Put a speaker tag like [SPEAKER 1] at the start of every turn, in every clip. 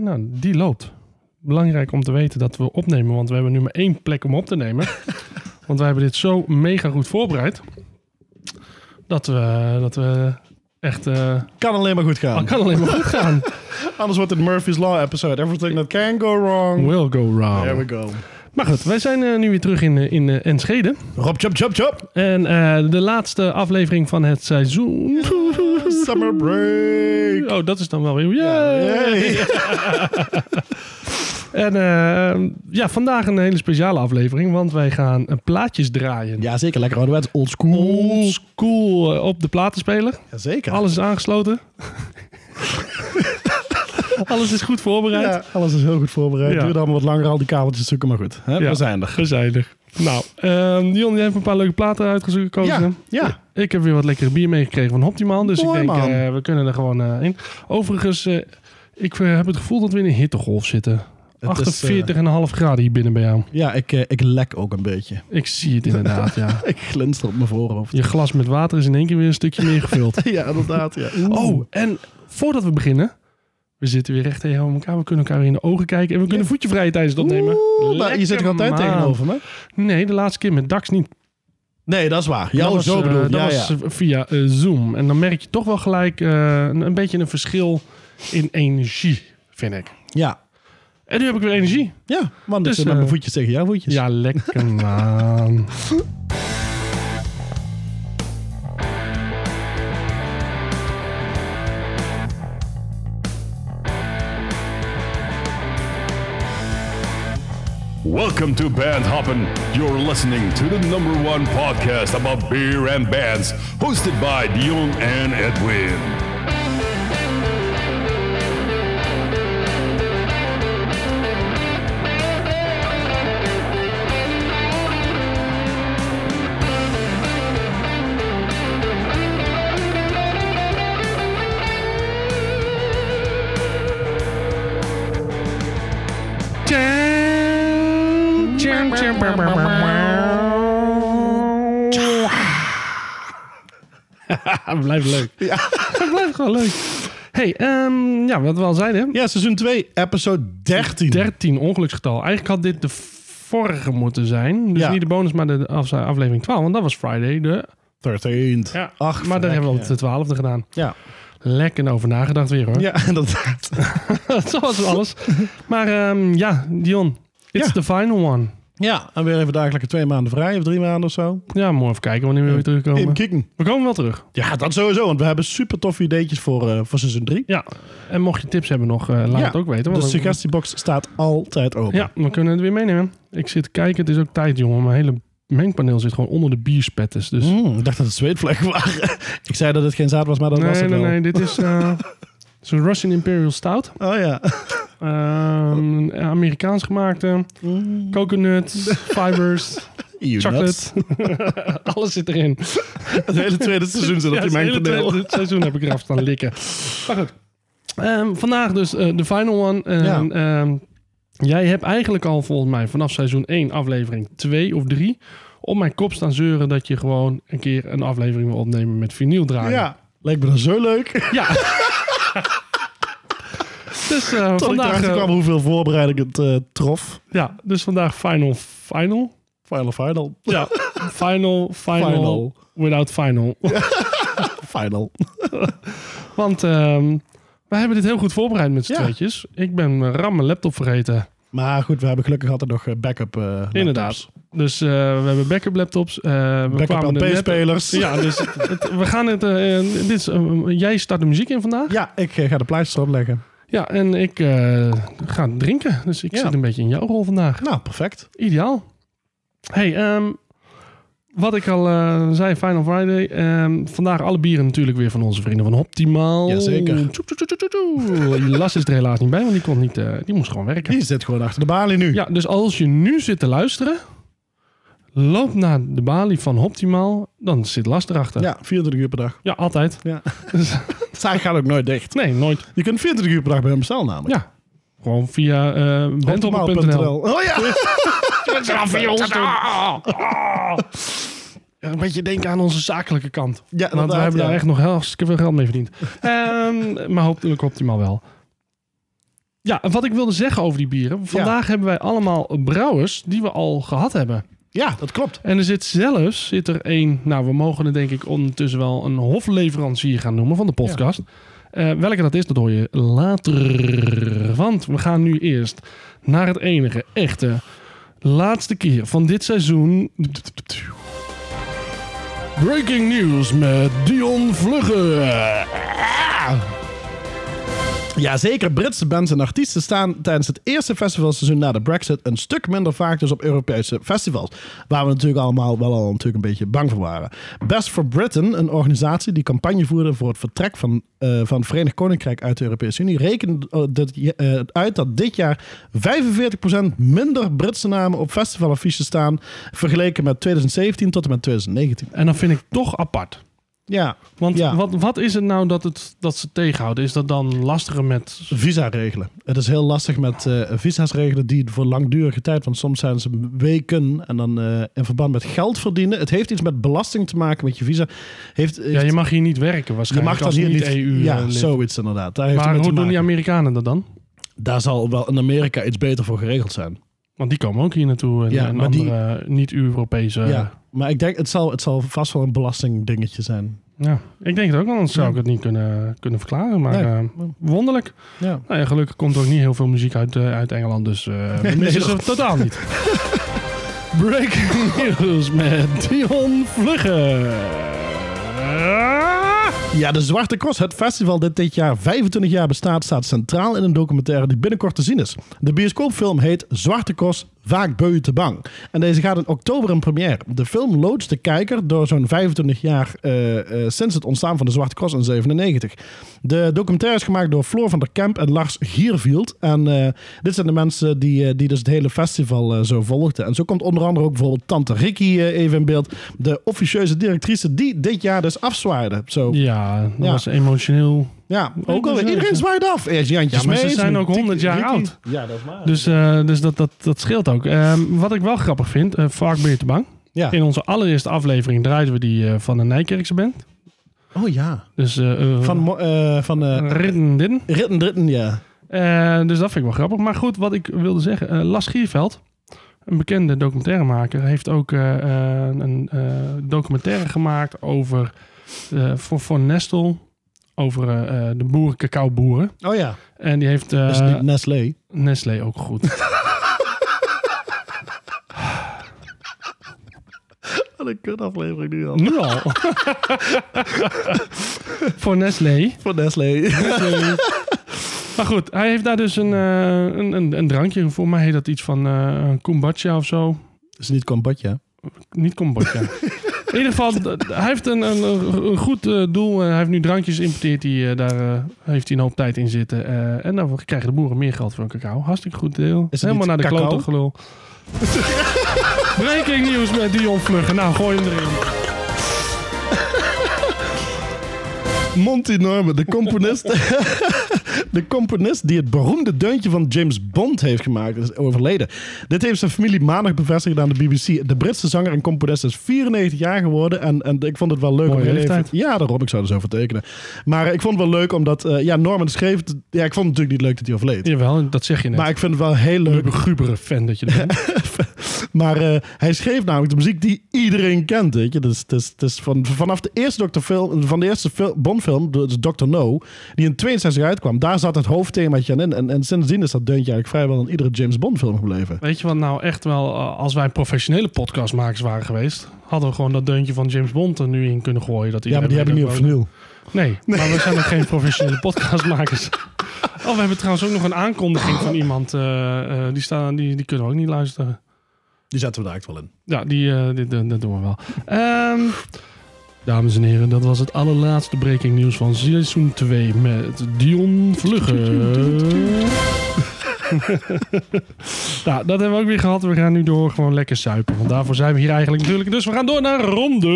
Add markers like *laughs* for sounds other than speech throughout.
[SPEAKER 1] nou, die loopt. Belangrijk om te weten dat we opnemen, want we hebben nu maar één plek om op te *laughs* nemen. want wij hebben dit zo mega goed voorbereid. Dat we, dat we echt... eh
[SPEAKER 2] Kan alleen maar goed gaan.
[SPEAKER 1] het kan alleen maar *laughs* goed gaan.
[SPEAKER 2] Anders wordt het Murphy's Law episode. Everything that can go wrong.
[SPEAKER 1] Will go wrong.
[SPEAKER 2] There we go.
[SPEAKER 1] Maar goed, wij zijn eh, nu weer terug in, eh, in eh, Enschede.
[SPEAKER 2] Rob, chop, chop, chop.
[SPEAKER 1] En eh, de laatste aflevering van het seizoen.
[SPEAKER 2] Summer break.
[SPEAKER 1] Oh, dat is dan wel weer. Yay!
[SPEAKER 2] Hey.
[SPEAKER 1] En eh, ja, vandaag een hele speciale aflevering, want wij gaan eh, plaatjes draaien.
[SPEAKER 2] Ja, zeker. Lekker ouderwets. Old school.
[SPEAKER 1] Old school eh, op de platenspeler.
[SPEAKER 2] Jazeker.
[SPEAKER 1] Alles is
[SPEAKER 2] *laughs*
[SPEAKER 1] aangesloten. Alles is goed voorbereid.
[SPEAKER 2] Ja, alles is heel goed voorbereid.
[SPEAKER 1] Ja.
[SPEAKER 2] Duurde allemaal wat langer, al die kabeltjes zoeken, maar goed. Hè?
[SPEAKER 1] Ja.
[SPEAKER 2] We zijn er.
[SPEAKER 1] Gezijdig. Nou, ehm Dion, jij hebt een paar leuke platen uitgezocht. gekozen.
[SPEAKER 2] ja.
[SPEAKER 1] Ik heb weer wat lekkere bier meegekregen van Optiman. Dus
[SPEAKER 2] Mooi,
[SPEAKER 1] ik denk,
[SPEAKER 2] man.
[SPEAKER 1] eh, we kunnen er gewoon eh, in. Overigens, eh, ik eh, heb het gevoel dat we in een hittegolf zitten. 48,5
[SPEAKER 2] Het is, eh,
[SPEAKER 1] graden hier binnen bij jou.
[SPEAKER 2] Ja, ik, eh, ik lek ook een beetje.
[SPEAKER 1] Ik zie het inderdaad, ja.
[SPEAKER 2] *laughs* Ik glinster op mijn voorhoofd.
[SPEAKER 1] Je glas met water is in één keer weer een stukje meer gevuld. *laughs*
[SPEAKER 2] Ja, inderdaad. Ja.
[SPEAKER 1] Oh, en voordat we beginnen... We zitten weer recht tegenover elkaar. We kunnen elkaar weer in de ogen kijken. En we kunnen voetje vrij tijdens het opnemen.
[SPEAKER 2] Oeh, maar je
[SPEAKER 1] Lekker
[SPEAKER 2] zit er altijd
[SPEAKER 1] man.
[SPEAKER 2] tegenover me.
[SPEAKER 1] Nee, de laatste keer met Dax niet.
[SPEAKER 2] Nee, dat is waar. Ja,
[SPEAKER 1] dat
[SPEAKER 2] oh,
[SPEAKER 1] was,
[SPEAKER 2] zo
[SPEAKER 1] eh,
[SPEAKER 2] bedoeld.
[SPEAKER 1] dat
[SPEAKER 2] Ja,
[SPEAKER 1] was
[SPEAKER 2] ja.
[SPEAKER 1] via eh, Zoom. En dan merk je toch wel gelijk eh, een, een beetje een verschil in energie, vind ik.
[SPEAKER 2] ja.
[SPEAKER 1] En nu heb ik weer energie.
[SPEAKER 2] Ja, want ik
[SPEAKER 1] Dus,
[SPEAKER 2] zit met
[SPEAKER 1] eh,
[SPEAKER 2] mijn voetjes tegen jouw voetjes.
[SPEAKER 1] Ja, lekker *laughs* man.
[SPEAKER 3] Welcome to Band Hoppin'. You're listening to the number one podcast about beer and bands, hosted by Dion and Edwin.
[SPEAKER 1] *laughs* Blijf leuk. Ja. Blijf gewoon leuk. hey, ehm, ja, wat we al zeiden.
[SPEAKER 2] Ja, seizoen 2, episode 13.
[SPEAKER 1] 13 ongeluksgetal. Eigenlijk had dit de vorige moeten zijn. Dus
[SPEAKER 2] Ja.
[SPEAKER 1] niet de bonus, maar de af- aflevering 12. Want dat was Friday de...
[SPEAKER 2] 13.
[SPEAKER 1] Ja,
[SPEAKER 2] Ach,
[SPEAKER 1] maar daar
[SPEAKER 2] verrek,
[SPEAKER 1] hebben we
[SPEAKER 2] ja.
[SPEAKER 1] op de 12e gedaan.
[SPEAKER 2] Ja.
[SPEAKER 1] Lekker over nagedacht weer *laughs* hoor.
[SPEAKER 2] Ja, inderdaad.
[SPEAKER 1] Zoals alles. Maar ehm, ja, Dion. It's
[SPEAKER 2] Ja.
[SPEAKER 1] the final one.
[SPEAKER 2] Ja, en weer even dagelijks twee maanden vrij, of drie maanden of zo.
[SPEAKER 1] Ja, mooi even kijken wanneer we weer
[SPEAKER 2] In
[SPEAKER 1] terugkomen.
[SPEAKER 2] Kikken.
[SPEAKER 1] We komen wel terug.
[SPEAKER 2] Ja, dat sowieso, want we hebben super toffe ideetjes voor, eh, voor seizoen 3.
[SPEAKER 1] Ja, en mocht je tips hebben nog, eh, laat
[SPEAKER 2] Ja,
[SPEAKER 1] het ook weten.
[SPEAKER 2] De
[SPEAKER 1] want we-
[SPEAKER 2] suggestiebox staat altijd open.
[SPEAKER 1] Ja, we kunnen het weer meenemen. Ik zit te kijken, het is ook tijd, jongen. Mijn hele mengpaneel zit gewoon onder de bierspetters. Dus
[SPEAKER 2] Hmm, ik dacht dat het zweetvlekken waren. *laughs* ik zei dat het geen zaad was, maar dat was
[SPEAKER 1] nee,
[SPEAKER 2] het
[SPEAKER 1] nee,
[SPEAKER 2] wel.
[SPEAKER 1] nee, dit is
[SPEAKER 2] *laughs*
[SPEAKER 1] eh, zo'n Russian Imperial Stout.
[SPEAKER 2] Oh ja.
[SPEAKER 1] Ehm, Amerikaans gemaakte,
[SPEAKER 2] *laughs*
[SPEAKER 1] coconut, fibers, Mm. chocolate. *laughs* Alles zit erin.
[SPEAKER 2] Het hele
[SPEAKER 1] *laughs*
[SPEAKER 2] tweede seizoen zit op die
[SPEAKER 1] het hele
[SPEAKER 2] mengpaneel.
[SPEAKER 1] tweede seizoen heb ik eraf staan likken. Maar goed. Ehm, vandaag dus eh, de final one. En,
[SPEAKER 2] Ja.
[SPEAKER 1] ehm, jij hebt eigenlijk al volgens mij vanaf seizoen 1 aflevering 2 of 3... op mijn kop staan zeuren dat je gewoon een keer een aflevering wil opnemen met vinyl draaien.
[SPEAKER 2] Ja, lijkt me dan zo leuk. *laughs*
[SPEAKER 1] Ja. dus, eh,
[SPEAKER 2] Tot ik
[SPEAKER 1] vandaag,
[SPEAKER 2] erachter
[SPEAKER 1] eh,
[SPEAKER 2] kwam hoeveel voorbereiding het eh, trof.
[SPEAKER 1] ja, dus vandaag final, final.
[SPEAKER 2] Final, final.
[SPEAKER 1] Ja, final, final,
[SPEAKER 2] Final.
[SPEAKER 1] without final.
[SPEAKER 2] Final.
[SPEAKER 1] Want ehm wij hebben dit heel goed voorbereid met z'n
[SPEAKER 2] Ja.
[SPEAKER 1] tweetjes. Ik ben eh, ram mijn laptop vergeten.
[SPEAKER 2] Maar goed, we hebben gelukkig altijd nog eh, backup eh, laptops.
[SPEAKER 1] Inderdaad. Dus eh, we hebben backup laptops. eh, we
[SPEAKER 2] Backup
[SPEAKER 1] kwamen er net-
[SPEAKER 2] LP-spelers.
[SPEAKER 1] Ja, dus het- het- we gaan het. eh, eh, dit is, eh, jij start de muziek in vandaag.
[SPEAKER 2] Ja, ik eh, ga de pleister opleggen.
[SPEAKER 1] Ja, en ik eh, ga drinken. Dus ik
[SPEAKER 2] Ja.
[SPEAKER 1] zit een beetje in jouw rol vandaag.
[SPEAKER 2] Nou, perfect.
[SPEAKER 1] Ideaal. Hey, ehm, wat ik al eh, zei, Final Friday. ehm, vandaag alle bieren natuurlijk weer van onze vrienden van Optimaal.
[SPEAKER 2] Jazeker.
[SPEAKER 1] Tjoep, tjoep, tjoep, tjoep, tjoep. Las is er helaas niet bij, want die, kon niet, eh, die moest gewoon werken.
[SPEAKER 2] Die zit gewoon achter de balie nu.
[SPEAKER 1] Ja, dus als je nu zit te luisteren, loop naar de balie van Optimaal. Dan zit Las erachter.
[SPEAKER 2] Ja, 24 uur per dag.
[SPEAKER 1] Ja, altijd.
[SPEAKER 2] Ja.
[SPEAKER 1] Dus-
[SPEAKER 2] Zij gaat ook nooit dicht.
[SPEAKER 1] nee, nooit.
[SPEAKER 2] Je kunt 24 uur per dag bij hem bestellen namelijk.
[SPEAKER 1] Ja, gewoon via eh
[SPEAKER 2] Optimaal.nl.
[SPEAKER 1] bentop.nl. *laughs*
[SPEAKER 2] Oh ja!
[SPEAKER 1] Ja, een beetje denken aan onze zakelijke kant.
[SPEAKER 2] Ja,
[SPEAKER 1] Want we
[SPEAKER 2] inderdaad,
[SPEAKER 1] hebben
[SPEAKER 2] ja. *laughs*
[SPEAKER 1] daar echt nog hartstikke veel geld mee verdiend. Ehm, maar hopelijk optimaal wel. Ja, en wat ik wilde zeggen over die bieren. Vandaag hebben wij allemaal brouwers die we al gehad hebben.
[SPEAKER 2] Ja, dat klopt.
[SPEAKER 1] En er zit zelfs zit er één, nou we mogen het denk ik ondertussen wel een hofleverancier gaan noemen van de podcast. Eh, welke dat is, dat hoor je later. Want we gaan nu eerst naar het enige echte laatste keer van dit seizoen. Breaking news met Dion Vlugge.
[SPEAKER 2] Jazeker, Britse bands en artiesten staan tijdens het eerste festivalseizoen na de Brexit een stuk minder vaak dus op Europese festivals. Waar we natuurlijk allemaal wel al natuurlijk een beetje bang voor waren. Best for Britain, een organisatie die campagne voerde voor het vertrek van, eh, van het Verenigd Koninkrijk uit de Europese Unie, rekent eh, dat, je- eh, uit dat dit jaar 45% minder Britse namen op festivalaffiches staan vergeleken met 2017 tot en met 2019.
[SPEAKER 1] En dat vind ik toch apart.
[SPEAKER 2] Ja,
[SPEAKER 1] Want
[SPEAKER 2] Ja.
[SPEAKER 1] wat, wat is het nou dat, het, dat ze tegenhouden? Is dat dan lastiger met...
[SPEAKER 2] Visa regelen. Het is heel lastig met eh, visa's regelen die voor langdurige tijd, want soms zijn ze weken en dan eh, in verband met geld verdienen. Het heeft iets met belasting te maken met je visa. Heeft,
[SPEAKER 1] Ja,
[SPEAKER 2] heeft-
[SPEAKER 1] je mag hier niet werken
[SPEAKER 2] je
[SPEAKER 1] waarschijnlijk
[SPEAKER 2] mag dat
[SPEAKER 1] als
[SPEAKER 2] hier niet.
[SPEAKER 1] EU
[SPEAKER 2] ja,
[SPEAKER 1] eh, lid.
[SPEAKER 2] zoiets inderdaad. Daar heeft het
[SPEAKER 1] Maar
[SPEAKER 2] mee
[SPEAKER 1] hoe
[SPEAKER 2] te
[SPEAKER 1] doen die
[SPEAKER 2] maken.
[SPEAKER 1] Amerikanen dat dan?
[SPEAKER 2] Daar zal wel in Amerika iets beter voor geregeld zijn.
[SPEAKER 1] Want die komen ook hier naartoe en,
[SPEAKER 2] Ja,
[SPEAKER 1] en
[SPEAKER 2] maar die-
[SPEAKER 1] andere eh, niet-Europese. Ja.
[SPEAKER 2] Ja, maar ik denk, het zal, het zal vast wel een belastingdingetje zijn.
[SPEAKER 1] Ik denk het ook, want anders zou ik het niet kunnen, kunnen verklaren. Maar
[SPEAKER 2] Nee.
[SPEAKER 1] eh, wonderlijk.
[SPEAKER 2] Ja.
[SPEAKER 1] Nou ja, gelukkig komt er ook niet heel veel muziek uit, eh, uit Engeland, dus eh we
[SPEAKER 2] *laughs* Nee,
[SPEAKER 1] missen ze
[SPEAKER 2] dat-
[SPEAKER 1] totaal niet.
[SPEAKER 2] *laughs*
[SPEAKER 1] Breaking *laughs* news met Dion Vlugge.
[SPEAKER 2] Ja, de Zwarte Cross, het festival dat dit jaar 25 jaar bestaat, staat centraal in een documentaire die binnenkort te zien is. De bioscoopfilm heet Zwarte Cross, vaak beu je te bang. En deze gaat in oktober in première. De film loodst de kijker door zo'n 25 jaar eh, eh, sinds het ontstaan van de Zwarte Cross in 97. De documentaire is gemaakt door Floor van der Kemp en Lars Giervield. En eh, dit zijn de mensen die, eh, die dus het hele festival eh, zo volgden. En zo komt onder andere ook bijvoorbeeld Tante Ricky eh, even in beeld. De officieuze directrice die dit jaar dus afzwaarde. Zo.
[SPEAKER 1] Ja, dat
[SPEAKER 2] Ja.
[SPEAKER 1] was emotioneel.
[SPEAKER 2] Ja, ook alweer.
[SPEAKER 1] precies.
[SPEAKER 2] Iedereen zwaait af. Eerst Jantje
[SPEAKER 1] Ja, maar ze
[SPEAKER 2] Smeets,
[SPEAKER 1] zijn
[SPEAKER 2] nu
[SPEAKER 1] ook
[SPEAKER 2] Tiki-
[SPEAKER 1] 100 jaar
[SPEAKER 2] Ricky.
[SPEAKER 1] oud.
[SPEAKER 2] Ja, dat is waar.
[SPEAKER 1] Dus, eh, dus dat, dat, dat scheelt ook. Ehm, wat ik wel grappig vind, eh vaak ben je te bang.
[SPEAKER 2] ja.
[SPEAKER 1] In onze allereerste aflevering draaiden we die eh, van de Nijkerkse band.
[SPEAKER 2] Oh ja.
[SPEAKER 1] Dus, eh, eh,
[SPEAKER 2] Van, mo- eh van eh,
[SPEAKER 1] Ridden Din.
[SPEAKER 2] Ritten Dritten, ja.
[SPEAKER 1] Eh, dus dat vind ik wel grappig. Maar goed, wat ik wilde zeggen. eh Las Gierveld, een bekende documentairemaker, heeft ook eh, eh, een eh, documentaire gemaakt over eh, voor, voor Nestle. Over eh, eh, de boeren, cacaoboeren.
[SPEAKER 2] Oh ja.
[SPEAKER 1] En die heeft eh,
[SPEAKER 2] Dat is niet Nestlé.
[SPEAKER 1] Nestlé ook goed.
[SPEAKER 2] Wat een kut aflevering nu al.
[SPEAKER 1] nu al. *laughs* voor Nestlé.
[SPEAKER 2] Van *laughs* Nestlé.
[SPEAKER 1] Maar goed, hij heeft daar dus een, eh, een, een, een drankje. Voor mij heet dat iets van eh kombatja of zo.
[SPEAKER 2] Dat is niet Cambodja.
[SPEAKER 1] Niet *laughs* Cambodja. In ieder geval, d- d- hij heeft een, een, een goed eh, doel. Eh, hij heeft nu drankjes importeerd. Die, eh, daar eh, heeft hij een hoop tijd in zitten. Eh, en dan krijgen de boeren meer geld voor hun cacao. Hartstikke goed deel.
[SPEAKER 2] het
[SPEAKER 1] Helemaal naar
[SPEAKER 2] niet
[SPEAKER 1] de
[SPEAKER 2] cacao?
[SPEAKER 1] klote
[SPEAKER 2] *laughs*
[SPEAKER 1] gelul. Breaking nieuws met Dion Vluggen. Nou, gooi hem erin.
[SPEAKER 2] Monty Norman, de
[SPEAKER 1] *laughs*
[SPEAKER 2] componist. de componist die het beroemde deuntje van James Bond heeft gemaakt, is overleden. Dit heeft zijn familie maandag bevestigd aan de BBC. De Britse zanger en componist is 94 jaar geworden. En, en ik vond het wel leuk
[SPEAKER 1] Mooie
[SPEAKER 2] om er
[SPEAKER 1] leeftijd.
[SPEAKER 2] even- Ja, daarom. Ik zou er zo voor tekenen. Maar ik vond het wel leuk omdat. eh, ja, Norman schreef. het- Ja, ik vond het natuurlijk niet leuk dat hij overleed.
[SPEAKER 1] Jawel, dat zeg je net.
[SPEAKER 2] Maar ik vind het wel heel
[SPEAKER 1] een
[SPEAKER 2] leuk.
[SPEAKER 1] begubere fan dat je er bent.
[SPEAKER 2] Maar eh, hij schreef namelijk de muziek die iedereen kent, weet je. Dus, het is- het is van, vanaf de eerste Dr. Film, van de eerste fil- Bondfilm, dus Dr. No, die in 62 uitkwam, daar zat het hoofdthemaatje aan in. En, en sindsdien is dat deuntje eigenlijk vrijwel in iedere James Bond film gebleven.
[SPEAKER 1] Weet je wat nou echt wel, eh, als wij professionele podcastmakers waren geweest, hadden we gewoon dat deuntje van James Bond er nu in kunnen gooien. Dat
[SPEAKER 2] Ja, maar die heb ik
[SPEAKER 1] iedereen
[SPEAKER 2] niet op
[SPEAKER 1] weet ook-
[SPEAKER 2] vinyl.
[SPEAKER 1] Nee, maar we zijn ook geen
[SPEAKER 2] *laughs*
[SPEAKER 1] professionele podcastmakers. Oh, we hebben trouwens ook nog een aankondiging van iemand. eh, eh, die, staan, die, die kunnen we ook niet luisteren.
[SPEAKER 2] Die zetten we daar eigenlijk wel in.
[SPEAKER 1] Ja, die, eh, dit- dit- dat doen we wel. Ehm, dames en heren, dat was het allerlaatste breaking nieuws van seizoen 2 met Dion Vlugge. nou, dat hebben we ook weer gehad. We gaan nu door gewoon lekker suipen. Want daarvoor zijn we hier eigenlijk natuurlijk. Dus we gaan door naar ronde...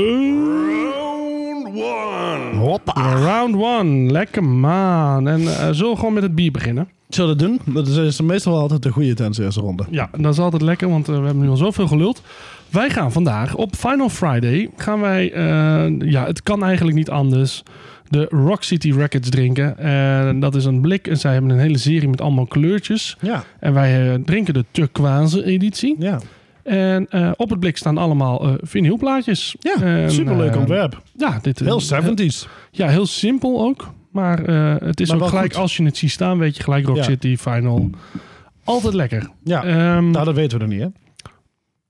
[SPEAKER 3] Round one.
[SPEAKER 2] Hoppa.
[SPEAKER 1] Round one, lekker man. En eh zullen we gewoon met het bier beginnen?
[SPEAKER 2] Zullen we dat doen? Dat is, is meestal wel altijd een goede tijdens de eerste ronde.
[SPEAKER 1] Ja, dat is altijd lekker, want eh, we hebben nu al zoveel geluld. Wij gaan vandaag op Final Friday, gaan wij, eh, ja, het kan eigenlijk niet anders de Rock City Records drinken. En dat is een blik. En zij hebben een hele serie met allemaal kleurtjes.
[SPEAKER 2] Ja,
[SPEAKER 1] En wij eh, drinken de turquoise editie.
[SPEAKER 2] ja.
[SPEAKER 1] En eh, op het blik staan allemaal eh vinylplaatjes.
[SPEAKER 2] ja
[SPEAKER 1] En,
[SPEAKER 2] superleuk
[SPEAKER 1] eh,
[SPEAKER 2] ontwerp.
[SPEAKER 1] Ja, dit,
[SPEAKER 2] Heel
[SPEAKER 1] eh,
[SPEAKER 2] 70s.
[SPEAKER 1] Ja, heel simpel ook. Maar eh, het is
[SPEAKER 2] Maar
[SPEAKER 1] ook
[SPEAKER 2] wel
[SPEAKER 1] gelijk,
[SPEAKER 2] goed.
[SPEAKER 1] als je het ziet staan, weet je gelijk Rock
[SPEAKER 2] Ja.
[SPEAKER 1] City, Final. Altijd lekker.
[SPEAKER 2] Ja,
[SPEAKER 1] Ehm,
[SPEAKER 2] nou, dat weten we nog niet, hè?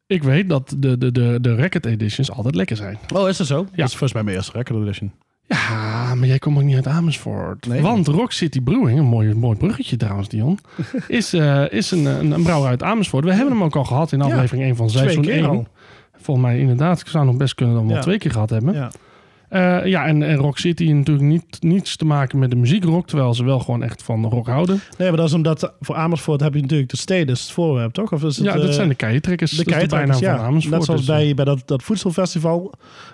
[SPEAKER 1] Ik weet dat de, de, de, de record editions altijd lekker zijn.
[SPEAKER 2] Oh, is dat zo? Ja. Dat is volgens mij mijn eerste record edition.
[SPEAKER 1] Ja, maar jij komt ook niet uit Amersfoort.
[SPEAKER 2] Nee.
[SPEAKER 1] Want Rock City Brewing, een mooi, mooi bruggetje trouwens,
[SPEAKER 2] *laughs*
[SPEAKER 1] Dion, is, eh, is een, een, een brouwer uit Amersfoort. We hebben hem ook al gehad in aflevering 1 van
[SPEAKER 2] twee
[SPEAKER 1] seizoen
[SPEAKER 2] keer
[SPEAKER 1] 1.
[SPEAKER 2] al.
[SPEAKER 1] Volgens mij inderdaad, ik zou nog best kunnen dat we hem
[SPEAKER 2] Ja.
[SPEAKER 1] al twee keer gehad hebben.
[SPEAKER 2] Ja.
[SPEAKER 1] Eh, ja, en, en Rock City natuurlijk niet, niets te maken met de muziekrock, terwijl ze wel gewoon echt van rock houden.
[SPEAKER 2] Nee, maar dat is omdat eh, voor Amersfoort heb je natuurlijk de steden, is het voorwerp, toch? Of is het,
[SPEAKER 1] ja, dat
[SPEAKER 2] eh,
[SPEAKER 1] zijn de keientrekkers.
[SPEAKER 2] de
[SPEAKER 1] dat is de bijnaam
[SPEAKER 2] keitrekkers, ja.
[SPEAKER 1] van Amersfoort.
[SPEAKER 2] Net zoals
[SPEAKER 1] Dus,
[SPEAKER 2] bij, bij dat, dat voedselfestival.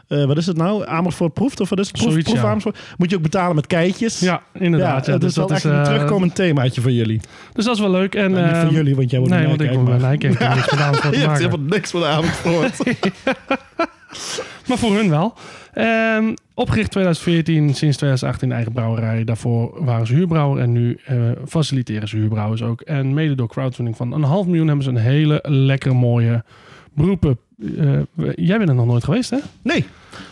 [SPEAKER 2] Eh, wat is het nou? Amersfoort Proeft of wat is het? Proef,
[SPEAKER 1] Zoiets,
[SPEAKER 2] Proef
[SPEAKER 1] ja.
[SPEAKER 2] Amersfoort. Moet je ook betalen met keitjes.
[SPEAKER 1] Ja, inderdaad. Ja,
[SPEAKER 2] dat
[SPEAKER 1] dus
[SPEAKER 2] is wel
[SPEAKER 1] dat
[SPEAKER 2] echt een
[SPEAKER 1] eh,
[SPEAKER 2] terugkomend themaatje voor
[SPEAKER 1] *laughs*
[SPEAKER 2] jullie.
[SPEAKER 1] Dus dat is wel leuk. En,
[SPEAKER 2] Nou, niet
[SPEAKER 1] eh,
[SPEAKER 2] voor jullie, want jij wordt
[SPEAKER 1] Nee,
[SPEAKER 2] een
[SPEAKER 1] want ik
[SPEAKER 2] Nijkerk,
[SPEAKER 1] word bij
[SPEAKER 2] maar-
[SPEAKER 1] Nijkerk. Ik heb niks met Amersfoort te
[SPEAKER 2] *laughs*
[SPEAKER 1] maken.
[SPEAKER 2] Je hebt helemaal niks van Amersfoort.
[SPEAKER 1] *laughs* Maar voor hun wel. Ehm, opgericht 2014, sinds 2018 eigen brouwerij. Daarvoor waren ze huurbrouwer en nu eh, faciliteren ze huurbrouwers ook. En mede door crowdfunding van een half miljoen hebben ze een hele lekkere mooie beroepen. jij bent er nog nooit geweest, hè?
[SPEAKER 2] nee,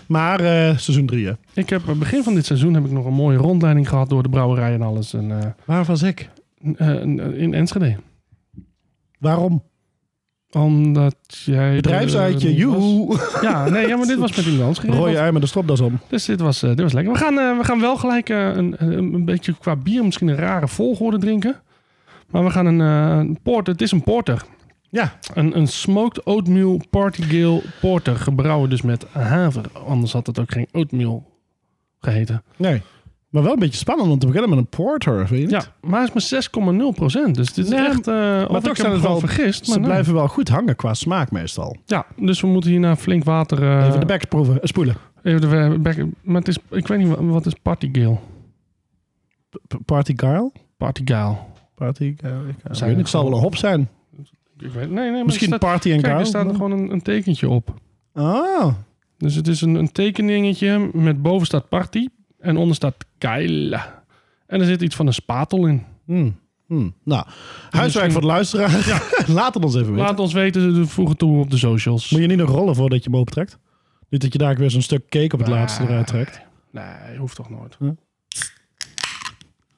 [SPEAKER 2] maar eh, seizoen 3. hè.
[SPEAKER 1] Ik heb eh, begin van dit seizoen heb ik nog een mooie rondleiding gehad door de brouwerij en alles. En, eh,
[SPEAKER 2] Waar was ik?
[SPEAKER 1] n- eh, in Enschede.
[SPEAKER 2] Waarom?
[SPEAKER 1] Omdat jij...
[SPEAKER 2] Bedrijfsuitje,
[SPEAKER 1] eh, was.
[SPEAKER 2] joehoe.
[SPEAKER 1] Ja, nee, ja, maar dit was met iemand
[SPEAKER 2] *laughs*
[SPEAKER 1] geregeld.
[SPEAKER 2] Rooie ui met de stropdas om.
[SPEAKER 1] Dus dit was, eh, dit was lekker. We gaan, eh, we gaan wel gelijk eh, een, een, een beetje qua bier misschien een rare volgorde drinken. Maar we gaan een, eh, een porter. Het is een porter.
[SPEAKER 2] Ja,
[SPEAKER 1] Een, een smoked oatmeal party gale porter. Gebrouwen dus met haver. Anders had het ook geen oatmeal geheten.
[SPEAKER 2] nee. Maar wel een beetje spannend om te beginnen met een porter, vind je niet?
[SPEAKER 1] Ja, maar hij is maar 6,0 Dus dit is
[SPEAKER 2] Nee,
[SPEAKER 1] echt... eh maar
[SPEAKER 2] toch
[SPEAKER 1] ik heb
[SPEAKER 2] zijn
[SPEAKER 1] me
[SPEAKER 2] het
[SPEAKER 1] gewoon
[SPEAKER 2] wel-
[SPEAKER 1] vergist.
[SPEAKER 2] Ze
[SPEAKER 1] Maar nee.
[SPEAKER 2] blijven wel goed hangen qua smaak meestal.
[SPEAKER 1] Ja, dus we moeten hierna flink water... eh,
[SPEAKER 2] Even de bek proeven, eh, spoelen.
[SPEAKER 1] even de bek- Maar het is, ik weet niet, wat- wat is party gale?
[SPEAKER 2] P- Party Girl?
[SPEAKER 1] Party gale.
[SPEAKER 2] Party Girl. Ik,
[SPEAKER 1] Zijn
[SPEAKER 2] weet niet,
[SPEAKER 1] het
[SPEAKER 2] het zal wel een hop zijn.
[SPEAKER 1] Ik weet, nee, nee, maar
[SPEAKER 2] Misschien
[SPEAKER 1] het staat-
[SPEAKER 2] Party en
[SPEAKER 1] Kijk,
[SPEAKER 2] Girl.
[SPEAKER 1] er staat er gewoon een, een tekentje op.
[SPEAKER 2] Ah,
[SPEAKER 1] Dus het is een, een tekeningetje met boven staat party en onder staat keila. En er zit iets van een spatel in.
[SPEAKER 2] Hmm. Hmm. Nou, huiswerk
[SPEAKER 1] misschien-
[SPEAKER 2] voor de luisteraar. *laughs* Laat het ons even weten.
[SPEAKER 1] Laat ons weten, voeg het toe op de socials.
[SPEAKER 2] Moet je niet nog rollen voordat je hem optrekt? Niet dat je daar weer zo'n stuk cake op het
[SPEAKER 1] Nee.
[SPEAKER 2] laatste eruit trekt.
[SPEAKER 1] Nee, hoeft toch nooit.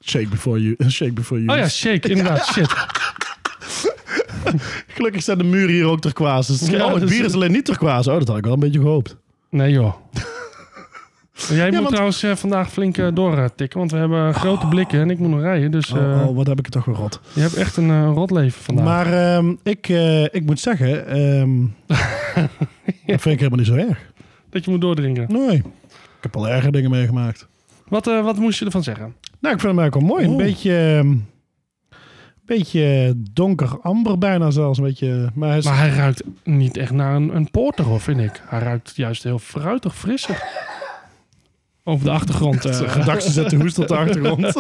[SPEAKER 2] Shake before you. *laughs* Shake before you.
[SPEAKER 1] Oh ja,
[SPEAKER 2] *laughs*
[SPEAKER 1] shake, inderdaad, shit.
[SPEAKER 2] Gelukkig zijn de muren hier ook turquoise. Dus-
[SPEAKER 1] Ja,
[SPEAKER 2] oh, het
[SPEAKER 1] dus-
[SPEAKER 2] bier is alleen niet turquoise. Oh, dat had ik wel een beetje gehoopt.
[SPEAKER 1] Nee
[SPEAKER 2] *laughs*
[SPEAKER 1] joh. Jij moet
[SPEAKER 2] want-
[SPEAKER 1] trouwens eh, vandaag flink eh, doortikken, want we hebben grote blikken en ik moet nog rijden. Dus eh,
[SPEAKER 2] Oh, oh, wat heb ik het toch weer rot.
[SPEAKER 1] je hebt echt een eh, rot leven vandaag.
[SPEAKER 2] Maar ehm, ik, eh, ik moet zeggen, *laughs* ehm, dat vind ik helemaal niet zo erg.
[SPEAKER 1] Dat je moet doordrinken.
[SPEAKER 2] Nee, ik heb al erger dingen meegemaakt.
[SPEAKER 1] Wat, eh, wat moest je ervan zeggen?
[SPEAKER 2] Nou, ik vind hem eigenlijk wel mooi. Een
[SPEAKER 1] Oh.
[SPEAKER 2] beetje, ehm, beetje donker amber bijna zelfs. Een beetje, maar hij is-
[SPEAKER 1] Maar hij ruikt niet echt naar een, een porter, hoor, vind ik. Hij ruikt juist heel fruitig, frissig. Over de achtergrond. eh,
[SPEAKER 2] gedachten zetten hoest op de achtergrond. *laughs*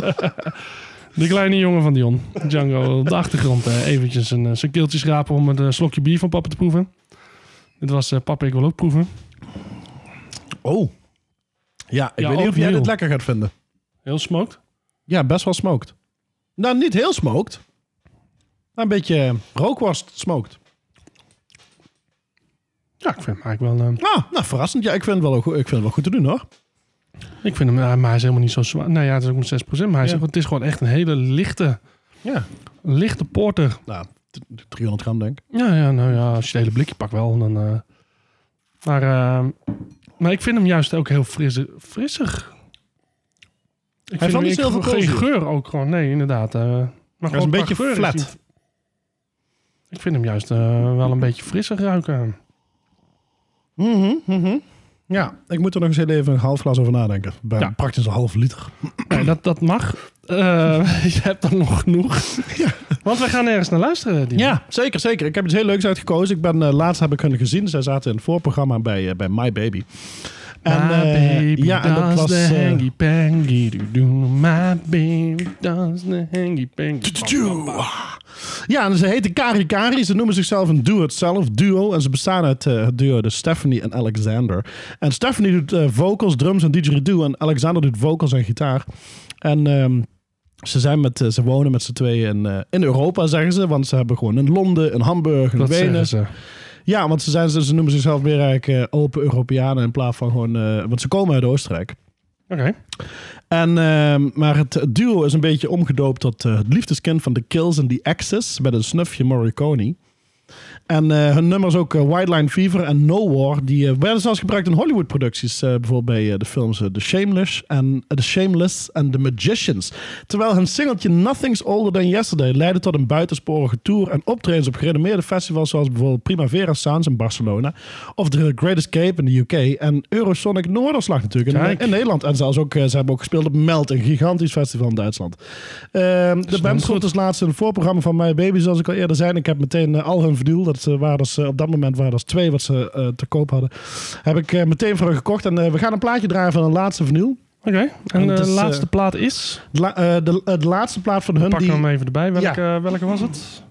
[SPEAKER 1] de kleine jongen van Dion, Django, op de achtergrond eh, eventjes een, eh, zijn keeltje schrapen om het eh, slokje bier van papa te proeven. Dit was eh, papa, ik wil ook proeven.
[SPEAKER 2] Oh. Ja, ik
[SPEAKER 1] Ja,
[SPEAKER 2] weet niet of jij
[SPEAKER 1] opnieuw.
[SPEAKER 2] dit lekker gaat vinden.
[SPEAKER 1] Heel smoked.
[SPEAKER 2] Ja, best wel smoked. Nou, niet heel smoked. Maar een beetje ehm, rookworst smoked.
[SPEAKER 1] Ja, ik vind hem eigenlijk wel... eh,
[SPEAKER 2] Ah, nou, verrassend. Ja, ik vind het wel, goed- ik vind het wel goed te doen, hoor.
[SPEAKER 1] ik vind hem, eh, maar hij is helemaal niet zo zwaar. Nou ja, het is ook maar 6%. Maar hij is,
[SPEAKER 2] Ja.
[SPEAKER 1] het is gewoon echt een hele lichte,
[SPEAKER 2] Ja.
[SPEAKER 1] lichte porter.
[SPEAKER 2] Nou, t- 300 gram, denk ik.
[SPEAKER 1] Ja, ja, nou ja, als je het hele blikje pakt wel, dan... eh, maar, eh, maar ik vind hem juist ook heel frisse, frissig. Ik
[SPEAKER 2] heeft wel
[SPEAKER 1] hem-
[SPEAKER 2] niet
[SPEAKER 1] ik-
[SPEAKER 2] zoveel
[SPEAKER 1] Geen
[SPEAKER 2] koolzuur.
[SPEAKER 1] geur ook gewoon, nee, inderdaad. eh, maar
[SPEAKER 2] Hij is
[SPEAKER 1] gewoon
[SPEAKER 2] een
[SPEAKER 1] qua
[SPEAKER 2] beetje
[SPEAKER 1] geur is
[SPEAKER 2] flat.
[SPEAKER 1] hij- ik vind hem juist eh, wel een beetje frissig ruiken.
[SPEAKER 2] Mhm, Ja, ik moet er nog eens heel even een half glas over nadenken. Bij
[SPEAKER 1] Ja.
[SPEAKER 2] praktisch een half liter.
[SPEAKER 1] Nee, dat, dat mag. Eh, *laughs* je hebt dan nog
[SPEAKER 2] *laughs*
[SPEAKER 1] genoeg. Want we gaan ergens naar luisteren. Dieter.
[SPEAKER 2] Ja, zeker, zeker. Ik heb iets heel leuks uitgekozen. Ik ben, eh, laatst heb ik hun gezien. Zij zaten in het voorprogramma bij, eh, bij My Baby.
[SPEAKER 1] my
[SPEAKER 2] eh,
[SPEAKER 1] baby
[SPEAKER 2] ja, en dat
[SPEAKER 1] does
[SPEAKER 2] was...
[SPEAKER 1] the
[SPEAKER 2] eh,
[SPEAKER 1] hangy pangy do do. My baby does the hangy pangy.
[SPEAKER 2] Tjoe. Ja, en ze heten Kari Kari. Ze noemen zichzelf een do-it-zelf duo. En ze bestaan uit eh, het duo de Stephanie en Alexander. En Stephanie doet eh, vocals, drums en didgeridoo. En Alexander doet vocals en gitaar. En ehm, ze, zijn met, eh, ze wonen met z'n tweeën in, eh, in Europa, zeggen ze. Want ze hebben gewoon in Londen, in Hamburg, in
[SPEAKER 1] Dat
[SPEAKER 2] Wenen.
[SPEAKER 1] zeggen ze.
[SPEAKER 2] Ja, want ze, zijn, ze, ze noemen zichzelf meer eigenlijk eh, open Europeanen in plaats van gewoon... eh, want ze komen uit Oostenrijk.
[SPEAKER 1] Oké.
[SPEAKER 2] En, ehm, maar het duo is een beetje omgedoopt tot eh, het liefdeskind van The Kills en The Axis. Met een snufje Morricone. En eh, hun nummers ook eh, White Line Fever en No War. Die eh, werden zelfs gebruikt in Hollywood-producties. eh, bijvoorbeeld bij eh, de films eh, The Shameless en eh, The Shameless en The Magicians. Terwijl hun singeltje Nothing's Older Than Yesterday leidde tot een buitensporige tour en optredens op gerenommeerde festivals zoals bijvoorbeeld Primavera Sounds in Barcelona of The Great Escape in de UK en Eurosonic Noorderslag natuurlijk in,
[SPEAKER 1] Kijk.
[SPEAKER 2] in Nederland. En zelfs ook, eh, ze hebben ook gespeeld op Melt, een gigantisch festival in Duitsland. Ehm, de
[SPEAKER 1] Snap
[SPEAKER 2] band stond als laatste in het voorprogramma van My Baby, zoals ik al eerder zei. En Ik heb meteen eh, al hun verdiel. Dat eh, waren dus, eh, op dat moment waren dat twee wat ze eh, te koop hadden. Heb ik eh, meteen voor hen gekocht. En eh, we gaan een plaatje draaien van hun laatste vernieuw.
[SPEAKER 1] Oké. En
[SPEAKER 2] Want
[SPEAKER 1] de
[SPEAKER 2] het is, eh,
[SPEAKER 1] laatste plaat is...
[SPEAKER 2] De, la- eh, de, eh, de laatste plaat van hun,
[SPEAKER 1] Pak
[SPEAKER 2] die,
[SPEAKER 1] hem even erbij. Welke, eh, welke was het?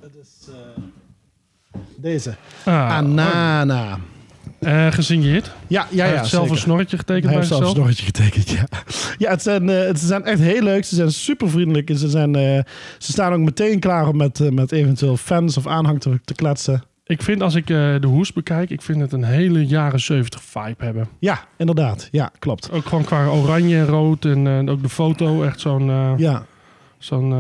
[SPEAKER 2] deze.
[SPEAKER 1] Ah,
[SPEAKER 2] Anana.
[SPEAKER 1] eh, gesigneerd.
[SPEAKER 2] Ja, ja,
[SPEAKER 1] Hij
[SPEAKER 2] ja.
[SPEAKER 1] heeft zelf
[SPEAKER 2] zeker.
[SPEAKER 1] een snorretje getekend
[SPEAKER 2] Hij
[SPEAKER 1] bij
[SPEAKER 2] heeft zelfs
[SPEAKER 1] zichzelf.
[SPEAKER 2] een snorretje getekend, ja. Ja, het zijn, eh, het, ze zijn echt heel leuk. Ze zijn super vriendelijk. En ze, zijn, eh, ze staan ook meteen klaar om met, eh, met eventueel fans of aanhang te, te kletsen.
[SPEAKER 1] Ik vind als ik eh, de hoes bekijk, ik vind het een hele jaren 70 vibe hebben.
[SPEAKER 2] Ja, inderdaad. Ja, klopt.
[SPEAKER 1] Ook gewoon qua oranje en rood en eh, ook de foto. Echt zo'n... eh,
[SPEAKER 2] Ja,
[SPEAKER 1] zo'n eh,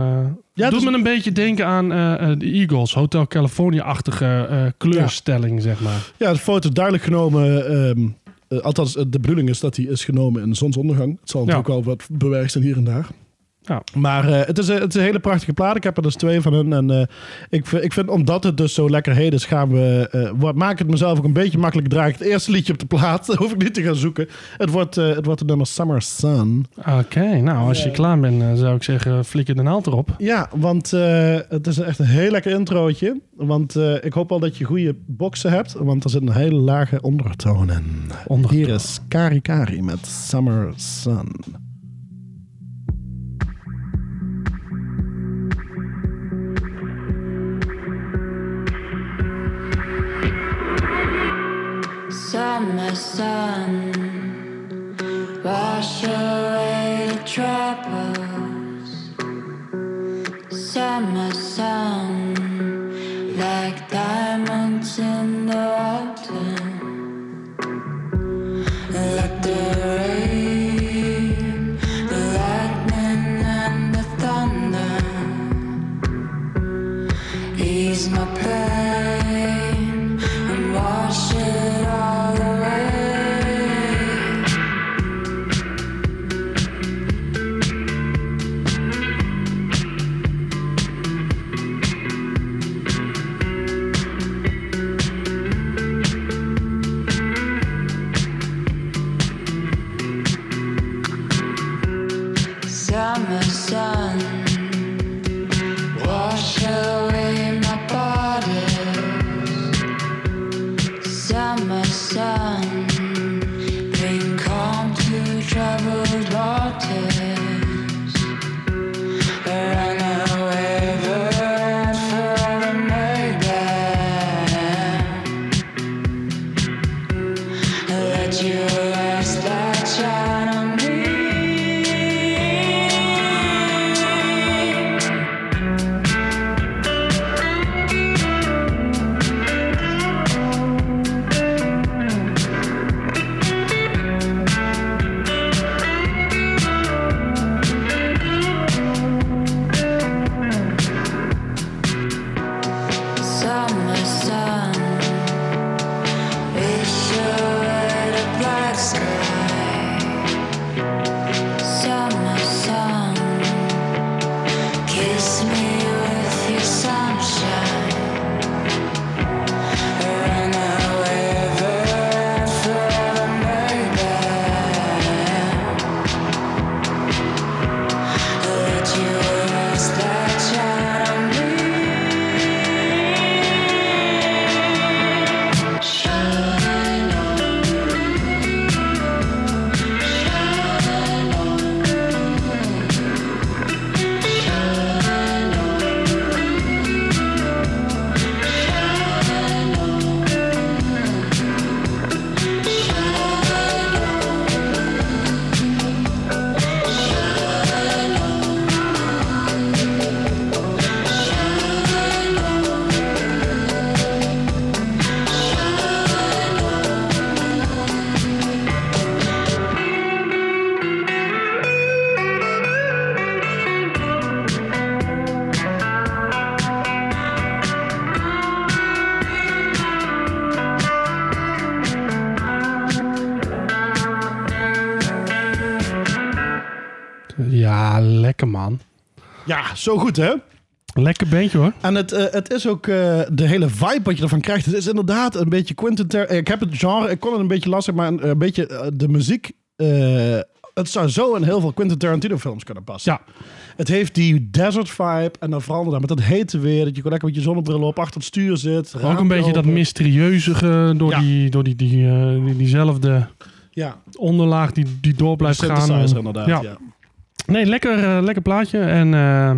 [SPEAKER 2] Ja, dus
[SPEAKER 1] doet
[SPEAKER 2] het is-
[SPEAKER 1] me een beetje denken aan eh, eh, de Eagles. Hotel California-achtige eh, kleurstelling, zeg maar.
[SPEAKER 2] ja de foto is duidelijk genomen. ehm, eh, althans, eh, de bedoeling is dat die is genomen in zonsondergang. Het zal natuurlijk wel wat bewerkt zijn hier en daar.
[SPEAKER 1] Ja.
[SPEAKER 2] Maar eh, het, is, een- het is een hele prachtige plaat. Ik heb er dus twee van hun. En eh, ik, v- ik vind, omdat het dus zo lekker heet is, gaan we, eh, wat, maak ik het mezelf ook een beetje makkelijk. Draai ik het eerste liedje op de plaat. *laughs* Dat hoef ik niet te gaan zoeken. Het wordt, eh, het wordt het nummer Summer Sun.
[SPEAKER 1] Oké, nou, als je klaar bent, eh, zou ik zeggen, flikker de naald erop.
[SPEAKER 2] Ja, want eh, het is echt een heel lekker introotje. Want eh, ik hoop al dat je goede boxen hebt. Want er zit een hele lage ondertoon in.
[SPEAKER 1] Onder
[SPEAKER 2] Hier is Kari Kari met Summer Sun.
[SPEAKER 4] Summer sun, wash away the troubles. Summer sun, like diamonds in the autumn. Like the rain, the lightning, and the thunder ease my pain and wash it all away. Summer sun wash away my body.
[SPEAKER 1] Come on.
[SPEAKER 2] Ja, zo goed hè?
[SPEAKER 1] Lekker bandje hoor.
[SPEAKER 2] En het, eh, het is ook eh, de hele vibe wat je ervan krijgt. Het is inderdaad een beetje Quentin Tar- eh, Ik heb het genre, ik kon het een beetje lastig, maar een, een beetje eh, de muziek. eh, het zou zo in heel veel Quentin Tarantino films kunnen passen.
[SPEAKER 1] Ja.
[SPEAKER 2] Het heeft die desert vibe en dan verandert dat met dat hete weer. Dat je gewoon lekker met je zonnebril op achter het stuur zit.
[SPEAKER 1] Ook een beetje dat
[SPEAKER 2] mis.
[SPEAKER 1] mysterieuzige door,
[SPEAKER 2] Ja.
[SPEAKER 1] die, door die, die, eh, die- diezelfde
[SPEAKER 2] Ja,
[SPEAKER 1] onderlaag die, die door blijft gaan. eh,
[SPEAKER 2] synthesizer inderdaad. Ja. Ja.
[SPEAKER 1] Nee, lekker, eh, lekker plaatje. En eh,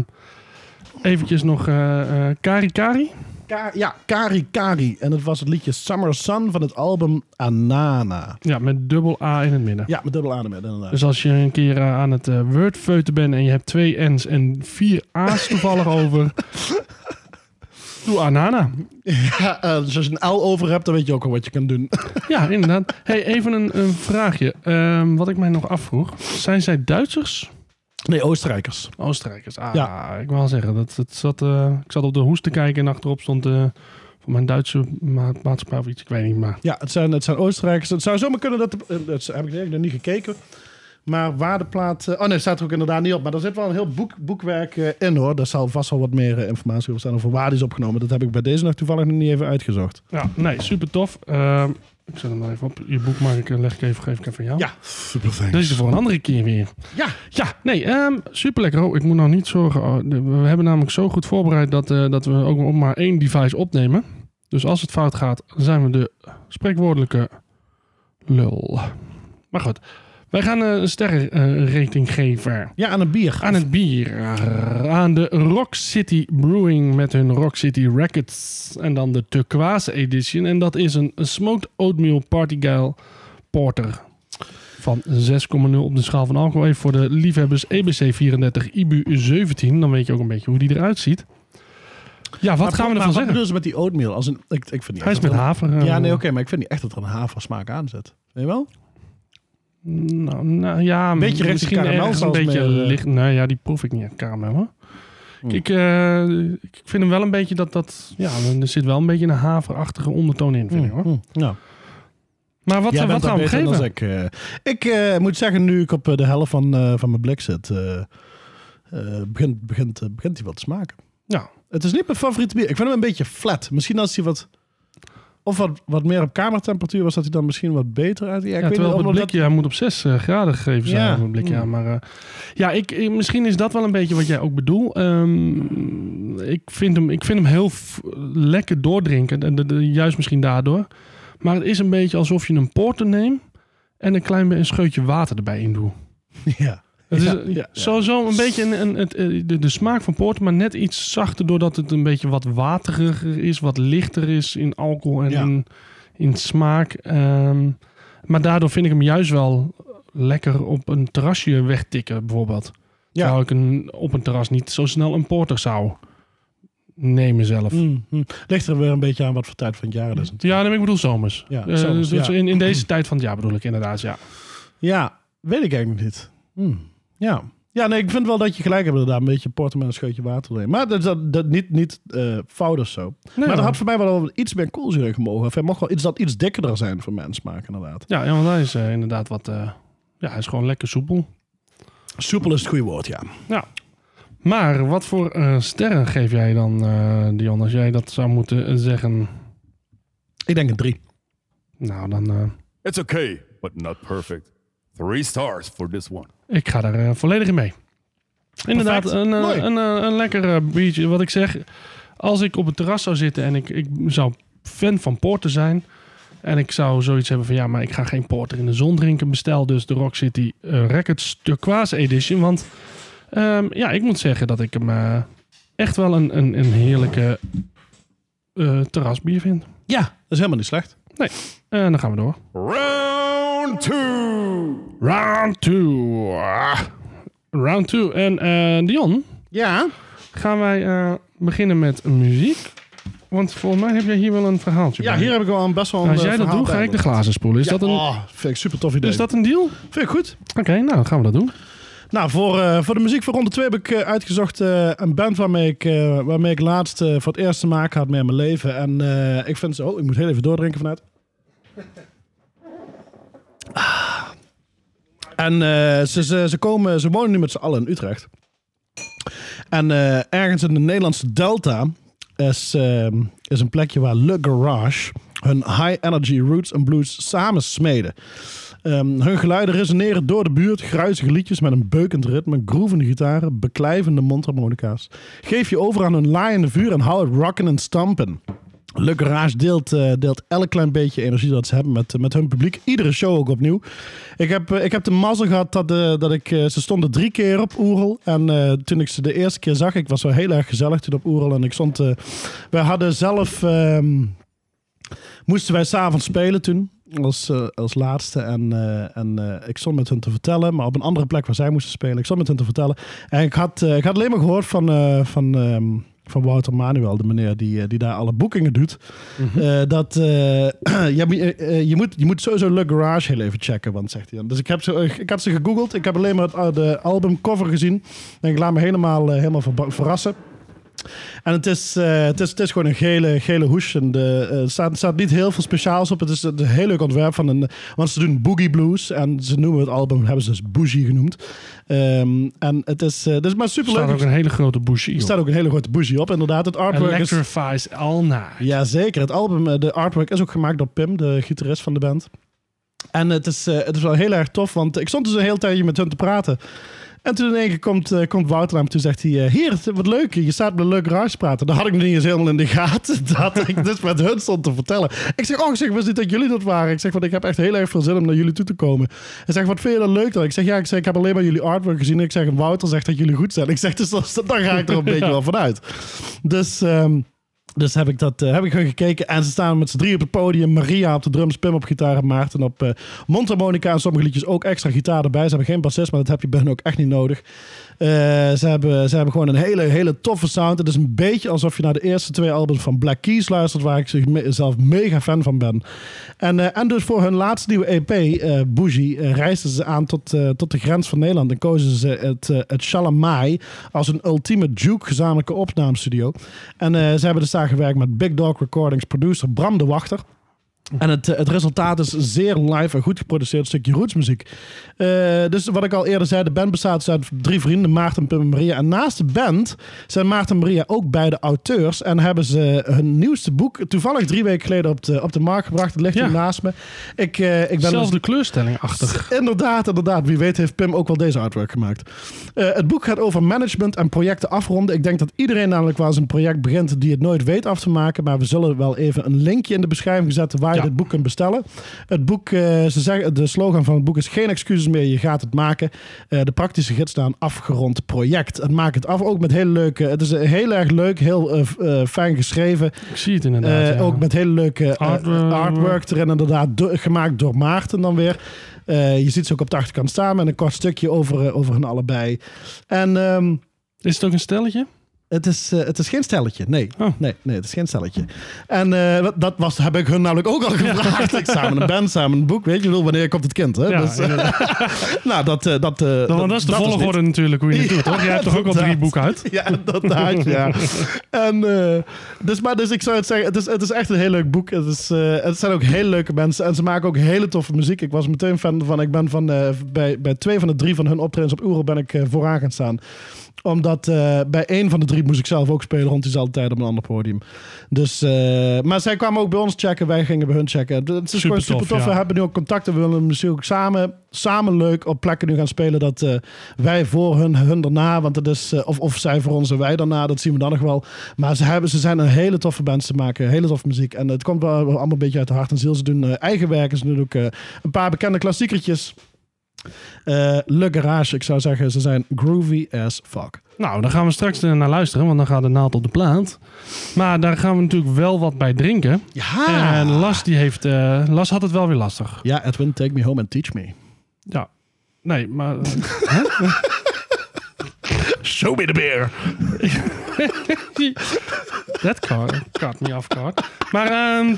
[SPEAKER 1] eventjes nog eh, eh, Kari Kari.
[SPEAKER 2] Ka- ja, Kari Kari. En het was het liedje Summer Sun van het album Anana.
[SPEAKER 1] Ja, met dubbel A in het midden.
[SPEAKER 2] Ja, met dubbel adem inderdaad.
[SPEAKER 1] Dus als je een keer eh, aan het eh wordfeuten bent en je hebt twee N's en vier A's toevallig
[SPEAKER 2] *laughs*
[SPEAKER 1] over. Doe Anana.
[SPEAKER 2] Ja, eh, dus als je een L over hebt, dan weet je ook al wat je kan doen.
[SPEAKER 1] Ja, inderdaad. Hey, even een, een vraagje. Ehm, wat ik mij nog afvroeg. Zijn zij Duitsers?
[SPEAKER 2] *laughs* Nee, Oostenrijkers.
[SPEAKER 1] Oostenrijkers. Ah,
[SPEAKER 2] Ja.
[SPEAKER 1] ik wil wel zeggen. Dat, het zat, eh, ik zat op de hoes te kijken en achterop stond eh, van mijn Duitse ma- maatschappij of iets. Ik weet niet, maar...
[SPEAKER 2] Ja, het zijn, het zijn Oostenrijkers. Het zou zomaar kunnen dat... De, eh, dat heb ik nog niet gekeken. Maar waar de plaat... eh, Oh nee, staat er ook inderdaad niet op. Maar er zit wel een heel boek, boekwerk eh, in hoor. Daar zal vast wel wat meer eh, informatie over staan over waar die is opgenomen. Dat heb ik bij deze nog toevallig nog niet even uitgezocht.
[SPEAKER 1] Ja, nee, super tof. Ehm, ik zet hem maar even op. Je boek maak ik, eh, leg ik even, geef ik even aan jou.
[SPEAKER 2] super
[SPEAKER 1] Deze voor een andere keer weer.
[SPEAKER 2] Ja.
[SPEAKER 1] Ja, nee, ehm super lekker. Oh, ik moet nou niet zorgen. Oh, de- we hebben namelijk zo goed voorbereid dat, eh, dat we ook op maar één device opnemen. Dus als het fout gaat, zijn we de spreekwoordelijke lul. Maar goed, wij gaan eh, een sterrenrating geven.
[SPEAKER 2] Ja, aan een bier.
[SPEAKER 1] Aan het bier. Aan de Rock City Brewing met hun Rock City Records. En dan de Turquoise Edition. En dat is een Smoked Oatmeal Party Girl Porter. Van 6,0 op de schaal van alcohol. Even voor de liefhebbers E EBC 34 IBU 17. Dan weet je ook een beetje hoe die eruit ziet. Ja, wat gaan
[SPEAKER 2] Maar
[SPEAKER 1] we
[SPEAKER 2] maar
[SPEAKER 1] ervan
[SPEAKER 2] Wat
[SPEAKER 1] zeggen?
[SPEAKER 2] bedoelen ze met die oatmeal? Als een, ik, ik vind niet
[SPEAKER 1] Hij is
[SPEAKER 2] echt dat
[SPEAKER 1] met
[SPEAKER 2] er-
[SPEAKER 1] haver. eh,
[SPEAKER 2] Ja, nee, oké. maar ik vind niet echt dat er een haversmaak aan zit. Weet je wel?
[SPEAKER 1] Nou, nou ja,
[SPEAKER 2] Beetje richting
[SPEAKER 1] misschien
[SPEAKER 2] karamel
[SPEAKER 1] ergens een
[SPEAKER 2] zelfs
[SPEAKER 1] beetje
[SPEAKER 2] meer, eh.
[SPEAKER 1] licht. Nee, ja, die proef ik niet echt karamel. Hoor.
[SPEAKER 2] Hmm.
[SPEAKER 1] Ik, eh, ik vind hem wel een beetje dat dat. Ja, er zit wel een beetje een haverachtige ondertoon in, vind ik hoor.
[SPEAKER 2] Hm, Ja.
[SPEAKER 1] Maar wat, eh,
[SPEAKER 2] Jij bent
[SPEAKER 1] wat
[SPEAKER 2] daar
[SPEAKER 1] gaan we hem
[SPEAKER 2] beter
[SPEAKER 1] geven?
[SPEAKER 2] dan Ik, eh, ik eh, moet zeggen, nu ik op eh, de helft van, eh, van mijn blik zit, eh, eh, begint, begint, eh, begint hij wat te smaken.
[SPEAKER 1] Ja.
[SPEAKER 2] Het is niet mijn favoriete bier. Ik vind hem een beetje flat. Misschien als hij wat... Of wat, wat meer op kamertemperatuur was, dat hij dan misschien wat beter uit. Ja, ik
[SPEAKER 1] Ja,
[SPEAKER 2] weet niet,
[SPEAKER 1] terwijl op het
[SPEAKER 2] omdat-
[SPEAKER 1] blikje, hij moet op 6 graden gegeven zijn.
[SPEAKER 2] Ja.
[SPEAKER 1] op het blikje, ja,
[SPEAKER 2] Mm.
[SPEAKER 1] maar eh, ja, ik, ik- misschien is dat wel een beetje wat jij ook bedoelt. Ehm, ik, vind hem, ik vind hem heel f- lekker doordrinken, en de- de- juist misschien daardoor. Maar het is een beetje alsof je een porter neemt en een klein be- een scheutje water erbij in doet.
[SPEAKER 2] *laughs* Ja.
[SPEAKER 1] Het
[SPEAKER 2] Ja,
[SPEAKER 1] is
[SPEAKER 2] ja,
[SPEAKER 1] sowieso een beetje een, een, het, eh, de, de smaak van porter, maar net iets zachter doordat het een beetje wat wateriger is, wat lichter is in alcohol en
[SPEAKER 2] Ja.
[SPEAKER 1] in, in smaak. Ehm, maar daardoor vind ik hem juist wel lekker op een terrasje wegtikken, bijvoorbeeld.
[SPEAKER 2] Ja.
[SPEAKER 1] Terwijl ik een, op een terras niet zo snel een porter zou nemen zelf.
[SPEAKER 2] Mm, mm. Ligt er weer een beetje aan wat voor tijd van het jaar het is.
[SPEAKER 1] Ja, nee, maar ik bedoel zomers.
[SPEAKER 2] Ja,
[SPEAKER 1] Eh,
[SPEAKER 2] zomers,
[SPEAKER 1] dus
[SPEAKER 2] ja.
[SPEAKER 1] in, in deze tijd van het jaar bedoel ik inderdaad, ja.
[SPEAKER 2] Ja, weet ik eigenlijk niet. Hm, Ja. Ja, nee, ik vind wel dat je gelijk hebt inderdaad. Een beetje porten met een scheutje water erin. Maar dat, dat, dat niet, niet eh, fout of zo.
[SPEAKER 1] Nee,
[SPEAKER 2] maar
[SPEAKER 1] ja.
[SPEAKER 2] dat had voor mij wel iets meer koolzuur in gemogen. Of hij mocht wel iets dat iets dikkerder zijn voor mijn smaak inderdaad.
[SPEAKER 1] Ja, ja, want hij is eh, inderdaad wat... eh, ja, hij is gewoon lekker soepel.
[SPEAKER 2] Soepel is het goede woord, ja.
[SPEAKER 1] Maar wat voor eh, sterren geef jij dan, eh, Dion, als jij dat zou moeten eh, zeggen?
[SPEAKER 2] Ik denk een drie.
[SPEAKER 1] Nou, dan... eh,
[SPEAKER 3] It's okay, but not perfect. Three stars for this one.
[SPEAKER 1] ik ga daar eh, volledig in mee. Inderdaad,
[SPEAKER 2] Perfect.
[SPEAKER 1] een, eh,
[SPEAKER 2] Mooi.
[SPEAKER 1] een, eh, een lekker eh, biertje. Wat ik zeg, als ik op het terras zou zitten en ik, ik zou fan van porter zijn... en ik zou zoiets hebben van... ja, maar ik ga geen porter in de zon drinken. Bestel dus de Rock City eh, Records Turquoise Edition. Want ehm, ja, ik moet zeggen dat ik hem eh, echt wel een, een, een heerlijke eh, terrasbier vind.
[SPEAKER 2] Ja, dat is helemaal niet slecht.
[SPEAKER 1] Nee, en dan gaan we door.
[SPEAKER 3] Round two.
[SPEAKER 1] Round 2. Round 2. En eh, Dion,
[SPEAKER 2] Ja.
[SPEAKER 1] gaan wij eh, beginnen met muziek. Want volgens mij heb jij hier wel een verhaaltje
[SPEAKER 2] Ja,
[SPEAKER 1] bij.
[SPEAKER 2] hier heb ik wel een best wel een
[SPEAKER 1] Als
[SPEAKER 2] eh,
[SPEAKER 1] jij dat
[SPEAKER 2] verhaal
[SPEAKER 1] doet, ga
[SPEAKER 2] bij.
[SPEAKER 1] ik de glazen spoelen. Is,
[SPEAKER 2] Ja,
[SPEAKER 1] dat, een,
[SPEAKER 2] oh, vind ik super tof idee.
[SPEAKER 1] is dat een deal? Oké,
[SPEAKER 2] Vind ik goed.
[SPEAKER 1] nou dan gaan we dat doen.
[SPEAKER 2] Nou, voor, eh, voor de muziek voor ronde 2 heb ik eh, uitgezocht eh, een band waarmee ik, eh, waarmee ik laatst eh, voor het eerst te maken had met mijn leven. En eh, ik vind ze... Oh, ik moet heel even doordrinken vanuit. Ah. En eh, ze, ze, ze, komen, ze wonen nu met z'n allen in Utrecht. En eh, ergens in de Nederlandse delta is, ehm, is een plekje waar Le Garage hun high energy roots en blues samen smeden. Ehm, hun geluiden resoneren door de buurt, gruizige liedjes met een beukend ritme, groevende gitaren, beklijvende mondharmonica's. Geef je over aan hun laaiende vuur en hou het rocken en stampen. Le Garage deelt, eh, deelt elk klein beetje energie dat ze hebben met, met hun publiek. Iedere show ook opnieuw. Ik heb, eh, ik heb de mazzel gehad dat, eh, dat ik... eh, ze stonden drie keer op Oerl. En eh, toen ik ze de eerste keer zag, ik was wel heel erg gezellig toen op Oerl. En ik stond... eh wij hadden zelf... ehm, moesten wij s'avonds spelen toen. Als, eh, als laatste. En, eh, en eh, ik stond met hen te vertellen. Maar op een andere plek waar zij moesten spelen. Ik stond met hen te vertellen. En ik had, eh, ik had alleen maar gehoord van, eh, van, ehm, van Wouter Manuel. De meneer die, eh, die daar alle boekingen doet. eh, dat eh, je, moet- eh, *clears throat* eh, je, moet, je moet sowieso Le Garage heel even checken. Want zegt hij dan. Dus ik, heb ze, ik had ze gegoogeld. Ik heb alleen maar het, eh, de albumcover gezien. En ik laat me helemaal, eh, helemaal verba- verrassen. En het is, eh, het is, het is gewoon een gele, gele hoes. En de, eh, er staat, er staat niet heel veel speciaals op. Het is een heel leuk ontwerp. Van een, want ze doen boogie blues. En ze noemen het album, hebben ze dus bougie genoemd. Ehm, en het is, eh, het is maar
[SPEAKER 1] Er staat
[SPEAKER 2] superleuk.
[SPEAKER 1] ook een hele grote bougie
[SPEAKER 2] Er
[SPEAKER 1] op.
[SPEAKER 2] staat ook een hele grote bougie op. Inderdaad, het artwork is...
[SPEAKER 1] Electrifies all night.
[SPEAKER 2] Jazeker, het album, eh, de artwork is ook gemaakt door Pim, de gitarist van de band. En het is, eh, het is wel heel erg tof, want ik stond dus een heel tijdje met hun te praten. En toen in één keer komt, eh, komt Wouter naar me toe en zegt hij... eh, Hier, het- wat leuk, je staat met een leuk garage te praten. Dat had ik nog niet eens helemaal in de gaten, *laughs* dat ik dus met hun stond te vertellen. Ik zeg, oh, ik zeg, wist niet dat jullie dat waren. Ik zeg, want ik heb echt heel erg veel zin om naar jullie toe te komen. Hij zegt, wat vind je dan leuk dan? Ik zeg, ja, ik, zeg, ik heb alleen maar jullie artwork gezien. En ik zeg, en Wouter zegt dat jullie goed zijn. Ik zeg, dus dat- dan ga ik er een beetje wel vanuit. Dus... ehm, dus heb ik, dat, eh, heb ik gewoon gekeken. En ze staan met z'n drie op het podium. Maria op de drums, Pim op gitaar en Maarten op eh mondharmonica. En sommige liedjes ook extra gitaar erbij. Ze hebben geen bassist, maar dat heb je bij hen ook echt niet nodig. Eh, ze, hebben, ze hebben gewoon een hele, hele toffe sound. Het is een beetje alsof je naar de eerste twee albums van Black Keys luistert... waar ik zich me- zelf mega fan van ben. En, eh, en dus voor hun laatste nieuwe EP, eh Bougie... eh, reisden ze aan tot, eh, tot de grens van Nederland... en kozen ze het, eh het Shalamai als een ultieme Duke gezamenlijke opnamestudio. En eh, ze hebben dus daar gewerkt met Big Dog Recordings producer Bram de Wachter... En het, eh, het resultaat is zeer live en goed geproduceerd stukje rootsmuziek. Eh, dus wat ik al eerder zei, de band bestaat dus uit drie vrienden, Maarten, Pim en Maria. En naast de band zijn Maarten en Maria ook beide auteurs. En hebben ze hun nieuwste boek toevallig drie weken geleden op de, op de markt gebracht. Het ligt
[SPEAKER 1] Ja.
[SPEAKER 2] hier naast me. Ik, eh, ik ben dus-
[SPEAKER 1] Zelfde kleurstelling achter.
[SPEAKER 2] Inderdaad, inderdaad. Wie weet heeft Pim ook wel deze artwork gemaakt. Eh, het boek gaat over management en projecten afronden. Ik denk dat iedereen namelijk wel eens een project begint die het nooit weet af te maken. Maar we zullen wel even een linkje in de beschrijving zetten waar je
[SPEAKER 1] Ja.
[SPEAKER 2] dit boek kunt bestellen. Het boek, eh, ze zeggen, de slogan van het boek is geen excuses meer, je gaat het maken. Eh, de praktische gids naar een afgerond project. En maak het af ook met hele leuke, het is eh, heel erg leuk, heel eh, f- eh, fijn geschreven.
[SPEAKER 1] Ik zie het inderdaad.
[SPEAKER 2] Eh,
[SPEAKER 1] ja.
[SPEAKER 2] Ook met hele leuke eh,
[SPEAKER 1] Artwork.
[SPEAKER 2] artwork erin, inderdaad, do- gemaakt door Maarten dan weer. Eh, je ziet ze ook op de achterkant staan met een kort stukje over, eh, over hun allebei. En ehm,
[SPEAKER 1] Is het ook een stelletje?
[SPEAKER 2] het, is, eh, het is geen stelletje, nee.
[SPEAKER 1] Oh.
[SPEAKER 2] Nee, nee, het is geen stelletje. En eh, wat- dat was, heb ik hun namelijk ook al gevraagd. Ik samen een band, samen een boek, weet je wel, wanneer komt het kind? Hè?
[SPEAKER 1] Ja,
[SPEAKER 2] Dus, eh,
[SPEAKER 1] inderdaad.
[SPEAKER 2] *laughs* nou, dat, eh, dat, eh,
[SPEAKER 1] dat, dat is de volgorde natuurlijk hoe je het
[SPEAKER 2] *laughs* Ja,
[SPEAKER 1] doet, toch? Jij hebt toch ook al drie
[SPEAKER 2] inderdaad.
[SPEAKER 1] boeken uit?
[SPEAKER 2] *laughs* Ja, inderdaad, ja. En, eh, dus, maar dus ik zou het zeggen, het is, het is echt een heel leuk boek. Het, is, eh, het zijn ook heel leuke mensen en ze maken ook hele toffe muziek. Ik was meteen fan van, ik ben van, eh, bij, bij twee van de drie van hun optredens op Oerl ben ik eh, vooraan gaan staan. Omdat eh, bij één van de drie moest ik zelf ook spelen rond diezelfde tijd op een ander podium. Dus, eh, maar zij kwamen ook bij ons checken, wij gingen bij hun checken. Het is gewoon
[SPEAKER 1] Supertof,
[SPEAKER 2] super tof.
[SPEAKER 1] ja.
[SPEAKER 2] We hebben nu ook contacten, we willen misschien ook samen, samen leuk op plekken nu gaan spelen dat... eh, wij voor hun, hun daarna. Want het is, eh, of, of zij voor ons en wij daarna, dat zien we dan nog wel. Maar ze, hebben, ze zijn een hele toffe band te maken, hele toffe muziek. En het komt wel allemaal een beetje uit de hart en ziel. Ze doen eh, eigen werk, ze doen ook eh, een paar bekende klassiekertjes. Eh Le Garage, ik zou zeggen, ze zijn groovy as fuck.
[SPEAKER 1] Nou, daar gaan we straks eh, naar luisteren, want dan gaat de naald op de plaat. Maar daar gaan we natuurlijk wel wat bij drinken.
[SPEAKER 2] Ja!
[SPEAKER 1] En Las, die heeft, eh, Las had het wel weer lastig.
[SPEAKER 2] Ja, Edwin, take me home and teach me.
[SPEAKER 1] Ja. Nee, maar eh, *laughs*
[SPEAKER 3] Show me the beer.
[SPEAKER 1] dat caught, caught me off guard. Maar ehm,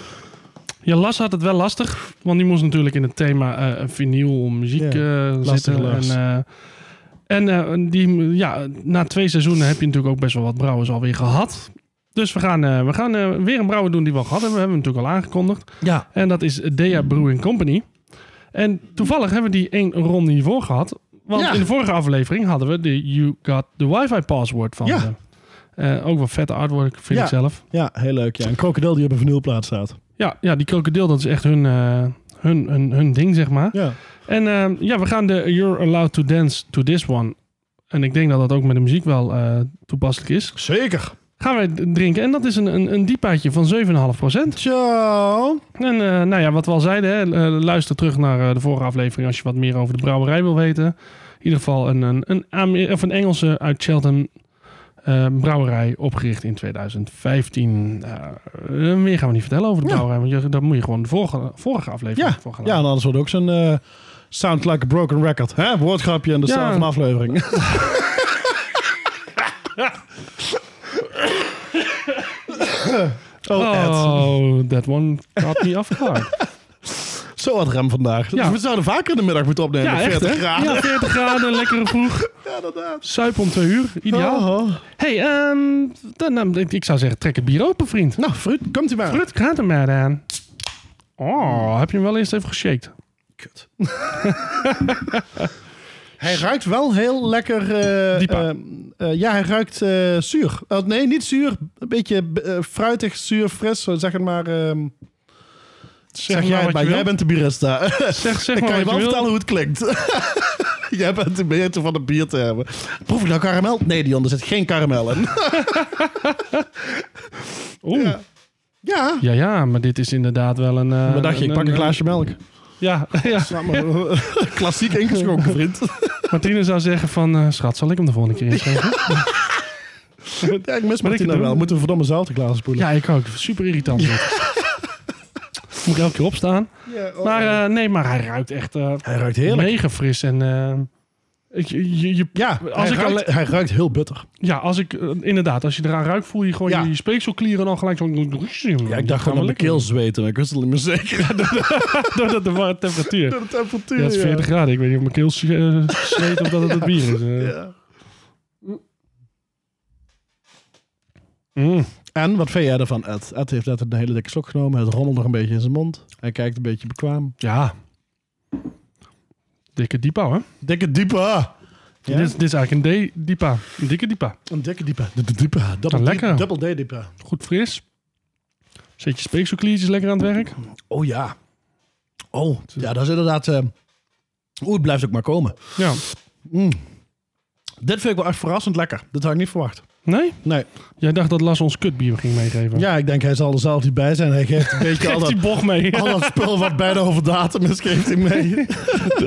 [SPEAKER 1] ja, Las had het wel lastig, want die moest natuurlijk in het thema eh vinyl muziek
[SPEAKER 2] Ja,
[SPEAKER 1] eh,
[SPEAKER 2] lastig
[SPEAKER 1] zitten. En,
[SPEAKER 2] Las.
[SPEAKER 1] eh, en eh, die, ja, na twee seizoenen heb je natuurlijk ook best wel wat brouwers alweer gehad. Dus we gaan, eh, we gaan eh, weer een brouwer doen die we al gehad hebben. We hebben hem natuurlijk al aangekondigd.
[SPEAKER 2] Ja.
[SPEAKER 1] En dat is Dea Brewing Company. En toevallig hebben we die één ronde hiervoor gehad. Want
[SPEAKER 2] Ja.
[SPEAKER 1] in de vorige aflevering hadden we de You Got the Wi-Fi Password van
[SPEAKER 2] Ja.
[SPEAKER 1] ze. Eh, ook wel vette artwork, vind
[SPEAKER 2] Ja.
[SPEAKER 1] ik zelf.
[SPEAKER 2] Ja, heel leuk. Ja. Een krokodil die op een vinylplaat staat.
[SPEAKER 1] Ja, ja, die krokodil, dat is echt hun, eh, hun, hun, hun ding, zeg maar.
[SPEAKER 2] Ja.
[SPEAKER 1] En ehm, ja, we gaan de You're Allowed to Dance to This One. En ik denk dat dat ook met de muziek wel eh, toepasselijk is.
[SPEAKER 2] Zeker.
[SPEAKER 1] Gaan wij d- drinken. En dat is een, een, een diepaatje van 7,5%.
[SPEAKER 2] Ciao.
[SPEAKER 1] En eh, nou ja, wat we al zeiden, hè, eh, luister terug naar eh, de vorige aflevering als je wat meer over de brouwerij wil weten. In ieder geval een, een, een, Amer- of een Engelse uit Cheltenham eh, brouwerij, opgericht in 2015. Eh, eh, meer gaan we niet vertellen over de
[SPEAKER 2] Ja.
[SPEAKER 1] brouwerij, want je, daar moet je gewoon de vorige, vorige aflevering
[SPEAKER 2] Ja.
[SPEAKER 1] voor gaan
[SPEAKER 2] Ja, en anders wordt ook zo'n eh, sound like a broken record. Hè? Woordgrapje aan de
[SPEAKER 1] Ja.
[SPEAKER 2] start van de
[SPEAKER 1] *laughs*
[SPEAKER 2] aflevering. oh, Ed.
[SPEAKER 1] Oh, that one had me afgehaakt.
[SPEAKER 2] Zo wat rem vandaag. Dus
[SPEAKER 1] Ja.
[SPEAKER 2] We zouden vaker in de middag moeten
[SPEAKER 1] *laughs*
[SPEAKER 2] opnemen.
[SPEAKER 1] Ja, echt
[SPEAKER 2] 40
[SPEAKER 1] hè?
[SPEAKER 2] graden.
[SPEAKER 1] Ja, 40 graden, lekkere vroeg.
[SPEAKER 2] Ja, inderdaad.
[SPEAKER 1] Suip om twee uur, ideaal.
[SPEAKER 2] Oh.
[SPEAKER 1] Hey, ehm, dan, nou, ik, ik zou zeggen, trek het bier open, vriend.
[SPEAKER 2] Nou, fruit, komt u maar.
[SPEAKER 1] Rut, gaat er maar aan. Oh, heb je hem wel eerst even geshaked?
[SPEAKER 2] Kut. *laughs* hij ruikt wel heel lekker. eh,
[SPEAKER 1] Diepa.
[SPEAKER 2] eh, eh, ja, hij ruikt eh, zuur. Eh, nee, niet zuur. Een beetje eh, fruitig, zuur, fris. Zo Zeg het maar. ehm, zeg
[SPEAKER 1] maar
[SPEAKER 2] jij
[SPEAKER 1] wat
[SPEAKER 2] het maar.
[SPEAKER 1] je
[SPEAKER 2] Jij
[SPEAKER 1] wil.
[SPEAKER 2] bent de bierista.
[SPEAKER 1] Zeg, zeg
[SPEAKER 2] *laughs* Ik
[SPEAKER 1] maar
[SPEAKER 2] kan je
[SPEAKER 1] wat je wil.
[SPEAKER 2] wel vertellen hoe het klinkt. *laughs* jij bent de beheerder van het bier te hebben. Proef ik nou karamel? Nee, Dion, er zit geen karamel in.
[SPEAKER 1] Oeh, ja. *laughs*
[SPEAKER 2] ja.
[SPEAKER 1] ja, maar dit is inderdaad wel een... eh,
[SPEAKER 2] Wat dacht je? Ik pak een glaasje melk.
[SPEAKER 1] Ja, *laughs* ja.
[SPEAKER 2] Laat me- *laughs* Klassiek ingeschonken,
[SPEAKER 1] *laughs*
[SPEAKER 2] vriend.
[SPEAKER 1] Martine zou zeggen van, eh, schat, zal ik hem de volgende keer inschenken?
[SPEAKER 2] ja, ik mis
[SPEAKER 1] Wat ik
[SPEAKER 2] Martina
[SPEAKER 1] doe.
[SPEAKER 2] wel. Moeten we verdomme zelf de glazen spoelen.
[SPEAKER 1] Ja, ik ook. Super irritant. dit. *laughs* Moet ik elke keer opstaan.
[SPEAKER 2] Ja, oh.
[SPEAKER 1] Maar eh, nee, maar hij ruikt echt eh,
[SPEAKER 2] Hij ruikt heerlijk.
[SPEAKER 1] mega fris. En eh, ik, je, je,
[SPEAKER 2] Ja,
[SPEAKER 1] Als
[SPEAKER 2] hij,
[SPEAKER 1] ik
[SPEAKER 2] ruikt,
[SPEAKER 1] alleen-
[SPEAKER 2] hij ruikt heel bitter.
[SPEAKER 1] ja, als ik, eh, inderdaad, als je eraan ruikt, voel je gewoon
[SPEAKER 2] Ja.
[SPEAKER 1] je, je speekselklieren al gelijk zo... Ja,
[SPEAKER 2] Ja, ik dacht gewoon aan mijn keel zweten. maar Ik wist het niet meer zeker.
[SPEAKER 1] Door *laughs* dat de warme temperatuur.
[SPEAKER 2] de temperatuur.
[SPEAKER 1] Ja, het is 40 graden. Ik weet niet of mijn keel s- eh, zweet of dat het het bier is. eh. Mm.
[SPEAKER 2] En wat vind jij ervan, Ed? Ed heeft net een hele dikke slok genomen. Het rommelt nog een beetje in zijn mond. Hij kijkt een beetje bekwaam.
[SPEAKER 1] Ja. Dikke diepa, hè?
[SPEAKER 2] Dikke diepe. Ja?
[SPEAKER 1] Dit, is, dit is eigenlijk een D diepa. Een dikke diepa.
[SPEAKER 2] Een dikke diepe. De diepe. Double,
[SPEAKER 1] Ah, lekker.
[SPEAKER 2] D- double D diepe.
[SPEAKER 1] Goed fris. Zet je speekselkliertjes lekker aan het werk.
[SPEAKER 2] Oh ja. Oh, ja, dat is inderdaad... eh, Oeh, het blijft ook maar komen.
[SPEAKER 1] Ja.
[SPEAKER 2] Dit vind ik wel echt verrassend lekker. Dit had ik niet verwacht.
[SPEAKER 1] Nee?
[SPEAKER 2] Nee.
[SPEAKER 1] Jij dacht dat Las ons kutbier ging meegeven.
[SPEAKER 2] Ja, ik denk hij zal er zelf niet bij zijn. Hij *laughs* geeft een beetje al
[SPEAKER 1] Geeft
[SPEAKER 2] dat,
[SPEAKER 1] die bocht
[SPEAKER 2] *laughs*
[SPEAKER 1] mee.
[SPEAKER 2] al dat spul wat bijna over datum is, geeft hij mee.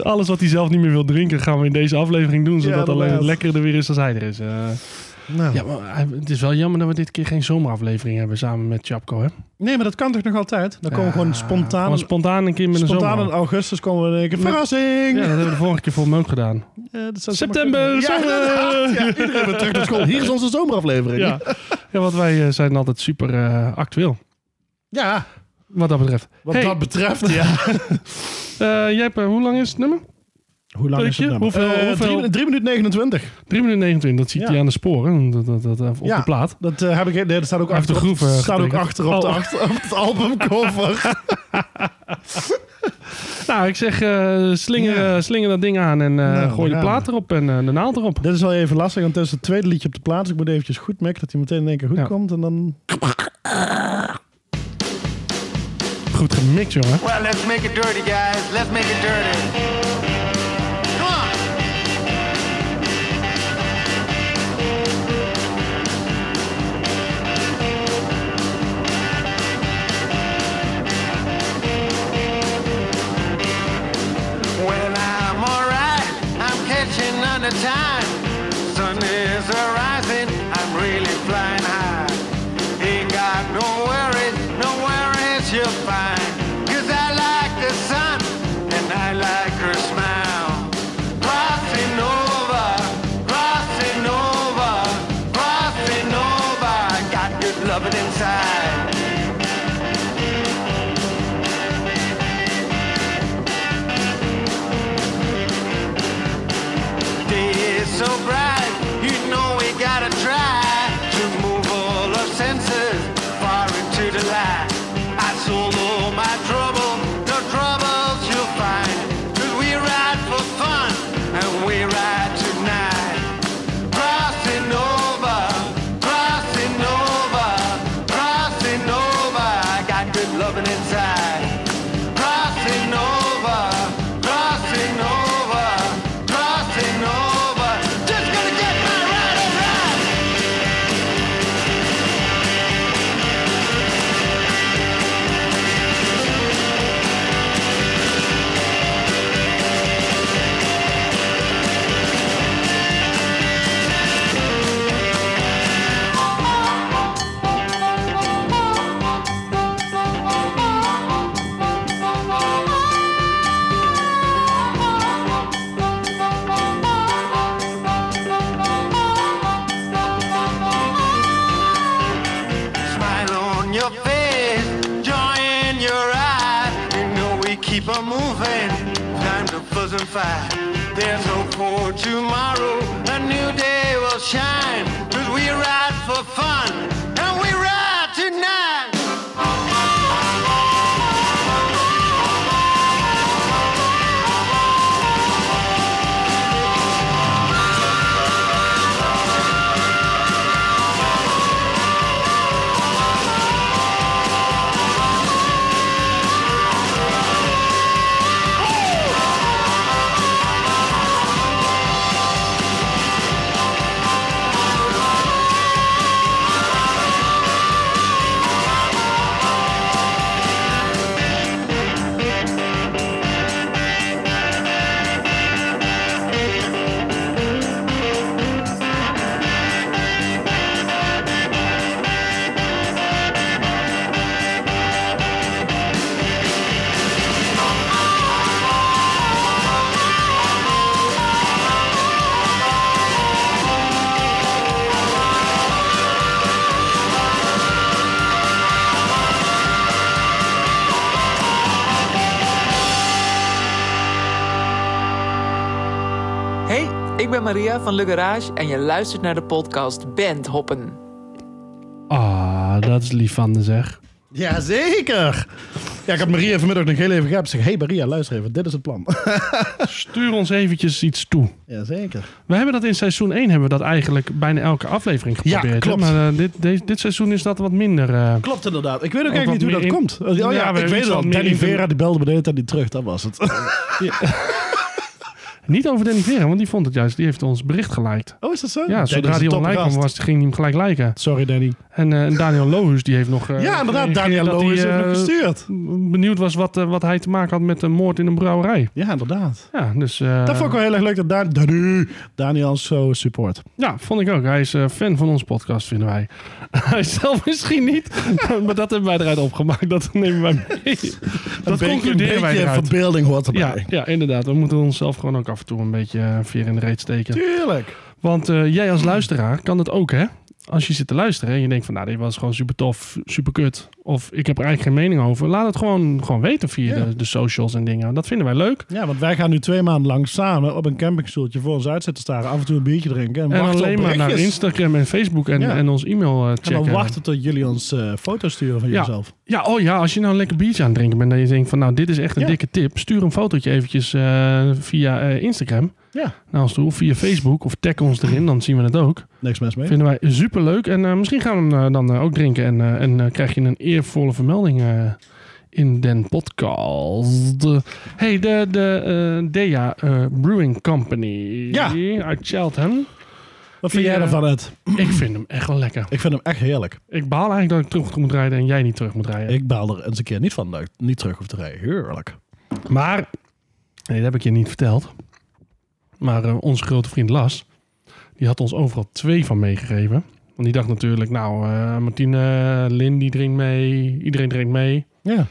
[SPEAKER 1] Alles wat hij zelf niet meer wil drinken, gaan we in deze aflevering doen. Zodat alleen het
[SPEAKER 2] inderdaad.
[SPEAKER 1] lekkerder weer is als hij er is. Eh,
[SPEAKER 2] *laughs* Nou.
[SPEAKER 1] ja, maar eh, hij- het is wel jammer dat we dit keer geen zomeraflevering hebben samen met Chapko, hè?
[SPEAKER 2] Nee, maar dat kan toch nog altijd? Dan komen
[SPEAKER 1] Ja,
[SPEAKER 2] we gewoon spontaan.
[SPEAKER 1] Gewoon spontaan een keer met een
[SPEAKER 2] spontaan in
[SPEAKER 1] zomer.
[SPEAKER 2] augustus komen we in één keer. Verrassing!
[SPEAKER 1] Ja, dat hebben we de vorige keer voor me ook gedaan.
[SPEAKER 2] Eh, dat zou zomaar
[SPEAKER 1] September,
[SPEAKER 2] kunnen.
[SPEAKER 1] zomer!
[SPEAKER 2] Ja,
[SPEAKER 1] *laughs*
[SPEAKER 2] inderdaad. ja, iedereen weer terug naar school. Hier is onze zomeraflevering.
[SPEAKER 1] Ja. ja, want wij eh, zijn altijd super eh, actueel.
[SPEAKER 2] Ja,
[SPEAKER 1] Wat dat betreft.
[SPEAKER 2] wat
[SPEAKER 1] Hey,
[SPEAKER 2] dat betreft, ja.
[SPEAKER 1] eh, jij hebt, eh, hoe lang is het nummer?
[SPEAKER 2] Hoe lang
[SPEAKER 1] Leukje? Hoeveel-
[SPEAKER 2] Eh,
[SPEAKER 1] hoeveel-
[SPEAKER 2] Drie, drie minuten 29.
[SPEAKER 1] 3 minuten 29, dat ziet
[SPEAKER 2] Ja.
[SPEAKER 1] hij aan de sporen. Dat, dat, dat, op
[SPEAKER 2] Ja.
[SPEAKER 1] de plaat.
[SPEAKER 2] Dat eh, heb ik... Nee, dat staat ook
[SPEAKER 1] Hij heeft
[SPEAKER 2] achter,
[SPEAKER 1] de
[SPEAKER 2] op,
[SPEAKER 1] groeven
[SPEAKER 2] staat ook
[SPEAKER 1] getekend.
[SPEAKER 2] achter op, de
[SPEAKER 1] Oh.
[SPEAKER 2] achter, op het
[SPEAKER 1] *laughs*
[SPEAKER 2] albumcover.
[SPEAKER 1] Nou, ik zeg, eh, slinger,
[SPEAKER 2] Ja.
[SPEAKER 1] eh, slinger dat ding aan en eh,
[SPEAKER 2] Nou,
[SPEAKER 1] gooi de
[SPEAKER 2] ja.
[SPEAKER 1] plaat erop en eh, de naald erop.
[SPEAKER 2] Dit is wel even lastig, want het is het tweede liedje op de plaats. ik moet eventjes goed merken dat hij meteen in één keer goed
[SPEAKER 1] Ja.
[SPEAKER 2] komt. En dan...
[SPEAKER 1] Goed gemixt, jongen.
[SPEAKER 5] Well, let's make it dirty, guys. Let's make it dirty. Come on. Well, I'm alright. I'm catching on the time. Sun is arising. I'm really flying high. Ain't got no worries, no worries you'll find. Cause I like the sun and I like her smile. Crossing over, crossing over, crossing over. I got good loving inside. day is so bright, you know we gotta try to move all our senses far into the light. I sold all my trouble, no troubles you'll find, 'cause we ride for fun and we ride. fight. There's hope for tomorrow, a new day will shine. Cause we ride for fun, and we ride tonight.
[SPEAKER 6] Hey, ik ben Maria van Le Garage en je luistert naar de podcast Bandhoppen.
[SPEAKER 1] Ah, dat is lief van de zeg.
[SPEAKER 2] Jazeker! Ja, ik heb Maria vanmiddag nog heel even gehaald. Ik zeg, hey Maria, luister even, dit is het plan. *laughs*
[SPEAKER 1] Stuur ons eventjes iets toe.
[SPEAKER 2] Jazeker.
[SPEAKER 1] We hebben dat in seizoen 1 hebben we dat eigenlijk bijna elke aflevering geprobeerd. hè?
[SPEAKER 2] klopt.
[SPEAKER 1] Maar eh, dit, deze- dit seizoen is dat wat minder. eh,
[SPEAKER 2] Klopt inderdaad. Ik weet ook
[SPEAKER 1] Ook
[SPEAKER 2] eigenlijk niet
[SPEAKER 1] wat
[SPEAKER 2] hoe dat
[SPEAKER 1] meer
[SPEAKER 2] komt.
[SPEAKER 1] in- Ja,
[SPEAKER 2] Oh ja,
[SPEAKER 1] we
[SPEAKER 2] ik
[SPEAKER 1] hebben
[SPEAKER 2] weet
[SPEAKER 1] iets
[SPEAKER 2] het al.
[SPEAKER 1] wat meer
[SPEAKER 2] Danny
[SPEAKER 1] in-
[SPEAKER 2] Vera die belde me de hele tijd niet terug, dat was
[SPEAKER 1] *laughs*
[SPEAKER 2] het.
[SPEAKER 1] Niet over Danny Vera, want die vond het juist. Die heeft ons bericht geliked.
[SPEAKER 2] Oh, is dat zo?
[SPEAKER 1] Ja, zodra
[SPEAKER 2] die
[SPEAKER 1] hij online kwam, was, ging hij hem gelijk liken.
[SPEAKER 2] Sorry Danny.
[SPEAKER 1] En eh, en Daniel Lohus, die heeft nog... eh,
[SPEAKER 2] ja, inderdaad,
[SPEAKER 1] gereageerd
[SPEAKER 2] Daniel
[SPEAKER 1] dat
[SPEAKER 2] Loos
[SPEAKER 1] hij,
[SPEAKER 2] heeft nog
[SPEAKER 1] eh,
[SPEAKER 2] gestuurd.
[SPEAKER 1] Benieuwd was wat, eh, wat hij te maken had met een moord in een brouwerij.
[SPEAKER 2] Ja, inderdaad.
[SPEAKER 1] Ja, dus... eh,
[SPEAKER 2] Dat vond ik wel heel erg leuk dat Dan- Danny, Daniel zo support.
[SPEAKER 1] Ja, vond ik ook. Hij is eh, fan van onze podcast, vinden wij. *laughs* hij zelf misschien niet, *laughs* maar dat hebben wij eruit opgemaakt. Dat nemen wij mee. Dat concluderen wij
[SPEAKER 2] Een beetje
[SPEAKER 1] eruit.
[SPEAKER 2] verbeelding hoort
[SPEAKER 1] Ja,
[SPEAKER 2] erbij.
[SPEAKER 1] ja, inderdaad. We moeten onszelf gewoon ook af en toe een beetje eh, veer in de reet steken.
[SPEAKER 2] Tuurlijk.
[SPEAKER 1] Want eh, jij als luisteraar kan dat ook, hè? Als je zit te luisteren en je denkt van, nou, dit was gewoon super tof, super kut. Of ik heb er eigenlijk geen mening over. Laat het gewoon, gewoon weten via
[SPEAKER 2] Ja.
[SPEAKER 1] de, de socials en dingen. Dat vinden wij leuk.
[SPEAKER 2] Ja, want wij gaan nu twee maanden lang samen op een campingstoeltje voor ons uit zitten staren. Af en toe een biertje drinken. En,
[SPEAKER 1] En
[SPEAKER 2] wachten
[SPEAKER 1] alleen
[SPEAKER 2] op
[SPEAKER 1] maar naar
[SPEAKER 2] berichtjes.
[SPEAKER 1] Instagram en Facebook en,
[SPEAKER 2] Ja.
[SPEAKER 1] en ons e-mail eh,
[SPEAKER 2] En
[SPEAKER 1] checken.
[SPEAKER 2] dan wachten tot jullie ons eh foto's sturen van
[SPEAKER 1] Ja.
[SPEAKER 2] jezelf.
[SPEAKER 1] Ja, oh ja, als je nou een lekker biertje aan het drinken bent en je denkt van nou, dit is echt een
[SPEAKER 2] Ja.
[SPEAKER 1] dikke tip. Stuur een fotootje eventjes eh, via eh, Instagram
[SPEAKER 2] Ja,
[SPEAKER 1] naar ons toe of via Facebook of tag ons erin, dan zien we het ook.
[SPEAKER 2] niks mis mee.
[SPEAKER 1] Vinden wij super leuk en eh, misschien gaan we hem eh, dan eh, ook drinken en, eh, en eh, krijg je een eervolle vermelding eh, in den podcast. hey, de, de eh, Dea eh, Brewing Company
[SPEAKER 2] Ja.
[SPEAKER 1] uit Cheltenham.
[SPEAKER 2] Wat vind
[SPEAKER 1] Die,
[SPEAKER 2] jij
[SPEAKER 1] eh,
[SPEAKER 2] ervan uit?
[SPEAKER 1] Ik vind hem echt wel lekker.
[SPEAKER 2] Ik vind hem echt heerlijk.
[SPEAKER 1] Ik baal eigenlijk dat ik terug moet rijden en jij niet terug moet rijden.
[SPEAKER 2] Ik baal er eens een keer niet van dat ik niet terug hoef te rijden. Heerlijk.
[SPEAKER 1] Maar, nee, dat heb ik je niet verteld. Maar eh, onze grote vriend Las, die had ons overal twee van meegegeven. Want die dacht natuurlijk, nou, eh, Martine, Lin, die drinkt mee. Iedereen drinkt mee.
[SPEAKER 2] Ja.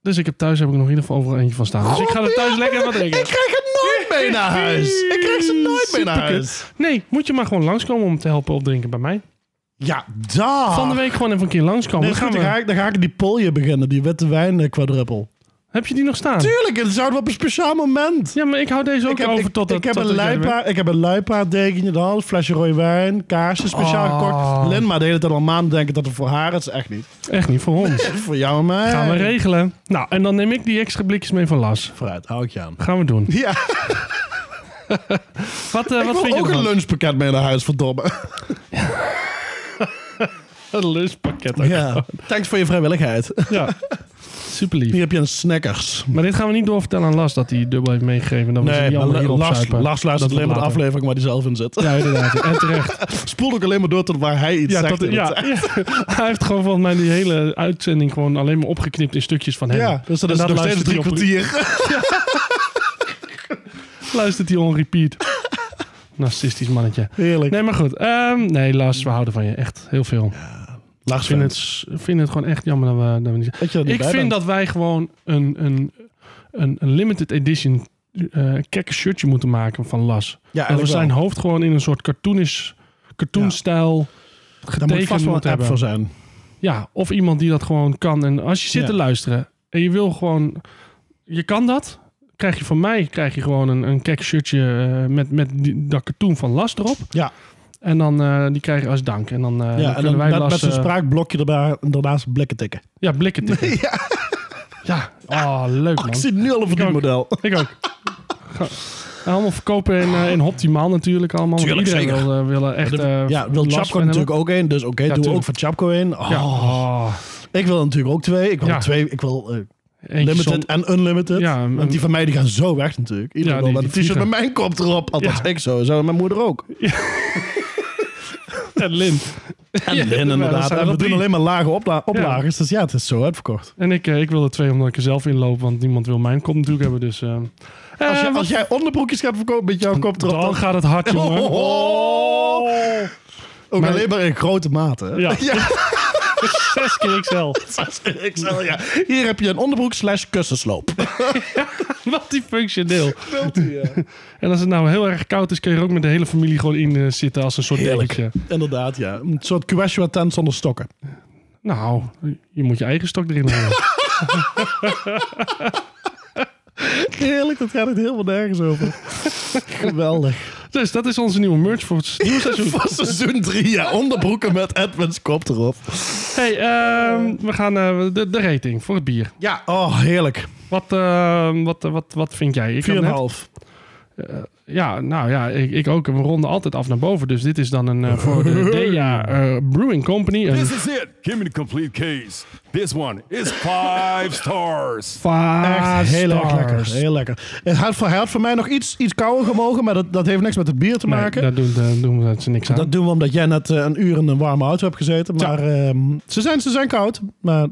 [SPEAKER 1] Dus ik heb thuis heb ik nog in ieder geval overal eentje van staan. Dus ik ga er thuis lekker wat drinken.
[SPEAKER 2] Ik krijg het nooit mee naar huis. Ik krijg ze nooit mee naar
[SPEAKER 1] Superkut.
[SPEAKER 2] huis.
[SPEAKER 1] Nee, moet je maar gewoon langskomen om te helpen opdrinken bij mij.
[SPEAKER 2] Ja, daar.
[SPEAKER 1] Van de week gewoon even een keer langskomen.
[SPEAKER 2] Nee,
[SPEAKER 1] Dan gaan
[SPEAKER 2] goed, dan, ga
[SPEAKER 1] we...
[SPEAKER 2] ik, dan ga ik die polje beginnen, die witte wijn eh, kwadruppel.
[SPEAKER 1] Heb je die nog staan?
[SPEAKER 2] Tuurlijk, dat zouden we op een speciaal moment.
[SPEAKER 1] Ja, maar ik hou deze ook
[SPEAKER 2] Ik heb,
[SPEAKER 1] over
[SPEAKER 2] ik,
[SPEAKER 1] tot
[SPEAKER 2] ik heb
[SPEAKER 1] tot
[SPEAKER 2] een
[SPEAKER 1] jij er bent.
[SPEAKER 2] luipaard, ik heb een luipaarddekentje in de hand, flesje rode wijn, kaarsje speciaal
[SPEAKER 1] Oh.
[SPEAKER 2] gekort. Lin, maar de hele tijd al maanden denken dat het voor haar is, echt niet.
[SPEAKER 1] Echt niet voor
[SPEAKER 2] *laughs*
[SPEAKER 1] ons.
[SPEAKER 2] Voor jou en mij.
[SPEAKER 1] Gaan we regelen. Nou, en dan neem ik die extra blikjes mee van Las.
[SPEAKER 2] Vooruit, hou ik je aan.
[SPEAKER 1] Gaan we doen.
[SPEAKER 2] Ja,
[SPEAKER 1] *laughs* Wat, eh, wat
[SPEAKER 2] ik
[SPEAKER 1] vind
[SPEAKER 2] wil
[SPEAKER 1] je
[SPEAKER 2] ook een
[SPEAKER 1] ervan?
[SPEAKER 2] lunchpakket mee naar huis, verdomme.
[SPEAKER 1] Een lunchpakket. ook.
[SPEAKER 2] Ja, thanks voor je vrijwilligheid.
[SPEAKER 1] *laughs* ja. Super lief.
[SPEAKER 2] Hier heb je een snackers.
[SPEAKER 1] Maar dit gaan we niet doorvertellen aan Las dat hij dubbel heeft meegegeven. Dan we ze
[SPEAKER 2] Nee,
[SPEAKER 1] niet
[SPEAKER 2] maar
[SPEAKER 1] allemaal hier
[SPEAKER 2] Lars,
[SPEAKER 1] opzuipen.
[SPEAKER 2] Lars luistert
[SPEAKER 1] Dat
[SPEAKER 2] alleen maar de
[SPEAKER 1] wordt later.
[SPEAKER 2] aflevering waar hij zelf in zit.
[SPEAKER 1] Ja, inderdaad. En terecht.
[SPEAKER 2] *laughs* Spoel ook alleen maar door tot waar hij iets
[SPEAKER 1] Ja,
[SPEAKER 2] zegt.
[SPEAKER 1] dat,
[SPEAKER 2] in het-
[SPEAKER 1] ja, *laughs* ja. hij heeft gewoon volgens mij die hele uitzending gewoon alleen maar opgeknipt in stukjes van hem.
[SPEAKER 2] ja, dus dat
[SPEAKER 1] En
[SPEAKER 2] is nog steeds
[SPEAKER 1] luistert hij
[SPEAKER 2] drie
[SPEAKER 1] op-
[SPEAKER 2] kwartier.
[SPEAKER 1] Luistert hij on repeat. *laughs* Narcistisch mannetje.
[SPEAKER 2] Heerlijk.
[SPEAKER 1] Nee, maar goed. Ehm, nee, Lars, we houden van je. Echt heel veel.
[SPEAKER 2] Lars
[SPEAKER 1] Ik vind het, vind het gewoon echt jammer dat we, dat we niet...
[SPEAKER 2] Dat je er niet
[SPEAKER 1] Ik
[SPEAKER 2] bij
[SPEAKER 1] vind
[SPEAKER 2] bent.
[SPEAKER 1] dat wij gewoon een, een, een, een limited edition eh kekke shirtje moeten maken van Las.
[SPEAKER 2] Ja,
[SPEAKER 1] dat we
[SPEAKER 2] eigenlijk
[SPEAKER 1] zijn
[SPEAKER 2] wel.
[SPEAKER 1] hoofd gewoon in een soort cartoonisch, cartoonstijl
[SPEAKER 2] Daar moet
[SPEAKER 1] getekend
[SPEAKER 2] vast wel een
[SPEAKER 1] moeten
[SPEAKER 2] app voor
[SPEAKER 1] hebben.
[SPEAKER 2] zijn.
[SPEAKER 1] Ja, of iemand die dat gewoon kan. En als je zit
[SPEAKER 2] Ja.
[SPEAKER 1] te luisteren en je wil gewoon... Je kan dat. krijg je van mij krijg je gewoon een, een kek shirtje eh, met, met die, dat cartoon van Las erop.
[SPEAKER 2] Ja,
[SPEAKER 1] En dan eh, die krijg je als dank. En dan, eh
[SPEAKER 2] ja
[SPEAKER 1] dan
[SPEAKER 2] en
[SPEAKER 1] kunnen
[SPEAKER 2] dan
[SPEAKER 1] wij
[SPEAKER 2] met, met
[SPEAKER 1] Las...
[SPEAKER 2] zo'n
[SPEAKER 1] eh,
[SPEAKER 2] spraakblokje erbij en daarnaast blikken tikken.
[SPEAKER 1] ja, blikken tikken.
[SPEAKER 2] *laughs*
[SPEAKER 1] ja. oh, leuk man.
[SPEAKER 2] Ik zit nu al op
[SPEAKER 1] ook.
[SPEAKER 2] het model.
[SPEAKER 1] Ik ook. Ga- En allemaal verkopen in, eh, in Optimaal natuurlijk allemaal. want
[SPEAKER 2] Tuurlijk,
[SPEAKER 1] iedereen
[SPEAKER 2] zeker.
[SPEAKER 1] wil, eh, willen echt eh
[SPEAKER 2] ja, wil
[SPEAKER 1] last
[SPEAKER 2] Chapco
[SPEAKER 1] van
[SPEAKER 2] natuurlijk
[SPEAKER 1] hebben.
[SPEAKER 2] ook één. Dus oké, doe ook
[SPEAKER 1] tuurlijk.
[SPEAKER 2] voor Chapco één. Oh,
[SPEAKER 1] Ja. Oh,
[SPEAKER 2] Ik wil er natuurlijk ook twee. Ik wil
[SPEAKER 1] Ja.
[SPEAKER 2] er twee. Ik wil eh,
[SPEAKER 1] eentje
[SPEAKER 2] limited
[SPEAKER 1] zon-
[SPEAKER 2] en unlimited.
[SPEAKER 1] Ja, en-
[SPEAKER 2] Want die van mij die gaan zo weg natuurlijk. Iedereen
[SPEAKER 1] Ja,
[SPEAKER 2] wil
[SPEAKER 1] die-
[SPEAKER 2] met een
[SPEAKER 1] die
[SPEAKER 2] t-shirt met
[SPEAKER 1] vliegen.
[SPEAKER 2] mijn kop erop. Althans,
[SPEAKER 1] Ja.
[SPEAKER 2] ik zo. Zo en mijn moeder
[SPEAKER 1] *laughs*
[SPEAKER 2] ook.
[SPEAKER 1] en Lin.
[SPEAKER 2] En
[SPEAKER 1] Ja,
[SPEAKER 2] Lin
[SPEAKER 1] nou, dat
[SPEAKER 2] inderdaad.
[SPEAKER 1] zijn
[SPEAKER 2] En
[SPEAKER 1] er
[SPEAKER 2] we doen
[SPEAKER 1] drie.
[SPEAKER 2] alleen maar lage opla oplagers. Dus ja, het is zo uitverkocht.
[SPEAKER 1] En ik, eh, ik wil er twee omdat ik er zelf in loop. Want niemand wil mijn kop natuurlijk hebben. Dus, eh,
[SPEAKER 2] Als,
[SPEAKER 1] eh,
[SPEAKER 2] je,
[SPEAKER 1] wat-
[SPEAKER 2] als jij onderbroekjes gaat verkopen met jouw kop erop.
[SPEAKER 1] dan gaat het hard,
[SPEAKER 2] Oh,
[SPEAKER 1] jongen.
[SPEAKER 2] oh, oh. Ook
[SPEAKER 1] Maar-
[SPEAKER 2] alleen maar in grote mate. *laughs* hè?
[SPEAKER 1] Ja. Zes keer *laughs* XL.
[SPEAKER 2] ik zal, ja. Hier heb je een onderbroek slash
[SPEAKER 1] *laughs*
[SPEAKER 2] kussensloop.
[SPEAKER 1] Multifunctioneel. En als het nou heel erg koud is, kun je er ook met de hele familie gewoon in eh, zitten als een soort dekentje.
[SPEAKER 2] Heerlijk. Inderdaad, ja. Een soort Quechua tent zonder stokken.
[SPEAKER 1] Nou, je moet je eigen stok erin
[SPEAKER 2] *laughs*
[SPEAKER 1] houden.
[SPEAKER 2] Heerlijk, dat gaat het helemaal nergens over.
[SPEAKER 1] *laughs*
[SPEAKER 2] Geweldig.
[SPEAKER 1] dus dat is onze nieuwe merch voor het nieuwe seizoen.
[SPEAKER 2] Van seizoen 3, ja. Onderbroeken met Edwin's kop erop.
[SPEAKER 1] Hey, ehm, we gaan eh, de, de rating voor het bier.
[SPEAKER 2] Ja, oh, heerlijk. 4,5.
[SPEAKER 1] Wat, ehm, wat, eh, wat, wat vind jij? Ik had net- Ja, nou ja, ik, ik ook. We ronden altijd af naar boven. Dus dit is dan een eh, voor de
[SPEAKER 2] *laughs*
[SPEAKER 1] Dea eh, Brewing Company. Een
[SPEAKER 3] This is it. Give me the complete case. This one is five stars.
[SPEAKER 1] five
[SPEAKER 2] Echt heel erg lekker.
[SPEAKER 1] Ah, stars.
[SPEAKER 2] Heel lekker. Het had voor, hij had voor mij nog iets, iets kouder gemogen, maar dat, dat heeft niks met het bier te
[SPEAKER 1] Nee,
[SPEAKER 2] maken.
[SPEAKER 1] daar doen, daar doen we dat ze niks aan.
[SPEAKER 2] Dat doen we omdat jij net eh, een uur in een warme auto hebt gezeten. Maar ehm, ze, zijn, ze zijn koud. Maar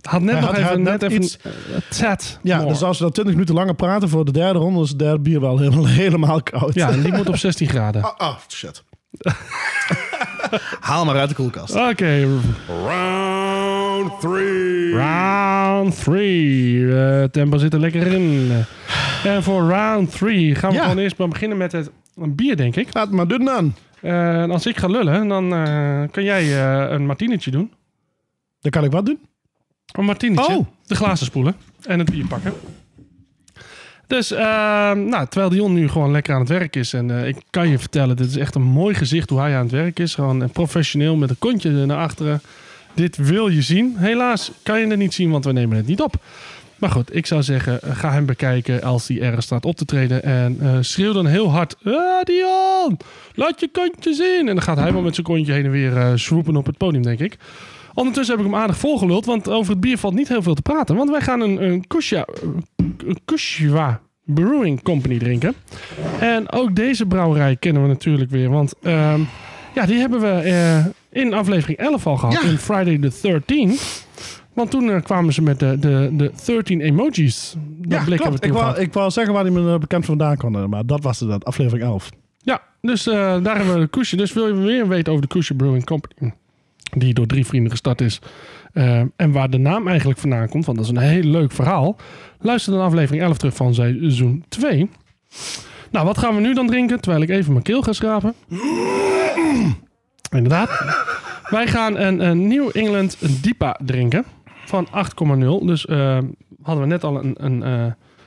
[SPEAKER 1] had net
[SPEAKER 2] Hij
[SPEAKER 1] nog
[SPEAKER 2] had-
[SPEAKER 1] even,
[SPEAKER 2] had
[SPEAKER 1] net
[SPEAKER 2] net
[SPEAKER 1] even
[SPEAKER 2] iets- eh,
[SPEAKER 1] een chat.
[SPEAKER 2] ja, dus als we dan 20 minuten langer praten voor de derde ronde, is het derde bier wel helemaal, *laughs* helemaal koud.
[SPEAKER 1] Ja, en die moet op 16 graden.
[SPEAKER 2] *laughs* Oh, oh,
[SPEAKER 1] *laughs*
[SPEAKER 2] shit. Haal maar uit de koelkast.
[SPEAKER 1] Oké,
[SPEAKER 3] Round three.
[SPEAKER 1] round 3. tempo zit er lekker in. En voor round 3 gaan we
[SPEAKER 2] Ja.
[SPEAKER 1] gewoon eerst maar beginnen met het een bier, denk ik.
[SPEAKER 2] Laat het maar doen dan.
[SPEAKER 1] Eh, en als ik ga lullen, dan eh, kan jij eh, een martinetje doen.
[SPEAKER 2] Dan kan ik wat doen.
[SPEAKER 1] Een martinetje.
[SPEAKER 2] Oh.
[SPEAKER 1] De glazen spoelen. En het bier pakken. Dus, ehm, nou, terwijl Dion nu gewoon lekker aan het werk is. En eh, ik kan je vertellen, dit is echt een mooi gezicht hoe hij aan het werk is. Gewoon eh, professioneel met een kontje naar achteren. Dit wil je zien. Helaas kan je het niet zien, want we nemen het niet op. Maar goed, ik zou zeggen, eh, ga hem bekijken als hij ergens staat op te treden. En eh, schreeuw dan heel hard, "Ah, Dion, laat je kontje zien. En dan gaat hij wel met zijn kontje heen en weer eh swoepen op het podium, denk ik. Ondertussen heb ik hem aardig volgeluld, want over het bier valt niet heel veel te praten. Want wij gaan een, een Kushia- een Kushwa Brewing Company drinken. En ook deze brouwerij kennen we natuurlijk weer, want ehm, ja, die hebben we eh, in aflevering 11 al gehad, in Friday the 13th. Want toen eh, kwamen ze met de, de, de 13 emojis. Dat
[SPEAKER 2] Ja,
[SPEAKER 1] blik
[SPEAKER 2] klopt.
[SPEAKER 1] hebben we
[SPEAKER 2] Ik,
[SPEAKER 1] toen gehad.
[SPEAKER 2] wou, ik wou zeggen waar hij me eh, bekend vandaan kon, maar dat was inderdaad aflevering 11.
[SPEAKER 1] Ja, dus eh, daar hebben we de Koesje. Dus wil je meer weten over de Koesje Brewing Company, die door drie vrienden gestart is, eh, en waar de naam eigenlijk vandaan komt, want dat is een heel leuk verhaal, luister dan aflevering 11 terug van seizoen 2. Nou, wat gaan we nu dan drinken, terwijl ik even mijn keel ga schrapen? Inderdaad. Wij gaan een, een New England Dipa drinken van 8,0. Dus eh, hadden we net al een, een eh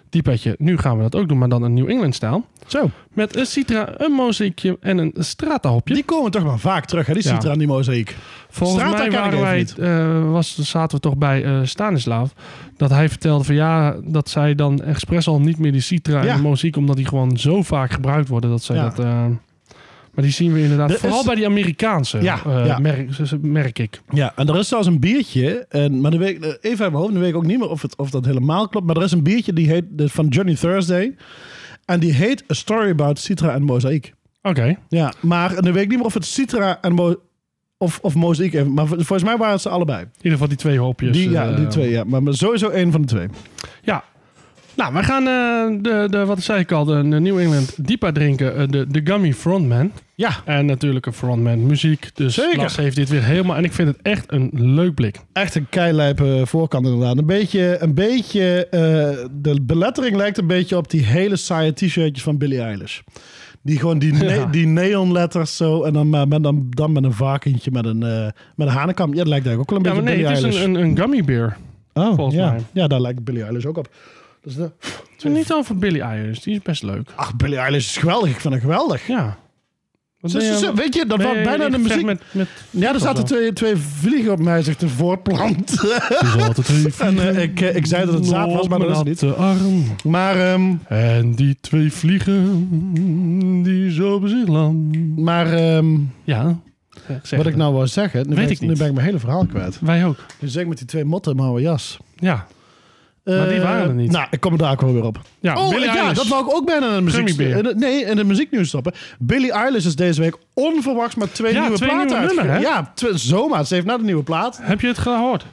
[SPEAKER 1] Dipa'tje. Nu gaan we dat ook doen, maar dan een New England stijl.
[SPEAKER 2] Zo,
[SPEAKER 1] Met een citra, een mozaïekje en een strata-hopje.
[SPEAKER 2] die komen toch maar vaak terug, hè, die
[SPEAKER 1] Ja.
[SPEAKER 2] Citra en die mozaïek.
[SPEAKER 1] Volgens
[SPEAKER 2] Strata
[SPEAKER 1] mij
[SPEAKER 2] ken ik
[SPEAKER 1] waren
[SPEAKER 2] even
[SPEAKER 1] wij,
[SPEAKER 2] niet.
[SPEAKER 1] eh, was, zaten we toch bij eh Stanislav. Dat hij vertelde van ja, dat zij dan expres al niet meer die citra
[SPEAKER 2] Ja.
[SPEAKER 1] en de mozaïek... omdat die gewoon zo vaak gebruikt worden dat zij
[SPEAKER 2] Ja.
[SPEAKER 1] dat... eh, maar die zien we inderdaad,
[SPEAKER 2] Er is-
[SPEAKER 1] vooral bij die Amerikaanse,
[SPEAKER 2] Ja,
[SPEAKER 1] eh,
[SPEAKER 2] ja.
[SPEAKER 1] Merk, ze- ze- merk ik.
[SPEAKER 2] Ja, en er is zelfs een biertje, en, maar de week, even uit mijn hoofd, nu weet ik ook niet meer of, het, of dat helemaal klopt, maar er is een biertje die heet, de- van Johnny Thursday, en die heet A Story About Citra en Mozaïek.
[SPEAKER 1] Oké,
[SPEAKER 2] Ja, maar en dan weet ik niet meer of het Citra en Mo- of, of Mozaïek even, maar volgens mij waren het ze allebei.
[SPEAKER 1] in ieder geval die twee hopjes.
[SPEAKER 2] Die, ja,
[SPEAKER 1] eh,
[SPEAKER 2] die twee, ja. Maar maar sowieso één van de twee.
[SPEAKER 1] Ja. Nou, we gaan eh, de, de, wat zei ik al, de, de New England Dipa drinken. eh, de, de Gummy Frontman.
[SPEAKER 2] Ja,
[SPEAKER 1] En natuurlijk een frontman muziek. Dus
[SPEAKER 2] Zeker.
[SPEAKER 1] Las heeft dit weer helemaal. En ik vind het echt een leuk blik.
[SPEAKER 2] echt een keilijpe voorkant inderdaad. Een beetje, een beetje eh, de belettering lijkt een beetje op die hele saaie t-shirtjes van Billie Eilish. Die gewoon die, ne-
[SPEAKER 1] Ja.
[SPEAKER 2] die neonletters zo en dan, maar met, dan, dan met een varkentje met een, eh met een hanenkam. Ja, dat lijkt eigenlijk ook wel een
[SPEAKER 1] Ja, maar
[SPEAKER 2] beetje
[SPEAKER 1] nee,
[SPEAKER 2] Billie
[SPEAKER 1] het is
[SPEAKER 2] Eilish.
[SPEAKER 1] een, een, een gummy beer.
[SPEAKER 2] oh,
[SPEAKER 1] volgens
[SPEAKER 2] ja.
[SPEAKER 1] mij.
[SPEAKER 2] ja, daar lijkt Billie Eilish ook op. Dus de,
[SPEAKER 1] Het is niet over Billy Eilish. Die is best leuk.
[SPEAKER 2] ach, Billie Eilish is geweldig. Ik vind haar geweldig.
[SPEAKER 1] Ja. Wat
[SPEAKER 2] Ze-
[SPEAKER 1] ben
[SPEAKER 2] ze- ze- weet je, dat
[SPEAKER 1] ben
[SPEAKER 2] was
[SPEAKER 1] je
[SPEAKER 2] bijna
[SPEAKER 1] in
[SPEAKER 2] de
[SPEAKER 1] gevecht
[SPEAKER 2] muziek.
[SPEAKER 1] Met, *laughs* met...
[SPEAKER 2] Ja, er
[SPEAKER 1] dat
[SPEAKER 2] zaten
[SPEAKER 1] wel.
[SPEAKER 2] twee, twee vliegen op mij, zich te voortplanten. *laughs* en eh, ik, eh, ik zei dat het zaad was, maar dat is het niet.
[SPEAKER 1] de arm.
[SPEAKER 2] Maar, ehm,
[SPEAKER 1] En die twee vliegen die zo op zich land.
[SPEAKER 2] maar ehm,
[SPEAKER 1] Ja. Zeg
[SPEAKER 2] wat ik
[SPEAKER 1] het.
[SPEAKER 2] nou wou zeggen,
[SPEAKER 1] Weet
[SPEAKER 2] nu, ben,
[SPEAKER 1] ik
[SPEAKER 2] ik, nu
[SPEAKER 1] niet.
[SPEAKER 2] ben ik mijn hele verhaal kwijt.
[SPEAKER 1] Wij ook.
[SPEAKER 2] Nu zeg Dus ik met die twee motten in mijn oude jas.
[SPEAKER 1] Ja. Maar die
[SPEAKER 2] Eh,
[SPEAKER 1] waren er niet.
[SPEAKER 2] Nou, ik kom er daar ook wel weer op.
[SPEAKER 1] Ja,
[SPEAKER 2] oh,
[SPEAKER 1] Billie
[SPEAKER 2] ja
[SPEAKER 1] Eilish.
[SPEAKER 2] dat wou ik ook bijna in de muziek...
[SPEAKER 1] Gummybeer.
[SPEAKER 2] in de- nee, in de muzieknieuws stoppen. Billie Eilish is deze week onverwachts met twee
[SPEAKER 1] Ja,
[SPEAKER 2] nieuwe
[SPEAKER 1] twee
[SPEAKER 2] platen
[SPEAKER 1] nieuwe
[SPEAKER 2] uitgekomen.
[SPEAKER 1] nummer,
[SPEAKER 2] Ja, tw- zomaar. Ze heeft na de nieuwe plaat.
[SPEAKER 1] Heb je het gehoord?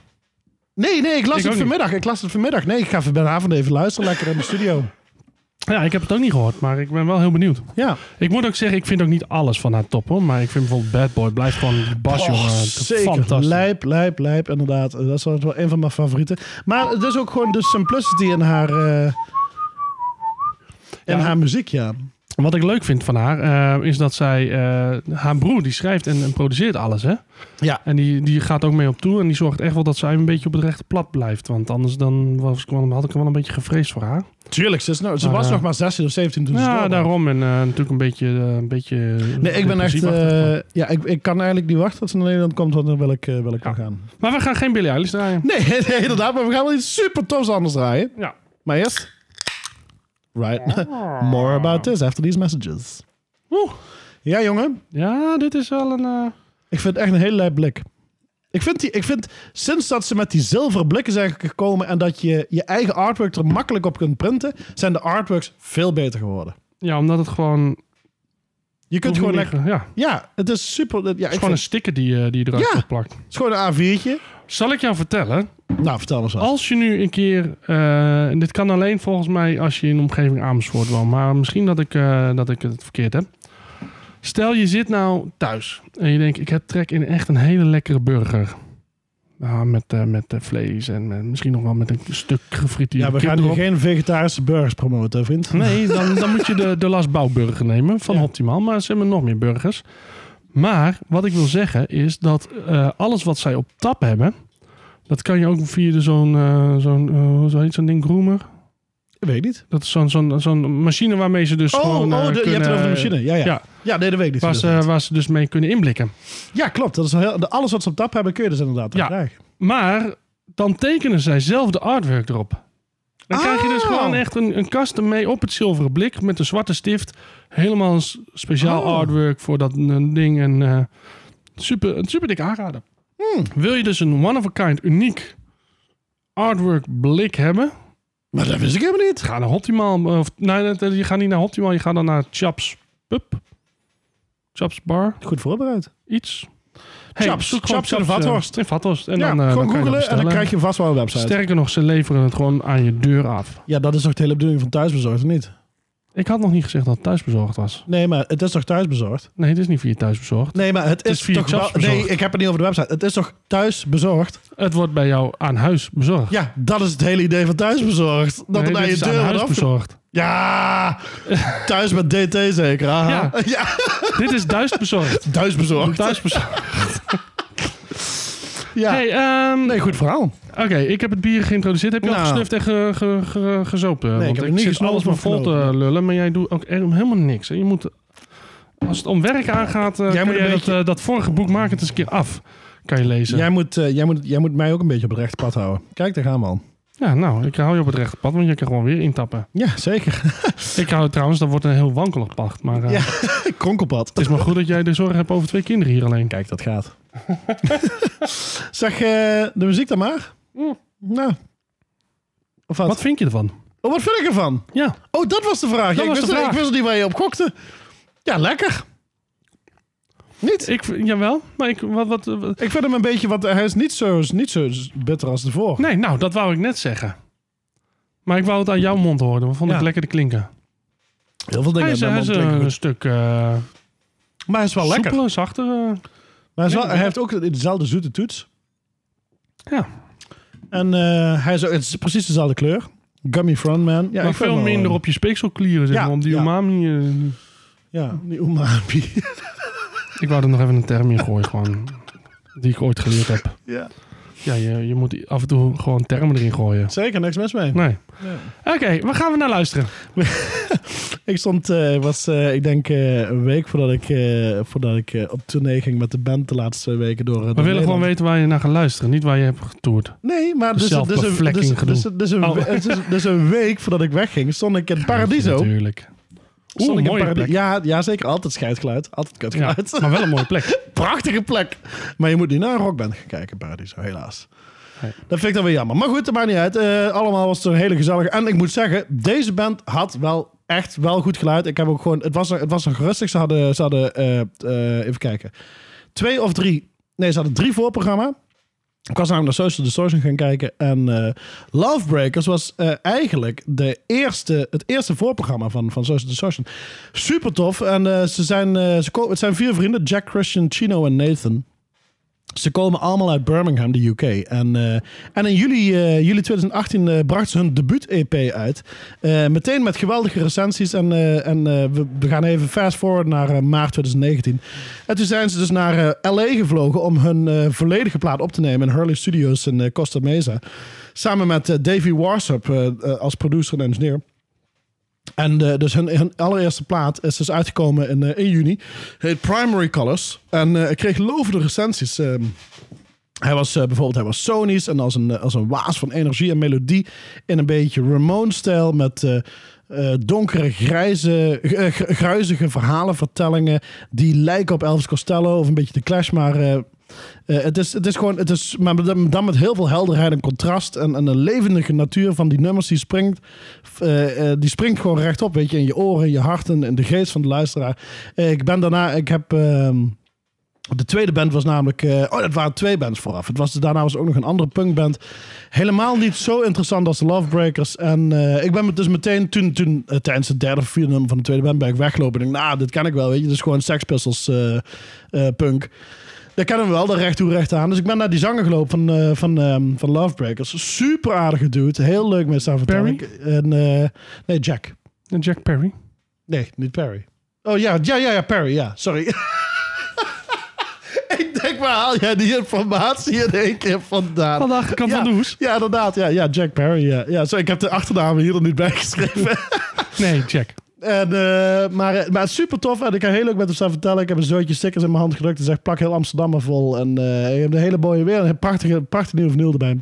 [SPEAKER 2] Nee, nee, ik las
[SPEAKER 1] Ik ook
[SPEAKER 2] het
[SPEAKER 1] niet.
[SPEAKER 2] vanmiddag. Ik las het vanmiddag. Nee, ik ga vanavond even luisteren. Lekker in de studio.
[SPEAKER 1] Ja, ik heb het ook niet gehoord, maar ik ben wel heel benieuwd.
[SPEAKER 2] Ja.
[SPEAKER 1] Ik moet ook zeggen, ik vind ook niet alles van haar top hoor. Maar ik vind bijvoorbeeld Bad Boy blijft gewoon de bas, jongen.
[SPEAKER 2] zeker.
[SPEAKER 1] Fantastisch.
[SPEAKER 2] Lijp, lijp, lijp. Inderdaad. Dat is wel een van mijn favorieten. Maar het is ook gewoon de simplicity in haar... eh, in
[SPEAKER 1] Ja.
[SPEAKER 2] haar muziek, ja.
[SPEAKER 1] Wat ik leuk vind van haar, eh, is dat zij... eh, haar broer, die schrijft en, en produceert alles, hè?
[SPEAKER 2] Ja.
[SPEAKER 1] En die, die gaat ook mee op toe. En die zorgt echt wel dat zij een beetje op het rechte plat blijft. Want anders dan was, ik wel- had ik wel een beetje gevreesd voor haar.
[SPEAKER 2] Tuurlijk, ze, is nou, ze
[SPEAKER 1] Maar,
[SPEAKER 2] was
[SPEAKER 1] eh,
[SPEAKER 2] nog maar 16 of 17 toen ze
[SPEAKER 1] ja,
[SPEAKER 2] doorbraak.
[SPEAKER 1] daarom. En eh, natuurlijk een beetje... eh, een beetje
[SPEAKER 2] Nee, ik ben echt...
[SPEAKER 1] depressief achter.
[SPEAKER 2] eh, ja, ik, ik kan eigenlijk niet wachten dat ze naar Nederland komt, want dan wil ik, eh, wil ik wel gaan.
[SPEAKER 1] Maar we gaan geen Billie Eilish draaien.
[SPEAKER 2] Nee, *laughs* nee, inderdaad, maar we gaan wel iets super tofs anders draaien.
[SPEAKER 1] Ja.
[SPEAKER 2] Maar eerst... Right. *laughs* More about this after these messages.
[SPEAKER 1] Oeh.
[SPEAKER 2] Ja, jongen.
[SPEAKER 1] Ja, dit is wel een... eh,
[SPEAKER 2] Ik vind het echt een heel lijp blik. Ik vind, die, ik vind sinds dat ze met die zilveren blikken zijn gekomen en dat je je eigen artwork er makkelijk op kunt printen, zijn de artworks veel beter geworden.
[SPEAKER 1] ja, omdat het gewoon...
[SPEAKER 2] Je kunt gewoon lekker.
[SPEAKER 1] Ja, het
[SPEAKER 2] Ja, het is super. Ja, ik
[SPEAKER 1] is gewoon een
[SPEAKER 2] vind-
[SPEAKER 1] sticker die, eh, die je eruit
[SPEAKER 2] Ja.
[SPEAKER 1] plakt.
[SPEAKER 2] het is gewoon een A4'tje.
[SPEAKER 1] Zal ik jou vertellen?
[SPEAKER 2] Nou, vertel eens wat.
[SPEAKER 1] Als je nu een keer... eh, en dit kan alleen volgens mij als je in de omgeving Amersfoort woont. Maar misschien dat ik, eh, dat ik het verkeerd heb. Stel je zit nou thuis. En je denkt, ik heb trek in echt een hele lekkere burger. Ah, met eh, met eh, vlees en eh, misschien nog wel met een stuk gefrituurde
[SPEAKER 2] Ja, we
[SPEAKER 1] kip
[SPEAKER 2] gaan
[SPEAKER 1] erop. Hm?
[SPEAKER 2] hier geen vegetarische burgers promoten, vriend.
[SPEAKER 1] Nee, dan, dan moet je de, de Las Bouwburger nemen van
[SPEAKER 2] Ja.
[SPEAKER 1] Optimaal. Maar ze hebben nog meer burgers. Maar wat ik wil zeggen is dat eh, alles wat zij op tap hebben... dat kan je ook via de zo'n... eh, zo'n eh, hoe zo heet zo'n ding? Groomer?
[SPEAKER 2] Ik weet niet.
[SPEAKER 1] Dat is zo'n zo'n zo'n machine waarmee ze dus
[SPEAKER 2] Oh,
[SPEAKER 1] gewoon... eh,
[SPEAKER 2] oh de- je hebt het
[SPEAKER 1] kunnen-
[SPEAKER 2] over de machine. Ja, ja.
[SPEAKER 1] Ja.
[SPEAKER 2] ja. nee, dat weet ik niet.
[SPEAKER 1] Waar ze,
[SPEAKER 2] inderdaad.
[SPEAKER 1] waar ze dus mee kunnen inblikken.
[SPEAKER 2] ja, klopt. Dat is wel heel, de- alles wat ze op tap hebben, kun je dus inderdaad
[SPEAKER 1] eh, Ja.
[SPEAKER 2] ja. krijgen.
[SPEAKER 1] Maar dan tekenen zij zelf de artwork erop. Dan krijg je dus
[SPEAKER 2] Ah.
[SPEAKER 1] gewoon echt een, een custom mee op het zilveren blik met een zwarte stift. Helemaal een s- speciaal
[SPEAKER 2] Oh.
[SPEAKER 1] artwork voor dat eh, ding. En eh, super, een super dik aanraden.
[SPEAKER 2] Hmm.
[SPEAKER 1] Wil je dus een one-of-a-kind uniek artwork blik hebben?
[SPEAKER 2] Maar dat wist ik helemaal niet.
[SPEAKER 1] Ga naar Optimaal. eh, Of, nee, dat- dat- je gaat niet naar Optimaal. Je gaat dan naar Chaps Pub. Chaps Bar.
[SPEAKER 2] Goed voorbereid.
[SPEAKER 1] Iets. Hey,
[SPEAKER 2] Chaps.
[SPEAKER 1] zoek gewoon
[SPEAKER 2] Chaps in
[SPEAKER 1] eh,
[SPEAKER 2] Vathorst.
[SPEAKER 1] In Vathorst. En
[SPEAKER 2] ja,
[SPEAKER 1] dan, eh, dan kan
[SPEAKER 2] gewoon
[SPEAKER 1] je dat
[SPEAKER 2] googelen en dan
[SPEAKER 1] bestellen.
[SPEAKER 2] krijg je vast wel een website.
[SPEAKER 1] Sterker nog, ze leveren het gewoon aan je deur af.
[SPEAKER 2] Ja, dat is toch de hele bedoeling van thuisbezorgd, of niet?
[SPEAKER 1] Ik had nog niet gezegd dat het thuisbezorgd was.
[SPEAKER 2] Nee, maar het is toch thuisbezorgd?
[SPEAKER 1] Nee, het is niet via thuisbezorgd.
[SPEAKER 2] Nee, maar het is,
[SPEAKER 1] is via
[SPEAKER 2] toch wel...
[SPEAKER 1] Chaps bezorgd.
[SPEAKER 2] Nee, ik heb het niet over de website. Het is toch thuisbezorgd?
[SPEAKER 1] Het wordt bij jou aan huis bezorgd.
[SPEAKER 2] Ja, dat is het hele idee van thuisbezorgd. Dat
[SPEAKER 1] Nee,
[SPEAKER 2] het
[SPEAKER 1] dit
[SPEAKER 2] aan je
[SPEAKER 1] is
[SPEAKER 2] deur
[SPEAKER 1] aan
[SPEAKER 2] wordt
[SPEAKER 1] huis
[SPEAKER 2] afge... *laughs*
[SPEAKER 1] bezorgd.
[SPEAKER 2] Ja, thuis met DT zeker. aha.
[SPEAKER 1] Ja.
[SPEAKER 2] Ja.
[SPEAKER 1] dit is thuisbezorgd.
[SPEAKER 2] *laughs* thuisbezorgd.
[SPEAKER 1] Thuisbezorgd.
[SPEAKER 2] Ja.
[SPEAKER 1] Hey, ehm,
[SPEAKER 2] Nee, goed verhaal.
[SPEAKER 1] Oké, ik heb het bier geïntroduceerd. Heb je al
[SPEAKER 2] Nou.
[SPEAKER 1] gesnuft en ge- ge- ge- gezopen?
[SPEAKER 2] ik
[SPEAKER 1] Want
[SPEAKER 2] heb er niet
[SPEAKER 1] zit
[SPEAKER 2] gesnoven
[SPEAKER 1] alles maar
[SPEAKER 2] of
[SPEAKER 1] vol te
[SPEAKER 2] genoten.
[SPEAKER 1] lullen, maar jij doet ook er- helemaal niks. hè. Je moet, als het om werk aangaat, eh, kan
[SPEAKER 2] moet een
[SPEAKER 1] jij dat,
[SPEAKER 2] beetje-
[SPEAKER 1] eh, dat vorige boek maak het eens een keer af. Kan je lezen.
[SPEAKER 2] Jij moet, eh, jij, moet, jij moet mij ook een beetje op het rechte pad houden. Kijk, daar gaan we al.
[SPEAKER 1] Ja, nou, ik hou je op het rechte pad, want je kan gewoon weer intappen.
[SPEAKER 2] Ja, zeker. *laughs*
[SPEAKER 1] Ik hou het trouwens, dat wordt een heel wankelig pacht. Maar eh,
[SPEAKER 2] Ja.
[SPEAKER 1] het
[SPEAKER 2] Kronkelpad.
[SPEAKER 1] is maar goed dat jij de zorg hebt over twee kinderen hier alleen.
[SPEAKER 2] Kijk, dat gaat. *laughs* zeg eh, de muziek dan maar. Nou. Of wat?
[SPEAKER 1] Wat vind je ervan?
[SPEAKER 2] Oh, wat vind ik ervan?
[SPEAKER 1] Ja,
[SPEAKER 2] Oh, dat was de vraag. Ja, ik,
[SPEAKER 1] was
[SPEAKER 2] wist
[SPEAKER 1] de
[SPEAKER 2] het-
[SPEAKER 1] vraag.
[SPEAKER 2] ik wist het niet waar je op gokte. Ja, lekker. Niet?
[SPEAKER 1] ik, vind- jawel. Maar ik, wat, wat, wat-
[SPEAKER 2] Ik vind hem een beetje wat. Hij is niet zo, niet zo bitter als ervoor.
[SPEAKER 1] Nee, nou, dat wou ik net zeggen. Maar ik wou het aan jouw mond horen. want vond ik
[SPEAKER 2] Ja.
[SPEAKER 1] lekker te klinken.
[SPEAKER 2] Heel veel dingen
[SPEAKER 1] Hij is,
[SPEAKER 2] hebben
[SPEAKER 1] hij
[SPEAKER 2] mijn
[SPEAKER 1] is
[SPEAKER 2] mond klinken
[SPEAKER 1] een
[SPEAKER 2] goed.
[SPEAKER 1] stuk eh
[SPEAKER 2] Maar hij is wel lekker.
[SPEAKER 1] soepeler,
[SPEAKER 2] Maar
[SPEAKER 1] zachter. eh.
[SPEAKER 2] hij, is wel-
[SPEAKER 1] Nee,
[SPEAKER 2] hij heeft ook dezelfde zoete toets.
[SPEAKER 1] ja.
[SPEAKER 2] En eh, hij is, ook- het is precies dezelfde kleur. Gummy Frontman. Ja,
[SPEAKER 1] maar
[SPEAKER 2] ik vind
[SPEAKER 1] veel
[SPEAKER 2] hem wel,
[SPEAKER 1] minder
[SPEAKER 2] eh,
[SPEAKER 1] op je speekselklieren, zeg
[SPEAKER 2] Ja,
[SPEAKER 1] maar, om die
[SPEAKER 2] ja.
[SPEAKER 1] umami... eh,
[SPEAKER 2] Ja, die umami. *laughs*
[SPEAKER 1] ik wou er nog even een term in gooien, gewoon. Die ik ooit geleerd heb.
[SPEAKER 2] ja.
[SPEAKER 1] Ja, je, je moet af en toe gewoon termen erin gooien.
[SPEAKER 2] Zeker, niks mis mee.
[SPEAKER 1] Nee. Oké, waar gaan we naar luisteren?
[SPEAKER 2] Ik stond, eh, was eh, ik denk eh, een week voordat ik, eh, voordat ik eh, op tournee ging met de band de laatste twee weken door. eh,
[SPEAKER 1] We
[SPEAKER 2] door
[SPEAKER 1] willen gewoon
[SPEAKER 2] Nederland.
[SPEAKER 1] weten waar je naar gaat luisteren, niet waar je hebt getoerd.
[SPEAKER 2] Nee, maar dus, dus, dus, dus,
[SPEAKER 1] zelfbevlekking
[SPEAKER 2] dus,
[SPEAKER 1] gedoe.
[SPEAKER 2] dus, dus, een-
[SPEAKER 1] Oh.
[SPEAKER 2] dus, dus een week voordat ik wegging, stond ik in Paradiso.
[SPEAKER 1] Natuurlijk.
[SPEAKER 2] Stond
[SPEAKER 1] Oeh,
[SPEAKER 2] ik
[SPEAKER 1] een
[SPEAKER 2] in
[SPEAKER 1] mooie
[SPEAKER 2] Paradi-
[SPEAKER 1] plek.
[SPEAKER 2] Ja, ja, zeker. Altijd scheidgeluid. Altijd
[SPEAKER 1] Ja,
[SPEAKER 2] kutgeluid.
[SPEAKER 1] maar wel een mooie plek.
[SPEAKER 2] *laughs* Prachtige plek. Maar je moet niet naar een rockband gaan kijken in Paradiso, helaas.
[SPEAKER 1] Nee.
[SPEAKER 2] Dat vind ik dan weer jammer. Maar goed, dat maakt niet uit. Eh, allemaal was het een hele gezellige. En ik moet zeggen, deze band had wel echt wel goed geluid. Ik heb ook gewoon, het was, nog- het was nog rustig. Ze hadden, ze hadden eh, eh, even kijken, twee of drie. Nee, ze hadden drie voorprogramma. Ik was namelijk naar Social Distortion gaan kijken. En eh, Lovebreakers was eh, eigenlijk de eerste, het eerste voorprogramma van, van Social Distortion. Super tof. En eh, ze zijn, eh, ze ko- het zijn vier vrienden. Jack, Christian, Chino en Nathan. Ze komen allemaal uit Birmingham, de UK. En, eh, en in juli, eh, juli 2018 bracht brachten ze hun debuut-EP uit. Eh, meteen met geweldige recensies. En, eh, en eh, we, we gaan even fast forward naar eh, maart 2019. En toen zijn ze dus naar eh, LA gevlogen om hun eh, volledige plaat op te nemen in Hurley Studios in eh, Costa Mesa. Samen met eh, Davey Warsup eh, eh, als producer en engineer. En eh, dus hun, hun allereerste plaat is dus uitgekomen in, eh, in juni. Heet Primary Colors. En eh, ik kreeg lovende recensies. Ehm, hij was eh, bijvoorbeeld hij was Sony's en als een, eh, als een waas van energie en melodie. In een beetje Ramon-stijl met eh, eh, donkere, grijze, eh, gr- gruizige verhalenvertellingen. Die lijken op Elvis Costello of een beetje de Clash, maar... eh, eh, het, is, het is gewoon, het is, maar dan dan met heel veel helderheid en contrast en, en een levendige natuur van die nummers die springt, eh, eh, die springt gewoon rechtop, weet je, in je oren, in je hart en in de geest van de luisteraar. Eh, ik ben daarna, ik heb, ehm, de tweede band was namelijk, eh, oh dat waren twee bands vooraf. Het was, daarna was er ook nog een andere punkband. Helemaal niet zo interessant als de Lovebreakers. En eh, ik ben me dus meteen, toen, toen eh, tijdens het derde of vierde nummer van de tweede band ben ik weglopen. Ik denk, nou dit ken ik wel, weet je, dit is gewoon Sex Pistols eh, eh, punk. Dat kennen we wel, de recht toe recht aan. Dus ik ben naar die zanger gelopen van, eh, van, ehm, van Lovebreakers. Super aardige dude. Heel leuk met zijn vertellen.
[SPEAKER 1] Perry?
[SPEAKER 2] En, eh, nee, Jack.
[SPEAKER 1] En Jack Perry.
[SPEAKER 2] Nee, niet Perry. Oh ja, ja, ja, ja Perry, ja. Sorry. *laughs* ik denk, waar haal jij die informatie in één keer vandaan?
[SPEAKER 1] Van de achterkant
[SPEAKER 2] ja,
[SPEAKER 1] van de hoes.
[SPEAKER 2] Ja, inderdaad. Ja, ja Jack Perry. Ja. Ja, zo, ik heb de achternamen hier nog niet bij geschreven.
[SPEAKER 1] Nee, Jack.
[SPEAKER 2] En, eh, maar, eh, maar super tof. En ik kan heel leuk met hem staan vertellen. Ik heb een zootje stickers in mijn hand gedrukt. En zeg, plak heel Amsterdam maar vol. En eh je hebt een hele mooie weer. En een prachtige, prachtige nieuwe vinyl erbij.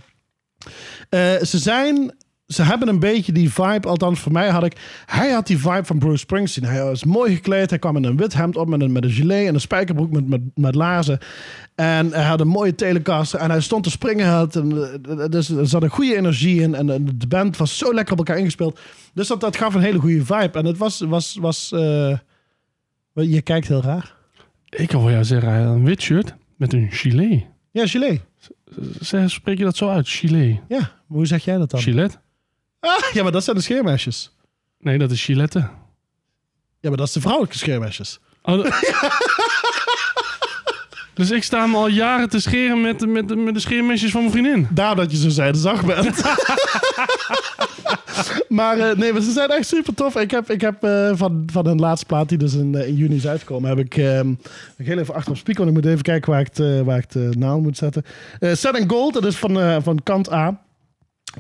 [SPEAKER 2] Eh, ze zijn... Ze hebben een beetje die vibe, althans voor mij had ik... Hij had die vibe van Bruce Springsteen. Hij was mooi gekleed. Hij kwam in een wit hemd op met een, met een gilet en een spijkerbroek met, met, met laarzen. En hij had een mooie telecaster en hij stond te springen. Hij Had een, eh, dus er zat een goede energie in en eh, de band was zo lekker op elkaar ingespeeld. Dus dat, dat gaf een hele goede vibe. En het was... was, was eh, je kijkt heel raar.
[SPEAKER 1] Ik wil jou zeggen, hij had een wit shirt met een gilet.
[SPEAKER 2] Ja, gilet.
[SPEAKER 1] Zeg, spreek je dat zo uit? Gilet.
[SPEAKER 2] Ja, maar hoe zeg jij dat dan?
[SPEAKER 1] Gilet?
[SPEAKER 2] Ah, ja, maar dat zijn de scheermesjes.
[SPEAKER 1] Nee, dat is gilette.
[SPEAKER 2] Ja, maar dat is de vrouwelijke scheermesjes.
[SPEAKER 1] Oh, dat-
[SPEAKER 2] *laughs*
[SPEAKER 1] dus ik sta hem al jaren te scheren met, met, met de scheermesjes van mijn vriendin.
[SPEAKER 2] Daarom dat je zo
[SPEAKER 1] *laughs*
[SPEAKER 2] zijdezacht bent. maar eh, nee, maar ze zijn echt super tof. Ik heb, ik heb eh, van, van hun laatste plaat, die dus in, eh, in juni is uitgekomen, heb ik ehm, ik heel even achter op speaker, want ik moet even kijken waar ik het, eh, waar ik het eh, naam moet zetten. Eh, Set and Gold, dat is van, eh, van kant A.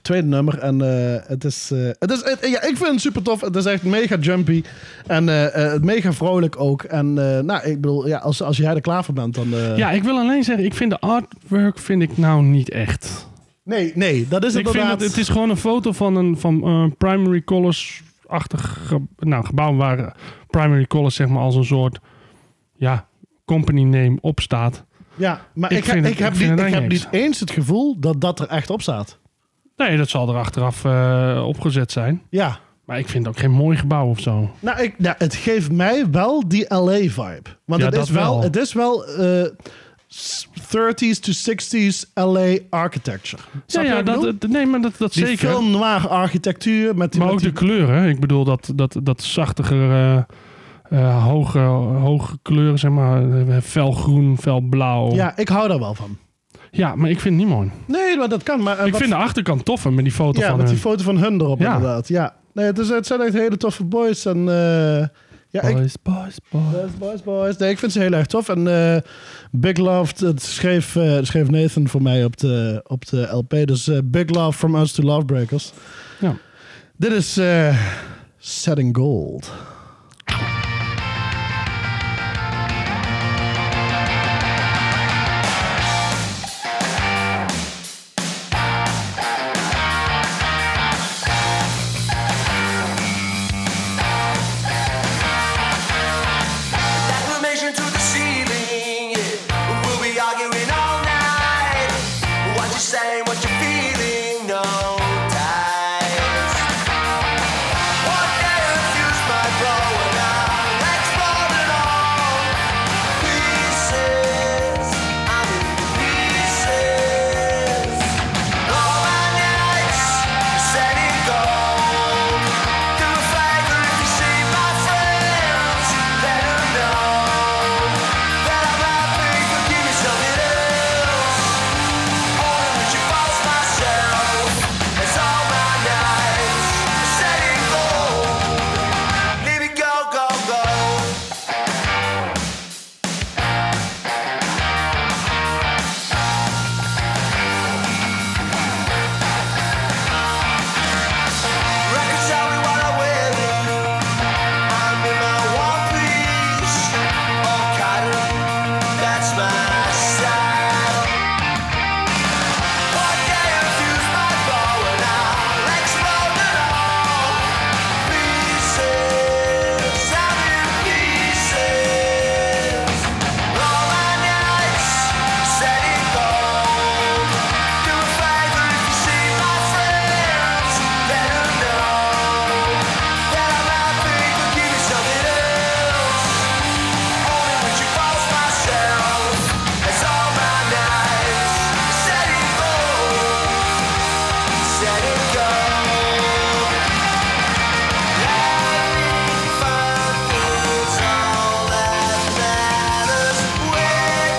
[SPEAKER 2] Tweede nummer. En eh, het is. eh, het is het- ja, ik vind het super tof. Het is echt mega jumpy. En eh, eh, mega vrolijk ook. En eh, nou, ik bedoel, ja, als, als jij er klaar voor bent, dan. eh,
[SPEAKER 1] Ja, ik wil alleen zeggen, ik vind de artwork vind ik nou niet echt.
[SPEAKER 2] Nee, nee, dat
[SPEAKER 1] Ik
[SPEAKER 2] is
[SPEAKER 1] vind
[SPEAKER 2] inderdaad.
[SPEAKER 1] dat het is gewoon een foto van een van, eh, primary colors-achtig ge- nou, gebouw waar primary colors zeg maar als een soort ja, company name op staat.
[SPEAKER 2] Ja, maar
[SPEAKER 1] Ik
[SPEAKER 2] ik, heb,
[SPEAKER 1] vind het-
[SPEAKER 2] ik heb,
[SPEAKER 1] ik vind
[SPEAKER 2] niet,
[SPEAKER 1] het
[SPEAKER 2] ik heb
[SPEAKER 1] eigenlijk
[SPEAKER 2] niet eens het gevoel dat dat er echt op staat.
[SPEAKER 1] Nee, dat zal er achteraf eh, opgezet zijn.
[SPEAKER 2] Ja.
[SPEAKER 1] Maar ik vind het ook geen mooi gebouw of zo.
[SPEAKER 2] Nou, ik, nou, het geeft mij wel die LA-vibe. Want
[SPEAKER 1] Ja,
[SPEAKER 2] het,
[SPEAKER 1] dat
[SPEAKER 2] is wel,
[SPEAKER 1] wel.
[SPEAKER 2] het is wel eh, s- 30s to 60s LA architecture.
[SPEAKER 1] Ja,
[SPEAKER 2] Snap je
[SPEAKER 1] ja
[SPEAKER 2] wat ik
[SPEAKER 1] dat,
[SPEAKER 2] bedoel?
[SPEAKER 1] dat- nee, maar dat, dat
[SPEAKER 2] die
[SPEAKER 1] zeker.
[SPEAKER 2] film noir architectuur met die,
[SPEAKER 1] maar ook
[SPEAKER 2] met
[SPEAKER 1] de
[SPEAKER 2] die-
[SPEAKER 1] kleuren. Ik bedoel, dat, dat, dat zachtiger, eh, eh, hoge, hoge kleuren, zeg maar. eh, Felgroen, felblauw.
[SPEAKER 2] Ja, ik hou daar wel van.
[SPEAKER 1] Ja, maar ik vind het niet mooi.
[SPEAKER 2] Nee, maar dat kan. Maar, eh,
[SPEAKER 1] ik
[SPEAKER 2] wat-
[SPEAKER 1] vind de achterkant toffer met die foto
[SPEAKER 2] ja,
[SPEAKER 1] van
[SPEAKER 2] met die
[SPEAKER 1] hun.
[SPEAKER 2] foto van hun erop
[SPEAKER 1] Ja.
[SPEAKER 2] inderdaad. Ja. Nee, het, is, het zijn echt hele toffe boys. En eh, Ja, ik,
[SPEAKER 1] Boys, boys, boys.
[SPEAKER 2] Boys, boys, boys. Nee, ik vind ze heel erg tof. En eh, Big Love, dat schreef, eh, schreef Nathan voor mij op de, op de LP. Dus eh, Big Love from Us to Lovebreakers.
[SPEAKER 1] Ja.
[SPEAKER 2] Dit is eh, Set in Gold.
[SPEAKER 7] Acclamation to the ceiling. yeah. We'll be arguing all night. What you saying, what you feeling, no ties. One day refuse my blow and I'll explode it all. Pieces, I'm in pieces. All my nights, set in gold. Do a favor if you see my friends, let 'em know that I'm happy. But give me something else, or that you false myself. It's all my nights, set in gold. Let it go, go, go. Records tell me what I will. I'm in my one piece of cotton. That's my style. One day I fuse my bow and I'll explode it all. Pieces, I'm in pieces. All my nights set in gold. Do a favor if you see my friends, let 'em know that I'm happy. But give me something else, only when you false myself. It's all my nights set in gold, set in gold. It's all that matters within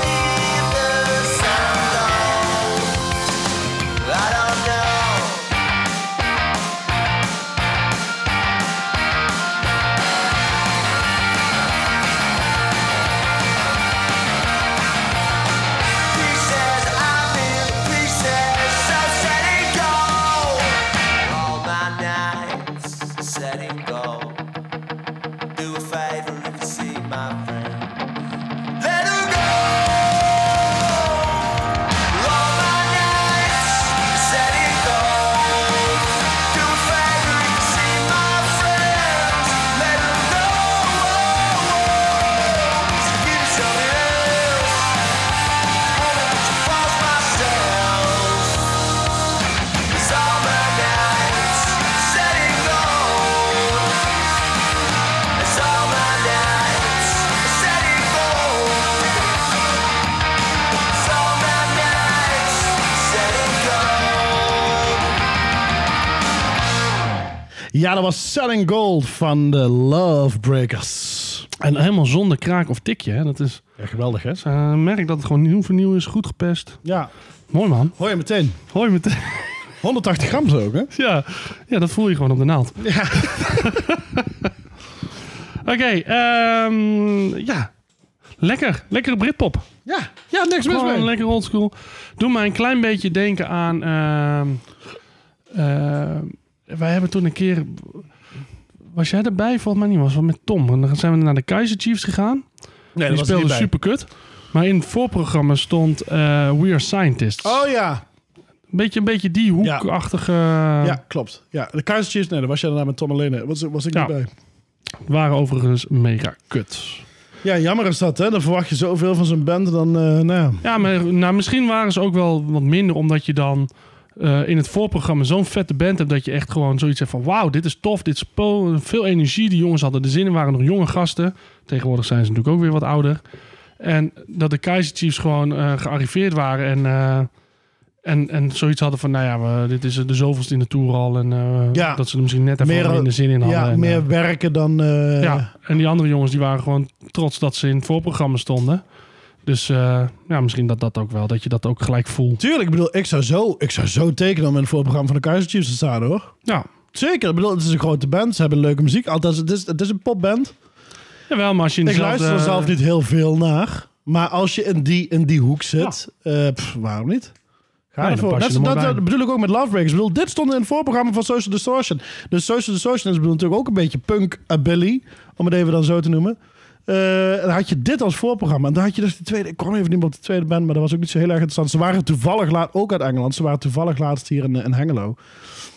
[SPEAKER 7] the sound of. I don't know. Pieces, I'm in pieces, so set and go. All my nights, set and go. Do a favor if you see my friend. Let her go. All my nights, set in gold. Do a favor if you see my friends, let 'em know. Give me something else, only when you false myself. It's all my nights, set in gold. It's all my nights, set in gold. It's all my nights, set in gold.
[SPEAKER 2] Ja, dat was Set in Gold van de Lovebreakers.
[SPEAKER 1] En helemaal zonder kraak of tikje. Hè. Dat is,
[SPEAKER 2] Ja, geweldig hè?
[SPEAKER 1] eh, merk dat het gewoon nieuw voor nieuw is. Goed gepest.
[SPEAKER 2] Ja.
[SPEAKER 1] Mooi man.
[SPEAKER 2] Hoor je meteen.
[SPEAKER 1] Hoi meteen.
[SPEAKER 2] 180 gram zo ook hè?
[SPEAKER 1] *laughs* Ja, ja, dat voel je gewoon op de naald.
[SPEAKER 2] Ja.
[SPEAKER 1] *laughs* Oké, ehm, ja. Lekker. Lekkere Britpop.
[SPEAKER 2] Ja, ja niks mis
[SPEAKER 1] Gewoon
[SPEAKER 2] mee.
[SPEAKER 1] lekker oldschool. Doe mij een klein beetje denken aan... ehm, ehm, wij hebben toen een keer... Was jij erbij? Volgens mij niet. Was wel met Tom. En dan zijn we naar de Kaiser Chiefs gegaan.
[SPEAKER 2] Nee,
[SPEAKER 1] Die speelde super kut. Maar in het voorprogramma stond eh, We Are Scientists.
[SPEAKER 2] Oh ja.
[SPEAKER 1] Beetje, een beetje die hoekachtige...
[SPEAKER 2] Ja, klopt. Ja, de Kaiser Chiefs, nee, daar was jij daarna met Tom alleen. Was, was ik
[SPEAKER 1] Ja.
[SPEAKER 2] niet bij.
[SPEAKER 1] Waren overigens mega kut.
[SPEAKER 2] Ja, jammer is dat, hè? Dan verwacht je zoveel van zo'n band, dan, eh, nou ja.
[SPEAKER 1] Ja, maar nou, misschien waren ze ook wel wat minder, omdat je dan eh, in het voorprogramma zo'n vette band hebt dat je echt gewoon zoiets hebt van: wauw, dit is tof, dit is po- veel energie. Die jongens hadden de zin in, waren nog jonge gasten. Tegenwoordig zijn ze natuurlijk ook weer wat ouder. En dat de Kaiser Chiefs gewoon eh, gearriveerd waren en, eh, en, en zoiets hadden van: nou ja, we- dit is de zoveelste in de tour al. En eh,
[SPEAKER 2] Ja.
[SPEAKER 1] dat ze er misschien net even
[SPEAKER 2] Meer,
[SPEAKER 1] wat minder zin in hadden.
[SPEAKER 2] ja,
[SPEAKER 1] en,
[SPEAKER 2] meer
[SPEAKER 1] eh,
[SPEAKER 2] werken dan... eh,
[SPEAKER 1] ja, en die andere jongens die waren gewoon trots dat ze in het voorprogramma stonden. Dus eh, ja, misschien dat dat ook wel, dat je dat ook gelijk voelt.
[SPEAKER 2] Tuurlijk, ik bedoel, ik zou zo, ik zou zo tekenen om in het voorprogramma van de Kaiser Chiefs te staan, hoor.
[SPEAKER 1] Ja,
[SPEAKER 2] Zeker, ik bedoel, het is een grote band, ze hebben leuke muziek. Althans, het is, het is een popband.
[SPEAKER 1] Jawel, maar als je in
[SPEAKER 2] Ik
[SPEAKER 1] dezelfde...
[SPEAKER 2] luister er zelf niet heel veel naar. Maar als je in die, in die hoek zit, eh, pff, waarom niet? Ga
[SPEAKER 1] Nee, dan
[SPEAKER 2] ervoor.
[SPEAKER 1] pas je
[SPEAKER 2] Net
[SPEAKER 1] er mooi
[SPEAKER 2] zo- dat,
[SPEAKER 1] bij.
[SPEAKER 2] dat bedoel ik ook met Lovebreakers. Ik bedoel, dit stond in het voorprogramma van Social Distortion. Dus Social Distortion is bedoel, natuurlijk ook een beetje punk Billy, om het even dan zo te noemen. Eh, en dan had je dit als voorprogramma. En dan had je dus de tweede... Ik kon even niet meer op de tweede band, maar dat was ook niet zo heel erg interessant. Ze waren toevallig laat, ook uit Engeland. Ze waren toevallig laatst hier in, eh, in Hengelo.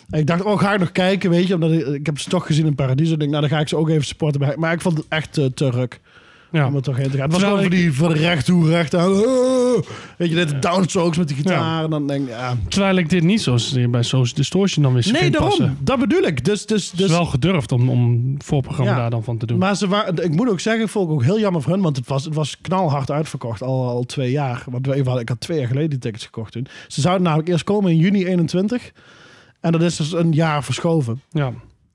[SPEAKER 2] En ik dacht, oh, ga ik nog kijken, weet je. Omdat ik, ik heb ze toch gezien in Paradiso. Ik denk, nou, dan ga ik ze ook even supporten. bij- Maar ik vond het echt eh, te ruk
[SPEAKER 1] Ja.
[SPEAKER 2] om er toch heen te gaan. Het was
[SPEAKER 1] Terwijl
[SPEAKER 2] gewoon voor die van recht toe, recht aan. Oh, weet je, net de downstrokes met die gitaar.
[SPEAKER 1] Ja.
[SPEAKER 2] En dan denk ik, ja.
[SPEAKER 1] Terwijl ik dit niet zoals bij Social Distortion dan wist.
[SPEAKER 2] Nee, daarom.
[SPEAKER 1] Passen.
[SPEAKER 2] Dat bedoel ik. Dus, dus,
[SPEAKER 1] Het
[SPEAKER 2] dus,
[SPEAKER 1] is wel gedurfd om, om voorprogramma
[SPEAKER 2] Ja.
[SPEAKER 1] daar dan van te doen.
[SPEAKER 2] Maar ze waren, ik moet ook zeggen, vond ik ook heel jammer voor hun. Want het was, het was knalhard uitverkocht al, al twee jaar. Want we- ik had twee jaar geleden die tickets gekocht toen. Ze zouden namelijk eerst komen in juni 21. En dat is dus een jaar verschoven.
[SPEAKER 1] ja.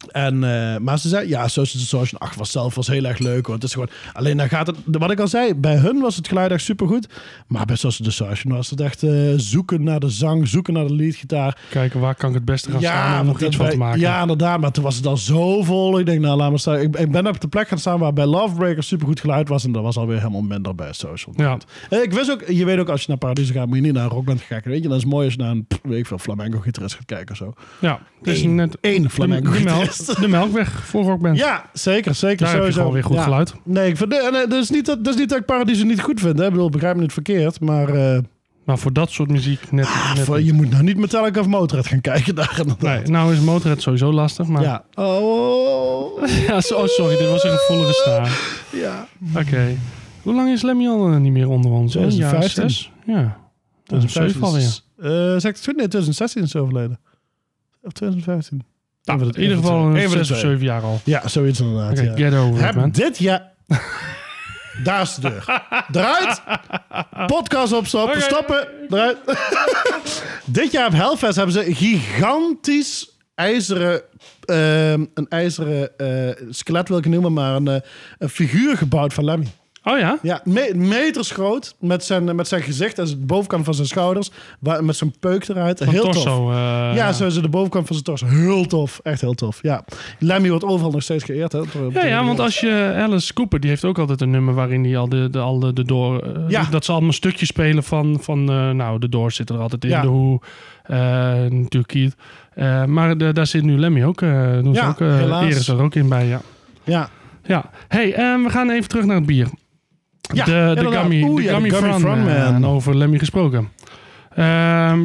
[SPEAKER 2] En, eh, maar ze zei, ja, Social Distortion 8 was zelf was heel erg leuk. Want het is gewoon, alleen dan gaat het, wat ik al zei, bij hun was het geluid echt supergoed. Maar bij Social Distortion was het echt eh, zoeken naar de zang, zoeken naar de leadgitaar.
[SPEAKER 1] Kijken waar kan ik het beste gaan staan om
[SPEAKER 2] want
[SPEAKER 1] er iets van
[SPEAKER 2] bij-
[SPEAKER 1] te maken.
[SPEAKER 2] Ja, inderdaad. Maar toen was het al zo vol. Ik denk, nou, laat maar staan. Ik, ik ben op de plek gaan staan waar bij Lovebreaker supergoed geluid was. En dat was alweer helemaal minder bij Social.
[SPEAKER 1] Ja.
[SPEAKER 2] Eh, Ik wist ook, je weet ook, als je naar Paradiso gaat, moet je niet naar een rockband gaan kijken. Weet je, dat is mooi als je naar een, pff, weet ik veel, flamenco-gitarist gaat kijken of zo.
[SPEAKER 1] Ja, het is
[SPEAKER 2] Eén-
[SPEAKER 1] net
[SPEAKER 2] één
[SPEAKER 1] de-
[SPEAKER 2] flamenco
[SPEAKER 1] de, melk,
[SPEAKER 2] gitarist.
[SPEAKER 1] de melkweg voor rockband.
[SPEAKER 2] Ja, zeker, zeker.
[SPEAKER 1] Daar heb je
[SPEAKER 2] sowieso.
[SPEAKER 1] gewoon weer goed
[SPEAKER 2] Ja.
[SPEAKER 1] geluid.
[SPEAKER 2] Nee, ik vind, nee, nee, dat, is niet dat, dat is niet dat ik Paradiso niet goed vind. Hè. Ik bedoel, begrijp me niet verkeerd. Maar eh,
[SPEAKER 1] Maar voor dat soort muziek net, net
[SPEAKER 2] voor-
[SPEAKER 1] niet.
[SPEAKER 2] je moet nou niet Metallica of Motorhead gaan kijken daar.
[SPEAKER 1] Nee,
[SPEAKER 2] inderdaad.
[SPEAKER 1] nou is Motorhead sowieso lastig, maar...
[SPEAKER 2] Ja. Oh,
[SPEAKER 1] Ja, so- oh, sorry, dit was een gevoelige snaar.
[SPEAKER 2] ja.
[SPEAKER 1] Oké. Hoe lang is Lemmy al eh, niet meer onder ons? Een jaar,
[SPEAKER 2] 2015.
[SPEAKER 1] zes? Ja. Dat is een zeven alweer.
[SPEAKER 2] Eh, zeg ik het goed? Nee, 2016 is ze overleden. Of 2015.
[SPEAKER 1] Nou,
[SPEAKER 2] Eén van de-
[SPEAKER 1] in ieder
[SPEAKER 2] één van de
[SPEAKER 1] geval
[SPEAKER 2] twee.
[SPEAKER 1] een
[SPEAKER 2] Eén van de
[SPEAKER 1] zes of
[SPEAKER 2] twee.
[SPEAKER 1] zeven jaar al.
[SPEAKER 2] Ja, zoiets inderdaad.
[SPEAKER 1] Oké,
[SPEAKER 2] ja.
[SPEAKER 1] get over it,
[SPEAKER 2] Heb
[SPEAKER 1] man.
[SPEAKER 2] dit jaar... *laughs* Daar is de deur. Eruit. Podcast opstappen.
[SPEAKER 1] Oké.
[SPEAKER 2] Stappen. Eruit. *laughs* dit jaar op Hellfest hebben ze gigantisch ijzeren... ehm, een ijzeren eh, skelet wil ik het noemen, maar een, eh, een figuur gebouwd van Lemmy.
[SPEAKER 1] Oh ja?
[SPEAKER 2] Ja, me- meters groot met zijn, met zijn gezicht en de bovenkant van zijn schouders. Waar, met zijn peuk eruit.
[SPEAKER 1] Van
[SPEAKER 2] Heel tof.
[SPEAKER 1] torso. eh,
[SPEAKER 2] Ja, zo is het de bovenkant van zijn torso. Heel tof. Echt heel tof. Ja. Lemmy wordt overal nog steeds geëerd. Hè?
[SPEAKER 1] Ja, ja, want als je Alice Cooper, die heeft ook altijd een nummer waarin die al de, de, al de, de door. eh,
[SPEAKER 2] Ja.
[SPEAKER 1] Dat ze allemaal stukjes spelen van. van eh, nou, de door zit er altijd in.
[SPEAKER 2] Ja.
[SPEAKER 1] De hoe. eh, natuurlijk Keith. Eh, maar de- daar zit nu Lemmy ook. eh doen ze
[SPEAKER 2] Ja,
[SPEAKER 1] ook eh,
[SPEAKER 2] helaas.
[SPEAKER 1] Eer is er ook in bij, ja.
[SPEAKER 2] Ja.
[SPEAKER 1] Ja. Hey, eh, we gaan even terug naar het bier.
[SPEAKER 2] Ja,
[SPEAKER 1] de, de
[SPEAKER 2] inderdaad.
[SPEAKER 1] Gummy,
[SPEAKER 2] Oeh,
[SPEAKER 1] de
[SPEAKER 2] ja, de
[SPEAKER 1] gummy,
[SPEAKER 2] Gummy
[SPEAKER 1] Fran,
[SPEAKER 2] Fran,
[SPEAKER 1] eh,
[SPEAKER 2] man.
[SPEAKER 1] en over Lemmy gesproken. Ehm,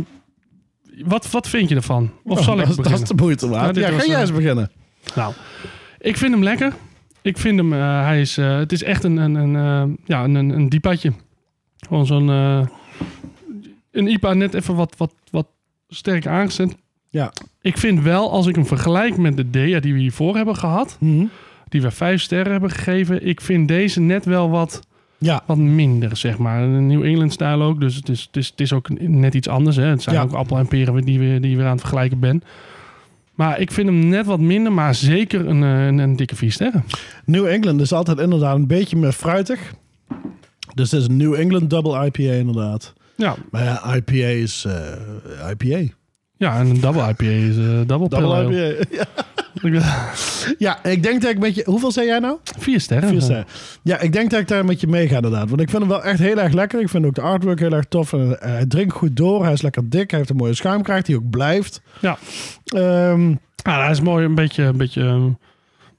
[SPEAKER 1] wat, wat vind je ervan? Of
[SPEAKER 2] *laughs*
[SPEAKER 1] zal ik
[SPEAKER 2] dat, is-
[SPEAKER 1] beginnen?
[SPEAKER 2] dat is de moeite waard.
[SPEAKER 1] Ja,
[SPEAKER 2] Ja,
[SPEAKER 1] dit was eh,
[SPEAKER 2] ga jij
[SPEAKER 1] een-
[SPEAKER 2] eens beginnen.
[SPEAKER 1] Nou, ik vind hem lekker. Ik vind hem, eh, hij is, eh, het is echt een, een, een, eh, ja, een, een, een diepatje. Gewoon zo'n, eh, een IPA net even wat, wat, wat sterker aangezet.
[SPEAKER 2] Ja.
[SPEAKER 1] Ik vind wel, als ik hem vergelijk met de DEA die we hiervoor hebben gehad, die we vijf sterren hebben gegeven, ik vind deze net wel wat,
[SPEAKER 2] Ja.
[SPEAKER 1] wat minder, zeg maar. Een New England-stijl ook, dus het is, het, is, het is ook net iets anders. Hè. Het zijn
[SPEAKER 2] Ja.
[SPEAKER 1] ook appel en peren die we, die we aan het vergelijken ben. Maar ik vind hem net wat minder, maar zeker een, eh, een, een dikke vier sterren.
[SPEAKER 2] New England is altijd inderdaad een beetje meer fruitig. Dus dit is een New England Double IPA inderdaad.
[SPEAKER 1] Ja,
[SPEAKER 2] Maar ja, IPA is eh, IPA.
[SPEAKER 1] ja en een double IPA is eh double,
[SPEAKER 2] Double
[SPEAKER 1] pale ale.
[SPEAKER 2] IPA. Ja.
[SPEAKER 1] Ik ben- *laughs*
[SPEAKER 2] ja, ik denk dat ik met je... Hoeveel zei jij nou?
[SPEAKER 1] Vier sterren.
[SPEAKER 2] Vier sterren. Ja, ik denk dat ik daar met je mee ga inderdaad. Want ik vind hem wel echt heel erg lekker. Ik vind ook de artwork heel erg tof. En eh, hij drinkt goed door. Hij is lekker dik. Hij heeft een mooie schuimkraag die ook blijft.
[SPEAKER 1] Ja,
[SPEAKER 2] Ehm,
[SPEAKER 1] ah, hij is mooi, een beetje, een beetje ehm,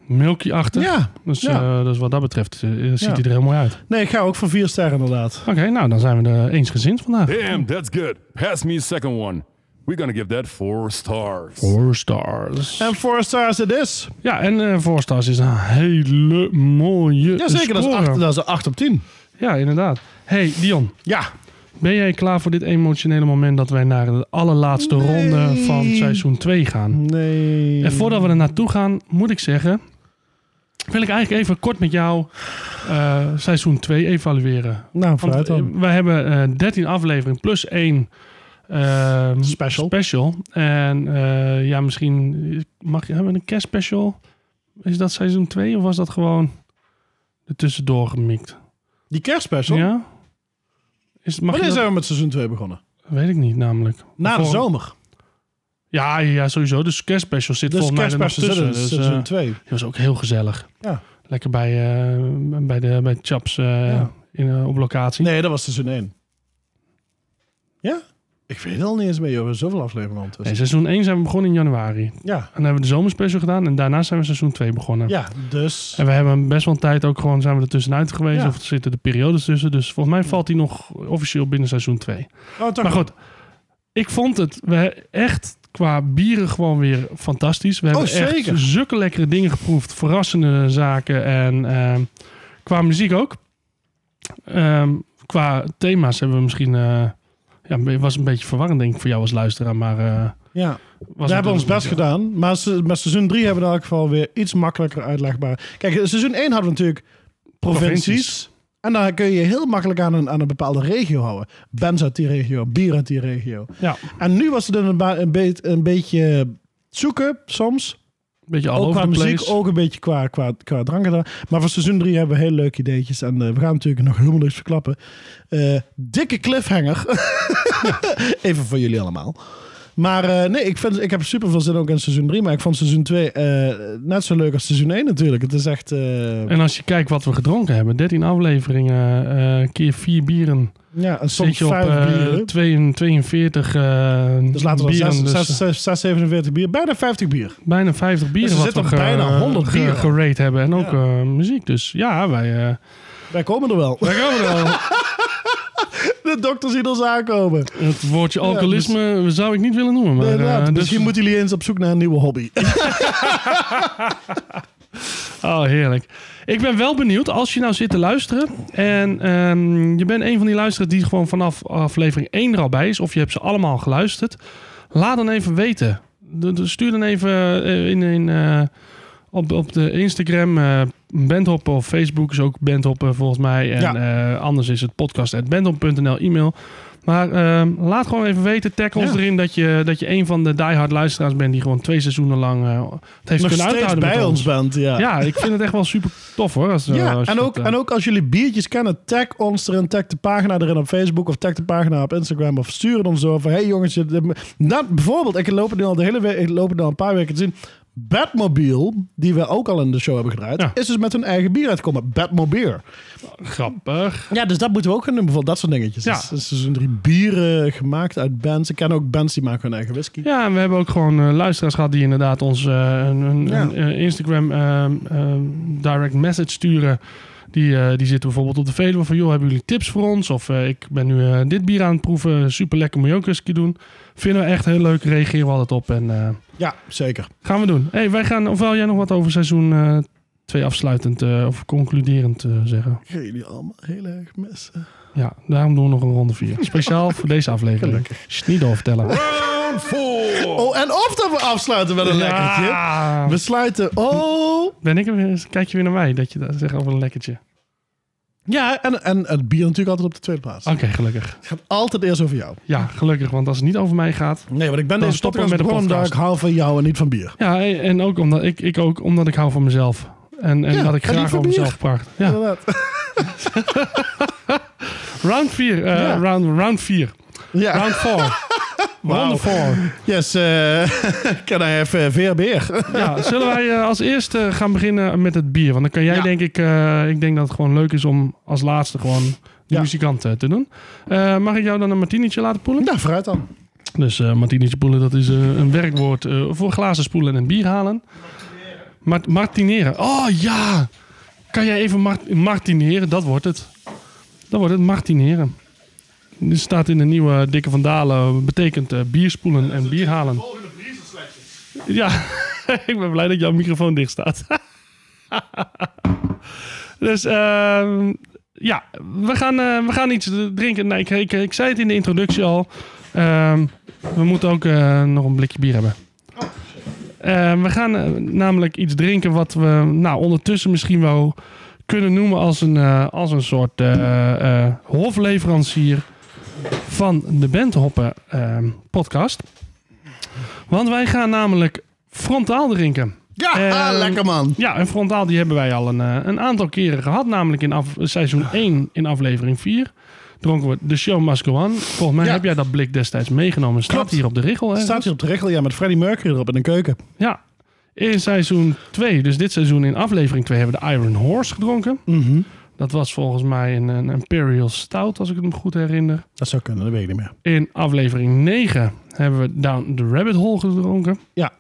[SPEAKER 1] milky-achtig.
[SPEAKER 2] ja.
[SPEAKER 1] Dus,
[SPEAKER 2] Ja.
[SPEAKER 1] eh, dus wat dat betreft eh, ziet
[SPEAKER 2] Ja.
[SPEAKER 1] hij er heel mooi uit.
[SPEAKER 2] Nee, ik ga ook voor vier sterren inderdaad.
[SPEAKER 1] Oké, nou dan zijn we er eensgezind vandaag.
[SPEAKER 3] Damn, that's good. Pass me a second one. We're gonna give that four stars.
[SPEAKER 1] Four stars.
[SPEAKER 2] En four stars it is.
[SPEAKER 1] Ja, en eh Four Stars is een hele mooie
[SPEAKER 2] Jazeker, dat is,
[SPEAKER 1] score.
[SPEAKER 2] acht, dat is een 8 op 10.
[SPEAKER 1] Ja, inderdaad. Hey Dion,
[SPEAKER 2] Ja.
[SPEAKER 1] ben jij klaar voor dit emotionele moment dat wij naar de allerlaatste ronde van seizoen 2 gaan?
[SPEAKER 2] Nee.
[SPEAKER 1] En voordat we er naartoe gaan, moet ik zeggen, wil ik eigenlijk even kort met jou eh, seizoen 2 evalueren.
[SPEAKER 2] Nou,
[SPEAKER 1] Want
[SPEAKER 2] vooruit dan.
[SPEAKER 1] we- wij hebben eh 13 afleveringen plus 1
[SPEAKER 2] Special.
[SPEAKER 1] En eh, ja, misschien mag je, hebben we een kerstspecial? Is dat seizoen 2 of was dat gewoon er tussendoor gemikt?
[SPEAKER 2] Die kerstspecial.
[SPEAKER 1] Ja? Is, mag je
[SPEAKER 2] Wanneer
[SPEAKER 1] dat-
[SPEAKER 2] zijn we met seizoen 2 begonnen?
[SPEAKER 1] Weet ik niet namelijk.
[SPEAKER 2] Na de
[SPEAKER 1] Voor-
[SPEAKER 2] zomer.
[SPEAKER 1] Ja, ja, sowieso. Dus kerstspecial zit
[SPEAKER 2] Dus
[SPEAKER 1] volgens mij er nog
[SPEAKER 2] kerstspecial
[SPEAKER 1] tussen.
[SPEAKER 2] zit in
[SPEAKER 1] Dus, eh,
[SPEAKER 2] seizoen 2.
[SPEAKER 1] die was ook heel gezellig.
[SPEAKER 2] Ja.
[SPEAKER 1] Lekker bij, eh, bij, de, bij Chaps eh,
[SPEAKER 2] Ja.
[SPEAKER 1] in, eh, op locatie. Nee.
[SPEAKER 2] Nee, dat was seizoen 1. Ja? Ik weet het al niet eens meer, joh. We hebben zoveel afleveringen ondertussen.
[SPEAKER 1] seizoen 1 zijn we begonnen in januari. En
[SPEAKER 2] Ja,
[SPEAKER 1] dan hebben we de zomerspecial gedaan en daarna zijn we seizoen 2 begonnen.
[SPEAKER 2] ja, dus...
[SPEAKER 1] En we hebben best wel een tijd ook gewoon zijn we er tussenuit geweest.
[SPEAKER 2] Ja.
[SPEAKER 1] Of er zitten de periodes tussen. Dus volgens mij valt die nog officieel binnen seizoen 2.
[SPEAKER 2] Oh, toch.
[SPEAKER 1] Maar goed, ik vond het we, echt qua bieren gewoon weer fantastisch. We hebben
[SPEAKER 2] Oh, zeker.
[SPEAKER 1] echt zulke lekkere dingen geproefd. Verrassende zaken. En ehm, qua muziek ook. Ehm, qua thema's hebben we misschien... eh, ja, het was een beetje verwarrend denk ik voor jou als luisteraar. Maar eh,
[SPEAKER 2] Ja,
[SPEAKER 1] was
[SPEAKER 2] we
[SPEAKER 1] het
[SPEAKER 2] hebben ons
[SPEAKER 1] dus-
[SPEAKER 2] best gedaan. Maar se- met seizoen 3 hebben we in elk geval weer iets makkelijker uitlegbaar. Kijk, in seizoen 1 hadden we natuurlijk provincies.
[SPEAKER 1] Provincies.
[SPEAKER 2] En daar kun je je heel makkelijk aan een, aan een bepaalde regio houden. Bands uit die regio, bier uit die regio.
[SPEAKER 1] Ja,
[SPEAKER 2] En nu was het een, ba- een, beet- een beetje zoeken soms.
[SPEAKER 1] een beetje al
[SPEAKER 2] Ook
[SPEAKER 1] over
[SPEAKER 2] qua
[SPEAKER 1] de
[SPEAKER 2] muziek,
[SPEAKER 1] place.
[SPEAKER 2] ook een beetje qua, qua, qua drank gedaan. Maar voor seizoen 3 hebben we heel leuke ideetjes. En eh, we gaan natuurlijk nog helemaal niks verklappen. Eh, dikke cliffhanger. *laughs* Even voor jullie allemaal. Maar eh, nee, ik, vind, ik heb super veel zin ook in seizoen 3. Maar ik vond seizoen 2 eh, net zo leuk als seizoen 1 natuurlijk. Het is echt. eh,
[SPEAKER 1] En als je kijkt wat we gedronken hebben. 13 afleveringen, eh, keer 4 bieren.
[SPEAKER 2] ja, en
[SPEAKER 1] Zit
[SPEAKER 2] soms
[SPEAKER 1] je op
[SPEAKER 2] vijf
[SPEAKER 1] eh,
[SPEAKER 2] bieren.
[SPEAKER 1] 2 42 eh
[SPEAKER 2] Dus laten we
[SPEAKER 1] bieren,
[SPEAKER 2] dan
[SPEAKER 1] dus,
[SPEAKER 2] 6, 6, 6, 47 bier. Bijna 50 bier.
[SPEAKER 1] Bijna 50 bieren
[SPEAKER 2] Dus er
[SPEAKER 1] wat we
[SPEAKER 2] zitten
[SPEAKER 1] ge-
[SPEAKER 2] bijna 100
[SPEAKER 1] ge-
[SPEAKER 2] bieren.
[SPEAKER 1] gerate hebben. En ook
[SPEAKER 2] Ja.
[SPEAKER 1] eh, muziek. Dus ja, wij... eh
[SPEAKER 2] Wij komen er wel.
[SPEAKER 1] wij komen er wel.
[SPEAKER 2] *laughs* De dokter ziet ons aankomen.
[SPEAKER 1] Het woordje alcoholisme zou ik niet willen noemen. Maar,
[SPEAKER 2] dus- Inderdaad.
[SPEAKER 1] eh, dus-
[SPEAKER 2] Misschien moeten jullie eens op zoek naar een nieuwe hobby.
[SPEAKER 1] Oh, heerlijk. Ik ben wel benieuwd, als je nou zit te luisteren... en ehm, je bent een van die luisteraars die gewoon vanaf aflevering 1 er al bij is... of je hebt ze allemaal geluisterd... laat dan even weten. De- de- Stuur dan even eh, in, in, eh, op, op de Instagram... eh Bandhoppen of Facebook is ook Bandhoppen volgens mij. En eh, anders is het podcast.bandhop.nl e-mail. Maar ehm, laat gewoon even weten, tag ons
[SPEAKER 2] Ja.
[SPEAKER 1] erin... Dat je, dat je een van de diehard luisteraars bent... die gewoon twee seizoenen lang eh, het heeft kunnen
[SPEAKER 2] nog steeds
[SPEAKER 1] uithouden met
[SPEAKER 2] bij
[SPEAKER 1] ons.
[SPEAKER 2] ons bent. Ja,
[SPEAKER 1] Ja, ik vind het echt wel super tof hoor. Als,
[SPEAKER 2] Ja,
[SPEAKER 1] eh, als je
[SPEAKER 2] en,
[SPEAKER 1] dat,
[SPEAKER 2] ook,
[SPEAKER 1] eh,
[SPEAKER 2] en ook als jullie biertjes kennen, tag ons erin, tag de pagina erin op Facebook of tag de pagina op Instagram of stuur het ons zo van, hey jongens, je- dit- nou, bijvoorbeeld, ik loop het nu al de hele week, ik loop het nu al een paar weken te zien. Batmobile, die we ook al in de show hebben gedraaid,
[SPEAKER 1] Ja.
[SPEAKER 2] is dus met hun eigen bier uitgekomen. Batmobile.
[SPEAKER 1] grappig.
[SPEAKER 2] Ja, dus dat moeten we ook gaan doen, bijvoorbeeld dat soort dingetjes.
[SPEAKER 1] Ja.
[SPEAKER 2] Dus, dus er zijn drie bieren gemaakt uit bands. Ik ken ook bands die maken hun eigen whisky.
[SPEAKER 1] Ja, en we hebben ook gewoon eh, luisteraars gehad die inderdaad ons eh, een, een,
[SPEAKER 2] Ja.
[SPEAKER 1] een, eh, Instagram ehm, ehm, direct message sturen. Die, eh, die zitten bijvoorbeeld op de Veluwe van, joh, hebben jullie tips voor ons? Of eh, ik ben nu eh, dit bier aan het proeven, super lekker, moet je ook eens een keer doen. Vinden we echt heel leuk, reageren we altijd op en eh,
[SPEAKER 2] Ja, zeker.
[SPEAKER 1] gaan we doen. hey, wij gaan, ofwel jij nog wat over seizoen 2 afsluitend eh, of concluderend eh, zeggen?
[SPEAKER 2] Ik ga jullie allemaal heel erg missen.
[SPEAKER 1] Ja, daarom doen we nog een ronde 4. Speciaal voor deze aflevering. Gelukkig. niet doorvertellen.
[SPEAKER 3] Round four.
[SPEAKER 2] Oh, en of dat we afsluiten met een lekkertje.
[SPEAKER 1] Ja.
[SPEAKER 2] We sluiten. Oh.
[SPEAKER 1] Ben ik er weer? Kijk je weer naar mij dat je dat zegt over een lekkertje?
[SPEAKER 2] Ja, en, en het bier natuurlijk altijd op de tweede plaats.
[SPEAKER 1] Oké, gelukkig.
[SPEAKER 2] Het gaat altijd eerst over jou.
[SPEAKER 1] Ja, gelukkig, want als het niet over mij gaat.
[SPEAKER 2] Nee, want ik ben
[SPEAKER 1] Dan
[SPEAKER 2] deze
[SPEAKER 1] stoppen we
[SPEAKER 2] podcast
[SPEAKER 1] met de
[SPEAKER 2] begonnen omdat ik
[SPEAKER 1] podcast.
[SPEAKER 2] hou van jou en niet van bier.
[SPEAKER 1] Ja, en ook omdat ik, ik ook omdat ik hou van mezelf. En, en
[SPEAKER 2] Ja,
[SPEAKER 1] dat ik
[SPEAKER 2] en die
[SPEAKER 1] graag
[SPEAKER 2] van
[SPEAKER 1] over
[SPEAKER 2] bier.
[SPEAKER 1] mezelf praat. Ja.
[SPEAKER 2] Inderdaad.
[SPEAKER 1] Round 4.
[SPEAKER 2] Ja.
[SPEAKER 1] round, round 4.
[SPEAKER 2] Ja,
[SPEAKER 1] Round
[SPEAKER 2] *laughs*
[SPEAKER 1] 4. Round 4.
[SPEAKER 2] yes. eh *laughs* can I have eh, veel bier?
[SPEAKER 1] Ja, zullen wij eh, als eerste gaan beginnen met het bier? Want dan kan jij
[SPEAKER 2] Ja.
[SPEAKER 1] denk ik... eh, ik denk dat het gewoon leuk is om als laatste gewoon de
[SPEAKER 2] Ja.
[SPEAKER 1] muzikant eh, te doen. Eh, mag ik jou dan een martinietje laten poelen?
[SPEAKER 2] Nou, vooruit dan.
[SPEAKER 1] Dus eh martinietje poelen, dat is eh, een werkwoord eh, voor glazen spoelen en bier halen. Mart- martineren. Oh ja! Kan jij even mar- martineren? Dat wordt het. Dat wordt het, martineren. Dit staat in de nieuwe Dikke van Dalen. Betekent eh, bier spoelen en bier halen. Ja, *laughs* ik ben blij dat jouw microfoon dicht staat. *laughs* dus ehm, ja, we gaan, eh, we gaan iets drinken. Nee, ik, ik, ik zei het in de introductie al. Ehm, we moeten ook eh, nog een blikje bier hebben. Eh, we gaan eh, namelijk iets drinken wat we nou, ondertussen misschien wel kunnen noemen als een, eh, als een soort eh, eh, hofleverancier van de Benthoppen ehm, podcast. Want wij gaan namelijk frontaal drinken.
[SPEAKER 2] Ja,
[SPEAKER 1] Ehm,
[SPEAKER 2] ah, lekker man.
[SPEAKER 1] Ja, en frontaal die hebben wij al een, eh, een aantal keren gehad. Namelijk in af, seizoen 1 in aflevering 4 dronken we de show Must Go On. Volgens mij
[SPEAKER 2] Ja.
[SPEAKER 1] heb jij dat blik destijds meegenomen. Staat
[SPEAKER 2] Klopt.
[SPEAKER 1] hier op de richel. Hè?
[SPEAKER 2] Staat hier op de regel, ja, met Freddie Mercury erop in de keuken.
[SPEAKER 1] Ja. In seizoen 2, dus dit seizoen in aflevering 2, hebben we de Iron Horse gedronken. Dat was volgens mij een, een Imperial Stout, als ik het me goed herinner.
[SPEAKER 2] Dat zou kunnen, dat weet ik niet meer.
[SPEAKER 1] In aflevering 9 hebben we Down the Rabbit Hole gedronken.
[SPEAKER 2] Ja,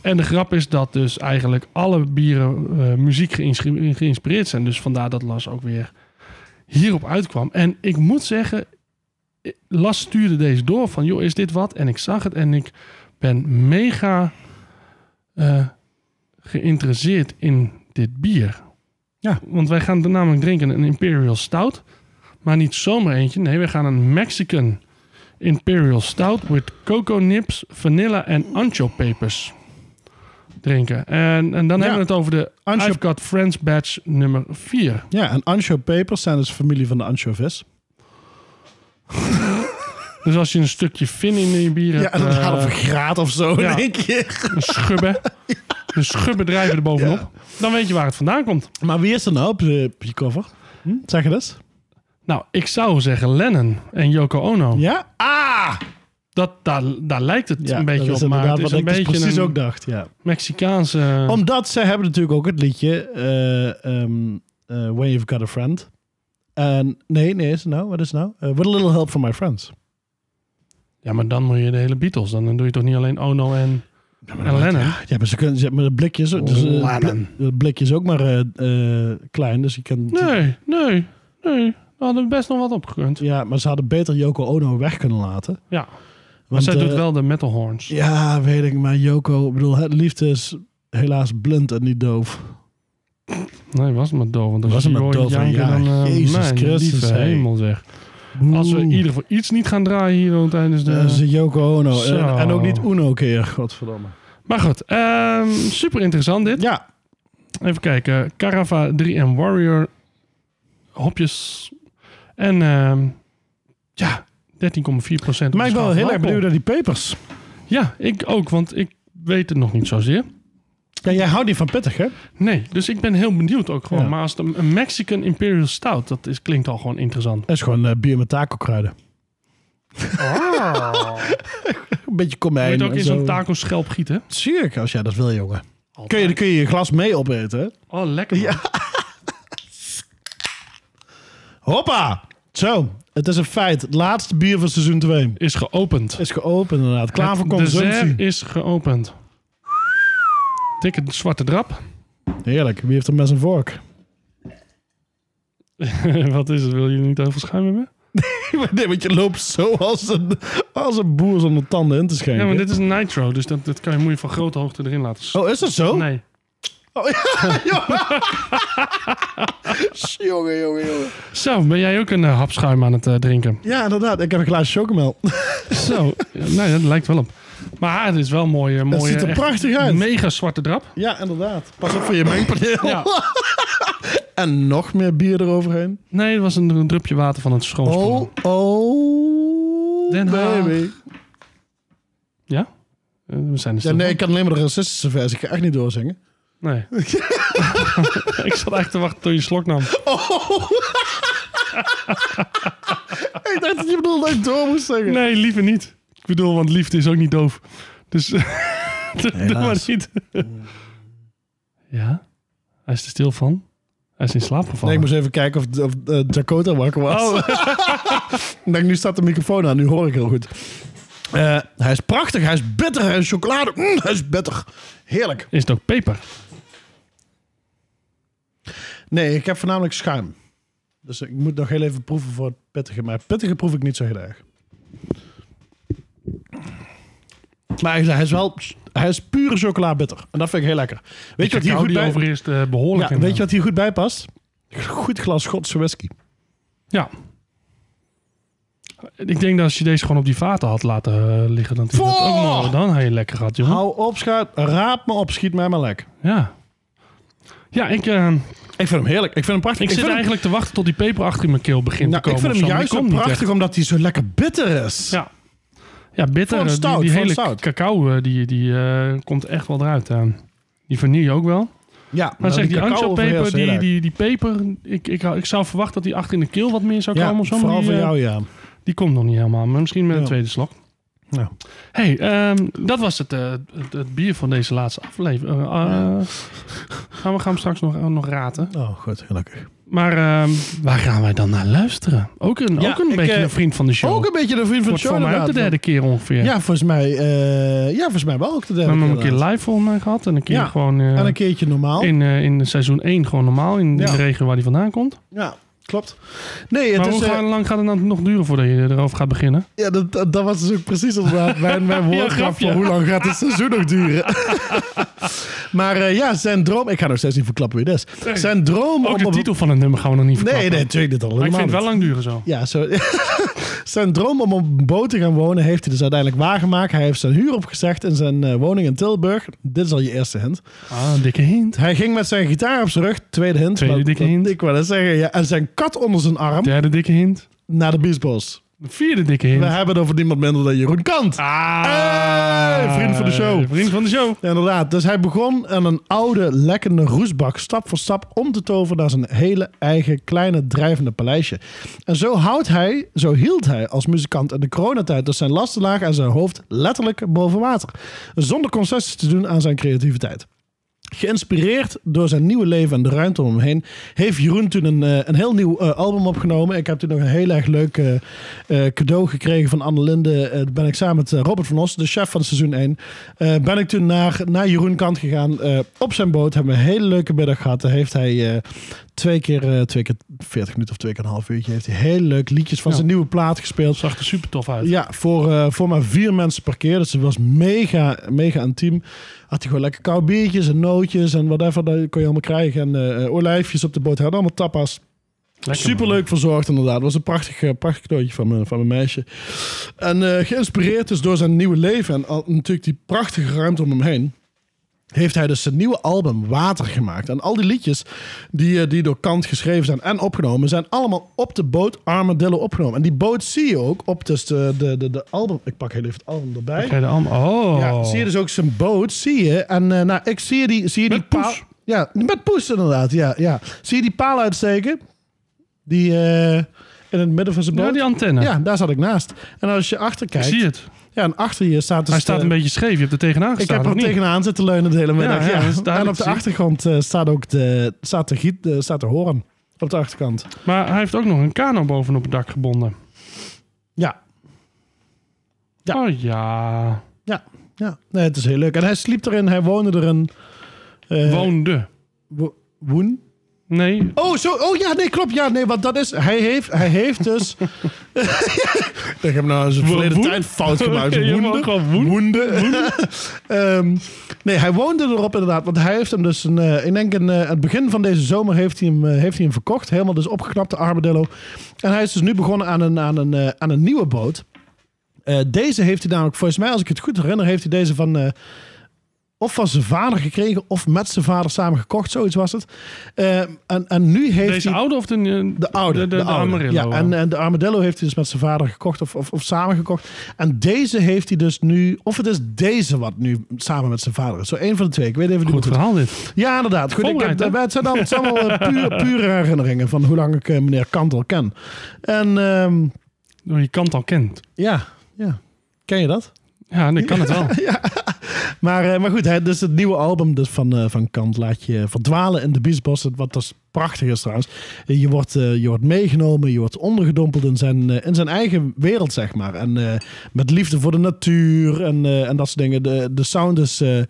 [SPEAKER 1] En de grap is dat dus eigenlijk alle bieren eh, muziek geïnscri- geïnspireerd zijn. Dus vandaar dat Las ook weer hierop uitkwam. En ik moet zeggen, eh, Las stuurde deze door van, joh, is dit wat? En ik zag het en ik ben mega eh, geïnteresseerd in dit bier.
[SPEAKER 2] Ja.
[SPEAKER 1] Want wij gaan namelijk drinken een Imperial Stout. Maar niet zomaar eentje. Nee, we gaan een Mexican Imperial Stout with cocoa nips, vanilla en ancho pepers drinken. En, en dan hebben we het over de
[SPEAKER 2] Ancho-
[SPEAKER 1] I've Got Friends batch nummer 4.
[SPEAKER 2] ja en Ancho Papers zijn dus familie van de Ancho Vis.
[SPEAKER 1] Dus als je een stukje fin in je bier
[SPEAKER 2] Ja,
[SPEAKER 1] hebt,
[SPEAKER 2] en dan
[SPEAKER 1] eh,
[SPEAKER 2] gaat het een graad of zo
[SPEAKER 1] ja.
[SPEAKER 2] in één keer.
[SPEAKER 1] een
[SPEAKER 2] *laughs*
[SPEAKER 1] schubben, een schubben drijven er bovenop, dan weet je waar het vandaan komt.
[SPEAKER 2] Maar wie is er nou op je, op je cover? Hm? Zeg het eens.
[SPEAKER 1] Nou, ik zou zeggen Lennon en Yoko Ono.
[SPEAKER 2] Ja? Ah!
[SPEAKER 1] Dat, daar, daar lijkt het
[SPEAKER 2] Ja,
[SPEAKER 1] een beetje
[SPEAKER 2] dat is
[SPEAKER 1] op, maar
[SPEAKER 2] inderdaad
[SPEAKER 1] het is
[SPEAKER 2] wat
[SPEAKER 1] een
[SPEAKER 2] ik dus
[SPEAKER 1] beetje
[SPEAKER 2] precies
[SPEAKER 1] een
[SPEAKER 2] ook dacht. Ja.
[SPEAKER 1] Mexicaanse...
[SPEAKER 2] Omdat zij hebben natuurlijk ook het liedje eh ehm, eh, When You've Got a Friend. En nee, nee, is het nou? Wat is het nou? Eh, With a Little Help from My Friends.
[SPEAKER 1] Ja, maar dan moet je de hele Beatles. Dan doe je toch niet alleen Ono en, en Lennon.
[SPEAKER 2] Ja, maar ze kunnen ze hebben de blikjes, ook- dus, eh,
[SPEAKER 1] Lennon.
[SPEAKER 2] de blikjes ook maar eh, eh, klein, dus je kan.
[SPEAKER 1] Nee, nee, nee. We hadden best nog wat opgekund.
[SPEAKER 2] Ja, maar ze hadden beter Yoko Ono weg kunnen laten.
[SPEAKER 1] Ja, maar
[SPEAKER 2] Want,
[SPEAKER 1] zij
[SPEAKER 2] eh,
[SPEAKER 1] doet wel de metal horns.
[SPEAKER 2] Ja, weet ik, maar Yoko, ik bedoel, het liefde is helaas blind en niet doof.
[SPEAKER 1] Nee, was het maar doof. Want als
[SPEAKER 2] Was
[SPEAKER 1] je
[SPEAKER 2] het maar
[SPEAKER 1] hoort
[SPEAKER 2] doof,
[SPEAKER 1] janken,
[SPEAKER 2] ja.
[SPEAKER 1] dan, eh,
[SPEAKER 2] Jezus
[SPEAKER 1] mijn
[SPEAKER 2] Christus,
[SPEAKER 1] lieve
[SPEAKER 2] hey.
[SPEAKER 1] hemel zeg. Als we in ieder geval iets niet gaan draaien hier dan tijdens de...
[SPEAKER 2] Eh, ze Yoko Ono. En,
[SPEAKER 1] Zo.
[SPEAKER 2] en ook niet Uno keer, godverdomme.
[SPEAKER 1] Maar goed, ehm, super interessant dit.
[SPEAKER 2] Ja,
[SPEAKER 1] Even kijken. Carava 3 en Warrior. Hopjes. En ehm, ja, 13,4 procent.
[SPEAKER 2] mij wel heel erg benieuwd naar die papers.
[SPEAKER 1] Ja, ik ook, want ik weet het nog niet zozeer.
[SPEAKER 2] Ja, jij houdt niet van pittig, hè?
[SPEAKER 1] Nee, dus ik ben heel benieuwd ook gewoon.
[SPEAKER 2] Ja.
[SPEAKER 1] Maar als het een een Mexican Imperial Stout, dat is, klinkt al gewoon interessant.
[SPEAKER 2] Dat is gewoon eh, bier met taco-kruiden. Ah. *laughs* een beetje komijn.
[SPEAKER 1] Moet je ook
[SPEAKER 2] en
[SPEAKER 1] in zo'n taco schelp gieten?
[SPEAKER 2] Tuurlijk, als jij dat wil, jongen. Kun je, kun je je glas mee opeten, hè?
[SPEAKER 1] Oh, lekker. man.
[SPEAKER 2] Hoppa! Zo, het is een feit. Het laatste bier van seizoen 2
[SPEAKER 1] Is geopend.
[SPEAKER 2] is geopend, inderdaad. Klaar voor
[SPEAKER 1] Het dessert
[SPEAKER 2] consumptie.
[SPEAKER 1] is geopend. Tik het zwarte drap. *laughs*
[SPEAKER 2] Heerlijk. Wie heeft er mes en vork? *laughs*
[SPEAKER 1] Wat is het? Wil je niet over schuim hebben?
[SPEAKER 2] nee, want je loopt zo als een, als een boer zonder tanden in te
[SPEAKER 1] Ja,
[SPEAKER 2] schenken.
[SPEAKER 1] maar dit is een nitro, dus dat, dat kan je, moet je van grote hoogte erin laten. s-
[SPEAKER 2] Oh, is dat zo?
[SPEAKER 1] Nee. Oh,
[SPEAKER 2] Jongen, jongen, jongen.
[SPEAKER 1] Zo, ben jij ook een eh, hapschuim aan het eh, drinken?
[SPEAKER 2] Ja, inderdaad. Ik heb een glaasje chocomel. *laughs*
[SPEAKER 1] Zo. Ja, nee, dat lijkt wel op. Maar het is wel mooi. eh, mooie,
[SPEAKER 2] ziet er
[SPEAKER 1] echt
[SPEAKER 2] prachtig uit.
[SPEAKER 1] Mega zwarte drap.
[SPEAKER 2] ja, inderdaad. Pas op voor je mengpaneel.
[SPEAKER 1] Ja.
[SPEAKER 2] En nog meer bier eroverheen.
[SPEAKER 1] Nee, het was een, een drupje water van het schoonspoelen.
[SPEAKER 2] Oh, oh,
[SPEAKER 1] Den Haag.
[SPEAKER 2] baby.
[SPEAKER 1] Ja? Eh, We zijn er
[SPEAKER 2] Ja,
[SPEAKER 1] stil
[SPEAKER 2] nee,
[SPEAKER 1] van.
[SPEAKER 2] ik kan alleen maar de racistische versie. Ik kan echt niet doorzingen.
[SPEAKER 1] Nee.
[SPEAKER 2] *laughs*
[SPEAKER 1] *laughs* ik zat echt te wachten tot je een slok nam.
[SPEAKER 2] *laughs* ik dacht dat je bedoelde dat ik door moest zingen.
[SPEAKER 1] Nee, liever niet. Ik bedoel, want liefde is ook niet doof. Dus *laughs* doe maar
[SPEAKER 2] Helaas.
[SPEAKER 1] niet. ja? Hij is er stil van. Hij is in slaap
[SPEAKER 2] Nee,
[SPEAKER 1] gevallen.
[SPEAKER 2] ik moest even kijken of, of eh, Dakota wakker was.
[SPEAKER 1] Oh.
[SPEAKER 2] *laughs* ik denk, nu staat de microfoon aan. Nu hoor ik heel goed. Eh, hij is prachtig. Hij is bitter. Hij is chocolade. Mm, hij is bitter. Heerlijk.
[SPEAKER 1] Is het ook peper?
[SPEAKER 2] Nee, ik heb voornamelijk schuim. Dus ik moet nog heel even proeven voor het pittige. Maar pittige proef ik niet zo heel erg. Maar hij is- hij is wel... Hij is pure chocola bitter. En dat vind ik heel lekker. Weet je wat hier
[SPEAKER 1] Cacao
[SPEAKER 2] goed
[SPEAKER 1] die
[SPEAKER 2] bij...
[SPEAKER 1] overigens eh, behoorlijk
[SPEAKER 2] Ja,
[SPEAKER 1] in
[SPEAKER 2] weet je wat hier goed bij past? Goed glas Schotse whisky.
[SPEAKER 1] Ja. Ik denk dat als je deze gewoon op die vaten had laten eh, liggen, dan, die dat ook nog, dan had je lekker gehad, jongen.
[SPEAKER 2] Hou op, schuit. Raap me op. Schiet mij maar lek.
[SPEAKER 1] Ja. Ja, ik, eh,
[SPEAKER 2] Ik vind hem heerlijk. Ik vind hem prachtig.
[SPEAKER 1] ik zit
[SPEAKER 2] vind hem-
[SPEAKER 1] eigenlijk te wachten tot die peper achter in mijn keel begint
[SPEAKER 2] Nou,
[SPEAKER 1] te
[SPEAKER 2] ik
[SPEAKER 1] komen.
[SPEAKER 2] vind
[SPEAKER 1] of zo,
[SPEAKER 2] hem
[SPEAKER 1] maar
[SPEAKER 2] juist
[SPEAKER 1] die
[SPEAKER 2] zo
[SPEAKER 1] komt niet echt.
[SPEAKER 2] prachtig omdat hij zo lekker bitter is.
[SPEAKER 1] Ja. Ja, bitter.
[SPEAKER 2] Voor een
[SPEAKER 1] eh,
[SPEAKER 2] stout,
[SPEAKER 1] die die
[SPEAKER 2] voor een
[SPEAKER 1] hele
[SPEAKER 2] stout.
[SPEAKER 1] cacao eh, die, die, eh, komt echt wel eruit. eh. die vanille ook wel.
[SPEAKER 2] Ja,
[SPEAKER 1] Maar
[SPEAKER 2] nou,
[SPEAKER 1] zeg, die
[SPEAKER 2] cacao
[SPEAKER 1] ancho peper,
[SPEAKER 2] overheerst heel
[SPEAKER 1] die,
[SPEAKER 2] erg.
[SPEAKER 1] die, die peper... Ik, ik, ik zou verwachten dat die achter in de keel wat meer zou
[SPEAKER 2] ja,
[SPEAKER 1] komen of zo. maar
[SPEAKER 2] vooral
[SPEAKER 1] die,
[SPEAKER 2] voor
[SPEAKER 1] eh,
[SPEAKER 2] jou, ja.
[SPEAKER 1] Die komt nog niet helemaal. Maar misschien met een
[SPEAKER 2] Ja.
[SPEAKER 1] tweede slok. Nou. hey, ehm, dat was het, eh, het, het bier van deze laatste aflevering. Eh, eh, gaan we gaan hem straks nog, eh, nog raten.
[SPEAKER 2] Oh, goed, gelukkig.
[SPEAKER 1] Maar ehm, waar gaan wij dan naar luisteren? Ook een,
[SPEAKER 2] Ja,
[SPEAKER 1] ook een
[SPEAKER 2] ik,
[SPEAKER 1] beetje
[SPEAKER 2] eh,
[SPEAKER 1] een vriend van de show.
[SPEAKER 2] Ook een beetje de vriend van
[SPEAKER 1] Wordt
[SPEAKER 2] het show.
[SPEAKER 1] voor mij ook de
[SPEAKER 2] inderdaad.
[SPEAKER 1] derde keer ongeveer.
[SPEAKER 2] Ja, volgens mij, eh, ja, volgens mij wel ook de
[SPEAKER 1] we
[SPEAKER 2] derde
[SPEAKER 1] hebben hem een
[SPEAKER 2] keer
[SPEAKER 1] keer
[SPEAKER 2] inderdaad.
[SPEAKER 1] live volgens mij gehad. En een keer
[SPEAKER 2] Ja.
[SPEAKER 1] gewoon eh,
[SPEAKER 2] En een keertje normaal.
[SPEAKER 1] in, eh, in seizoen 1 gewoon normaal. In
[SPEAKER 2] Ja.
[SPEAKER 1] de regio waar hij vandaan komt.
[SPEAKER 2] Ja, klopt. Nee, het
[SPEAKER 1] maar
[SPEAKER 2] is,
[SPEAKER 1] hoe
[SPEAKER 2] eh,
[SPEAKER 1] ga- lang gaat het dan nog duren voordat je erover gaat beginnen?
[SPEAKER 2] ja, dat, dat dat was dus ook
[SPEAKER 1] *laughs*
[SPEAKER 2] precies inderdaad mijn, mijn woordgrap
[SPEAKER 1] grapje.
[SPEAKER 2] van hoe lang gaat het seizoen nog duren. *laughs* maar eh, ja, zijn droom... Ik ga nog steeds niet verklappen wie het is.
[SPEAKER 1] Nee.
[SPEAKER 2] Zijn droom...
[SPEAKER 1] Ook
[SPEAKER 2] om
[SPEAKER 1] de
[SPEAKER 2] op-
[SPEAKER 1] titel van het nummer gaan we nog niet
[SPEAKER 2] Nee,
[SPEAKER 1] verklappen.
[SPEAKER 2] nee, natuurlijk niet. Al,
[SPEAKER 1] Maar ik
[SPEAKER 2] helemaal
[SPEAKER 1] vind het wel
[SPEAKER 2] niet.
[SPEAKER 1] lang duren zo.
[SPEAKER 2] Ja, zo. *laughs* zijn droom om op een boot te gaan wonen heeft hij dus uiteindelijk waargemaakt. Hij heeft zijn huur opgezegd in zijn eh, woning in Tilburg. Dit is al je eerste hint.
[SPEAKER 1] Ah, een dikke hint.
[SPEAKER 2] Hij ging met zijn gitaar op zijn rug. Tweede hint.
[SPEAKER 1] Tweede
[SPEAKER 2] maar
[SPEAKER 1] dikke
[SPEAKER 2] dat-
[SPEAKER 1] hint.
[SPEAKER 2] Ik wou dat zeggen. Ja. En zijn kat onder zijn arm
[SPEAKER 1] Derde dikke hint.
[SPEAKER 2] naar de biesbos.
[SPEAKER 1] De vierde dikke hint.
[SPEAKER 2] We hebben het over niemand minder dan Jeroen Kant.
[SPEAKER 1] Ah, eh,
[SPEAKER 2] Hey, Eh, vriend van de show.
[SPEAKER 1] Vriend van de show.
[SPEAKER 2] Inderdaad. Dus hij begon aan een oude, lekkende roestbak stap voor stap om te toveren naar zijn hele eigen kleine drijvende paleisje. En zo houdt hij, zo hield hij als muzikant in de coronatijd dus zijn lasten laag en zijn hoofd letterlijk boven water. Zonder concessies te doen aan zijn creativiteit. Geïnspireerd door zijn nieuwe leven en de ruimte om hem heen, heeft Jeroen toen een, eh, een heel nieuw eh, album opgenomen. Ik heb toen nog een heel erg leuk eh, eh, cadeau gekregen van Annelinde. Eh, daar ben ik samen met eh, Robert van Os, de chef van seizoen 1, eh, ben ik toen naar, naar Jeroen kant gegaan. eh, op zijn boot hebben we een hele leuke middag gehad. Daar heeft hij eh, twee, keer, eh, twee keer 40 minuten of twee keer een half uurtje, heeft hij heel leuk liedjes van
[SPEAKER 1] Ja.
[SPEAKER 2] zijn nieuwe plaat gespeeld.
[SPEAKER 1] Zag er super tof uit.
[SPEAKER 2] Ja, voor, eh, voor maar vier mensen per keer. Dus het was mega, mega intiem. Had hij gewoon lekker koud biertjes en nootjes en whatever. Dat kon je allemaal krijgen. En eh, eh, olijfjes op de boot. Hij had allemaal tapas.
[SPEAKER 1] Lekker,
[SPEAKER 2] Superleuk verzorgd inderdaad. Het was een prachtig, eh, prachtig cadeautje van mijn, van mijn meisje. En eh, geïnspireerd dus door zijn nieuwe leven. En al- natuurlijk die prachtige ruimte om hem heen heeft hij dus zijn nieuwe album Water gemaakt. En al die liedjes die, eh, die door Kant geschreven zijn en opgenomen... zijn allemaal op de boot Armadillo opgenomen. En die boot zie je ook op dus de, de, de, de album... Ik pak heel even het album erbij.
[SPEAKER 1] man. Kijk, de arm- Oh.
[SPEAKER 2] Ja, zie je dus ook zijn boot, zie je. En eh, nou, ik zie je die, zie je die
[SPEAKER 1] Met poes.
[SPEAKER 2] paal- Ja, met poes inderdaad, ja, ja. Zie je die paal uitsteken? Die eh, in het midden van zijn boot?
[SPEAKER 1] Ja, die antenne.
[SPEAKER 2] Ja, daar zat ik naast. En als je achter
[SPEAKER 1] Ik
[SPEAKER 2] kijkt...
[SPEAKER 1] zie het.
[SPEAKER 2] Ja, en achter je staat dus...
[SPEAKER 1] Hij staat
[SPEAKER 2] de-
[SPEAKER 1] een beetje scheef. Je hebt er tegenaan
[SPEAKER 2] ik
[SPEAKER 1] gestaan.
[SPEAKER 2] heb er
[SPEAKER 1] of niet?
[SPEAKER 2] tegenaan zitten leunen de hele middag.
[SPEAKER 1] ja,
[SPEAKER 2] Ja,
[SPEAKER 1] dat is duidelijk
[SPEAKER 2] En op
[SPEAKER 1] te
[SPEAKER 2] de
[SPEAKER 1] zien.
[SPEAKER 2] achtergrond eh, staat ook de, staat de, giet, de, staat de hoorn. Op de achterkant.
[SPEAKER 1] Maar hij heeft ook nog een kano bovenop het dak gebonden.
[SPEAKER 2] Ja, Ja.
[SPEAKER 1] Oh ja.
[SPEAKER 2] ja, ja. Nee, het is heel leuk. En hij sliep erin, hij woonde erin. Eh,
[SPEAKER 1] Woonde.
[SPEAKER 2] wo- woen?
[SPEAKER 1] Nee.
[SPEAKER 2] Oh, zo, oh ja, nee, klopt. Ja, nee, want dat is. Hij heeft, hij heeft
[SPEAKER 1] *laughs*
[SPEAKER 2] dus. ik heb nou eens een verleden
[SPEAKER 1] Woen?
[SPEAKER 2] tijd
[SPEAKER 1] *laughs*
[SPEAKER 2] fout gemaakt.
[SPEAKER 1] Je mag
[SPEAKER 2] Woende.
[SPEAKER 1] gewoon woen.
[SPEAKER 2] Woende. *laughs* Ehm, nee, hij woonde erop inderdaad. Want hij heeft hem dus. Een, eh, ik denk een, eh, aan het begin van deze zomer heeft hij hem, eh, heeft hij hem verkocht. Helemaal dus opgeknapt, de Armadillo. En hij is dus nu begonnen aan een, aan een, eh, aan een nieuwe boot. Eh, deze heeft hij namelijk, volgens mij, als ik het goed herinner, heeft hij deze van. eh, of van zijn vader gekregen, of met zijn vader samen gekocht, zoiets was het. Eh, en, en nu heeft
[SPEAKER 1] Deze
[SPEAKER 2] hij.
[SPEAKER 1] oude of de... eh,
[SPEAKER 2] De oude.
[SPEAKER 1] De, de, de
[SPEAKER 2] oude.
[SPEAKER 1] Amarillo.
[SPEAKER 2] Ja, en, en de Armadillo heeft hij dus met zijn vader gekocht of, of, of samen gekocht. En deze heeft hij dus nu... Of het is deze wat nu samen met zijn vader is. Zo één van de twee. Ik weet even niet
[SPEAKER 1] Goed
[SPEAKER 2] meer
[SPEAKER 1] verhaal dit.
[SPEAKER 2] Ja, inderdaad. Goed, ik
[SPEAKER 1] Voorbereid,
[SPEAKER 2] heb,
[SPEAKER 1] hè?
[SPEAKER 2] het zijn allemaal, het zijn allemaal eh, puur, *laughs* pure herinneringen van hoe lang ik eh, meneer Kantel ken. En ehm,
[SPEAKER 1] Door Oh, je kant al kent.
[SPEAKER 2] ja, ja, ken je dat?
[SPEAKER 1] Ja, ik kan het wel.
[SPEAKER 2] Maar, eh, maar goed, hè, dus het nieuwe album dus van, eh, van Kant laat je verdwalen in de biesbos. Wat dus prachtig is trouwens. Eh, Je wordt, eh, je wordt meegenomen, je wordt ondergedompeld in zijn, eh, in zijn eigen wereld, zeg maar. En eh, met liefde voor de natuur en, eh, en dat soort dingen. De, de sound is eh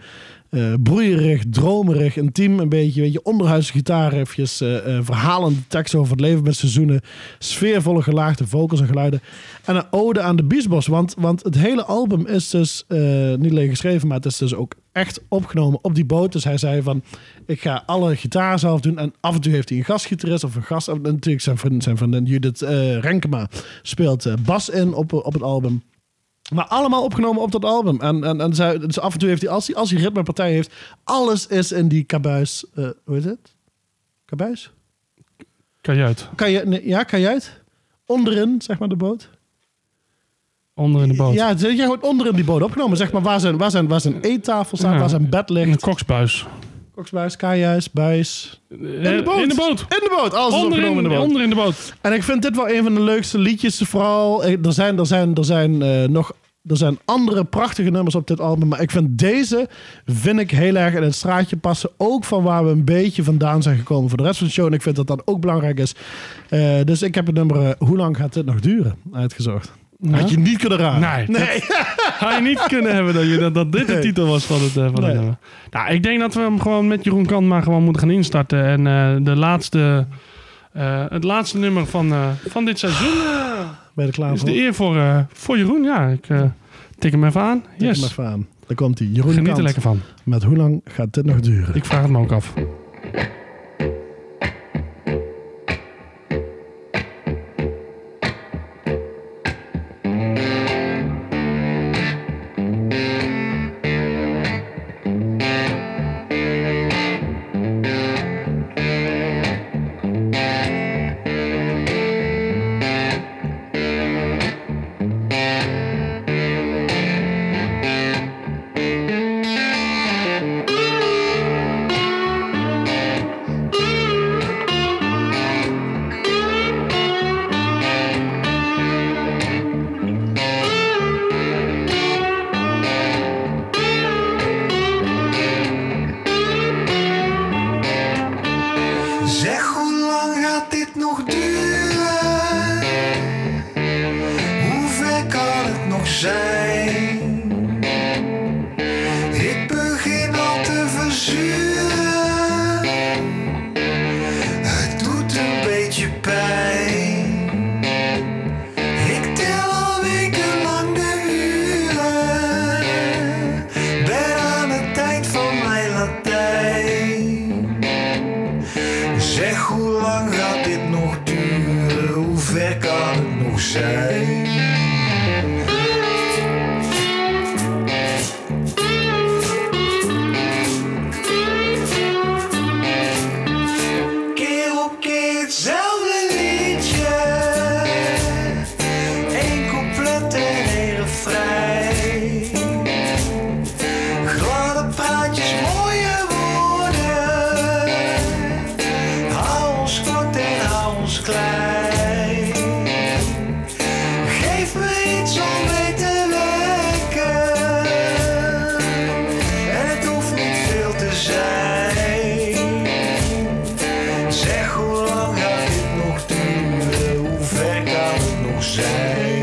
[SPEAKER 2] eh, broeierig, dromerig, intiem. Een beetje, weet je, onderhuidse gitaar eventjes. eh, eh, verhalende teksten over het leven met seizoenen. Sfeervolle gelaagde vocals en geluiden. En een ode aan de biesbos. Want, want het hele album is dus eh, niet alleen geschreven, maar het is dus ook echt opgenomen op die boot. Dus hij zei van, ik ga alle gitaar zelf doen. En af en toe heeft hij een gastgitarist of een gast. En natuurlijk zijn vriendin, zijn vriendin Judith eh, Renkema speelt eh, bas in op, op het album. Maar allemaal opgenomen op dat album. En, en, en zij, dus af en toe heeft hij, als hij, als hij ritmepartij heeft, alles is in die kabuis. eh, hoe is het? Kabuis?
[SPEAKER 1] Kan je uit.
[SPEAKER 2] Kan je, nee, ja, kan jij het? Onderin, zeg maar, de boot.
[SPEAKER 1] Onder in de boot.
[SPEAKER 2] Ja, ze- ja, gewoon onderin die boot opgenomen. Zeg maar, waar zijn, waar zijn, waar zijn eettafel staat,
[SPEAKER 1] Ja.
[SPEAKER 2] waar zijn bed
[SPEAKER 1] In de
[SPEAKER 2] ligt.
[SPEAKER 1] koksbuis.
[SPEAKER 2] Koksbuis, kajuis, buis.
[SPEAKER 1] In
[SPEAKER 2] In de boot.
[SPEAKER 1] Eh, In de boot.
[SPEAKER 2] In de boot. Alles is
[SPEAKER 1] Onder
[SPEAKER 2] opgenomen
[SPEAKER 1] in,
[SPEAKER 2] in de boot.
[SPEAKER 1] onder in de boot.
[SPEAKER 2] En ik vind dit wel een van de leukste liedjes. Vooral, eh, er zijn, er zijn, er zijn eh, nog Er zijn andere prachtige nummers op dit album. Maar ik vind deze vind ik heel erg in het straatje passen. Ook van waar we een beetje vandaan zijn gekomen voor de rest van de show. En ik vind dat dat ook belangrijk is. Eh, dus ik heb het nummer eh, Hoe lang gaat dit nog duren? uitgezocht. Had je niet kunnen raden.
[SPEAKER 1] Nee, Had je niet kunnen hebben dat, je, dat, dat dit de
[SPEAKER 2] Nee.
[SPEAKER 1] titel was van het, eh, van
[SPEAKER 2] Nee.
[SPEAKER 1] het nummer. Nou, ik denk dat we hem gewoon met Jeroen Kant maar gewoon moeten gaan instarten. En eh, de laatste, eh, het laatste nummer van, eh, van dit seizoen eh,
[SPEAKER 2] Ben je er klaar
[SPEAKER 1] is
[SPEAKER 2] voor?
[SPEAKER 1] de eer voor, eh, voor Jeroen. Ja, ik eh, tik hem even aan.
[SPEAKER 2] Tik hem
[SPEAKER 1] Yes.
[SPEAKER 2] even aan. Daar komt hij. Jeroen
[SPEAKER 1] Geniet er
[SPEAKER 2] Kant.
[SPEAKER 1] lekker van.
[SPEAKER 2] Met hoe lang gaat dit nog duren?
[SPEAKER 1] Ik vraag het me ook af.
[SPEAKER 7] Zeg, hoe lang gaat dit nog duren? Hoe ver kan het nog zijn? Ik begin al te verzuren. Het doet een beetje pijn. Ik tel al weken lang de uren. Ben aan het eind van mijn Latijn. Zeg, hoe lang gaat dit nog duren? Hoe ver kan het nog zijn? Keer op keer hetzelfde liedje. Eén couplet en één refrein. Gladde praatjes, mooie woorden. Hou ons kort en hou ons klein. Geef me iets om mee te werken. En het hoeft niet veel te zijn. Zeg hoe lang gaat dit nog duren? Hoe ver kan het nog zijn?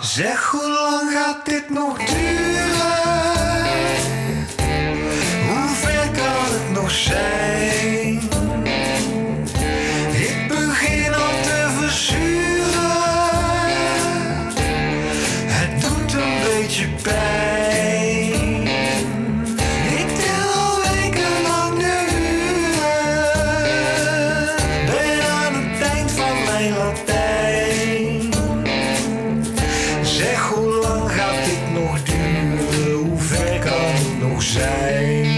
[SPEAKER 7] Zeg, hoe lang gaat dit nog duren? Hoe ver kan het nog zijn? Ik begin al te verzuren. Het doet een beetje pijn. Ik tel al weken lang de uren. Ben aan het eind van mijn Latijn. Zeg, hoe lang gaat dit nog duren? Hoe ver kan het nog zijn?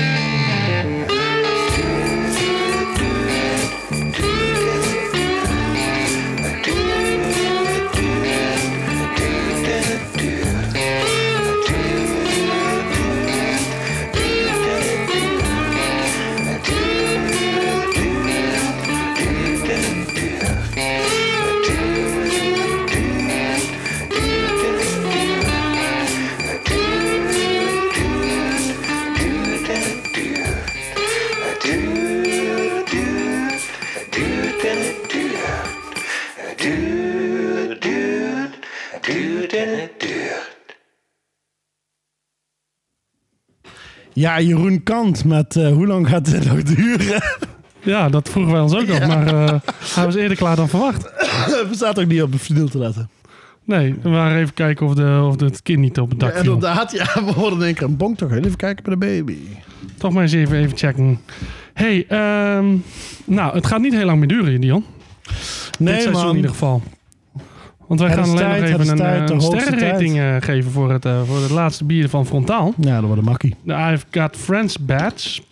[SPEAKER 2] Ja, Jeroen Kant met eh, hoe lang gaat dit nog duren? *laughs*
[SPEAKER 1] Ja, dat vroegen wij ons ook af. Maar eh, hij was eerder klaar dan verwacht.
[SPEAKER 2] We zaten ook niet op een vinyl te letten.
[SPEAKER 1] Nee, we waren even kijken of, de, of het kind niet op het dak
[SPEAKER 2] Ja,
[SPEAKER 1] viel.
[SPEAKER 2] inderdaad, ja, *laughs* we horen in één keer een bonk toch. Even kijken bij de baby.
[SPEAKER 1] Toch maar eens even, even checken. hey, ehm, nou, het gaat niet heel lang meer duren, Dion. Dit
[SPEAKER 2] Nee,
[SPEAKER 1] seizoen in ieder geval.
[SPEAKER 2] man.
[SPEAKER 1] Want wij
[SPEAKER 2] Het
[SPEAKER 1] gaan
[SPEAKER 2] is
[SPEAKER 1] alleen
[SPEAKER 2] tijd,
[SPEAKER 1] nog
[SPEAKER 2] het
[SPEAKER 1] even
[SPEAKER 2] is
[SPEAKER 1] een,
[SPEAKER 2] tijd,
[SPEAKER 1] eh,
[SPEAKER 2] de
[SPEAKER 1] een
[SPEAKER 2] hoogste
[SPEAKER 1] sterrenrating eh, geven voor het, eh, voor het laatste bier van Frontaal.
[SPEAKER 2] Ja, dat wordt een makkie.
[SPEAKER 1] De I've Got Friends Badge.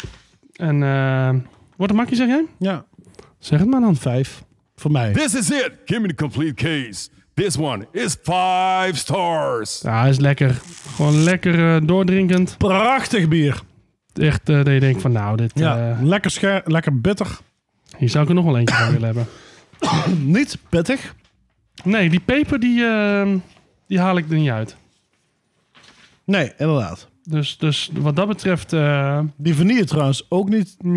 [SPEAKER 1] En eh, wordt een makkie, zeg jij?
[SPEAKER 2] Ja,
[SPEAKER 1] Zeg het maar dan.
[SPEAKER 2] vijf. Voor mij.
[SPEAKER 3] This is it. Give me the complete case. This one is five stars.
[SPEAKER 1] Ja, is lekker. Gewoon lekker eh, doordrinkend.
[SPEAKER 2] Prachtig bier.
[SPEAKER 1] Echt eh, dat je denkt van nou, dit,
[SPEAKER 2] Ja,
[SPEAKER 1] eh,
[SPEAKER 2] lekker scherp, lekker bitter.
[SPEAKER 1] hier zou ik er nog wel eentje van willen hebben.
[SPEAKER 2] Niet pittig.
[SPEAKER 1] Nee, die peper die, eh, die haal ik er niet uit.
[SPEAKER 2] Nee, inderdaad.
[SPEAKER 1] Dus, dus wat dat betreft, eh, ja,
[SPEAKER 2] Die vanille trouwens ook niet.
[SPEAKER 1] wel,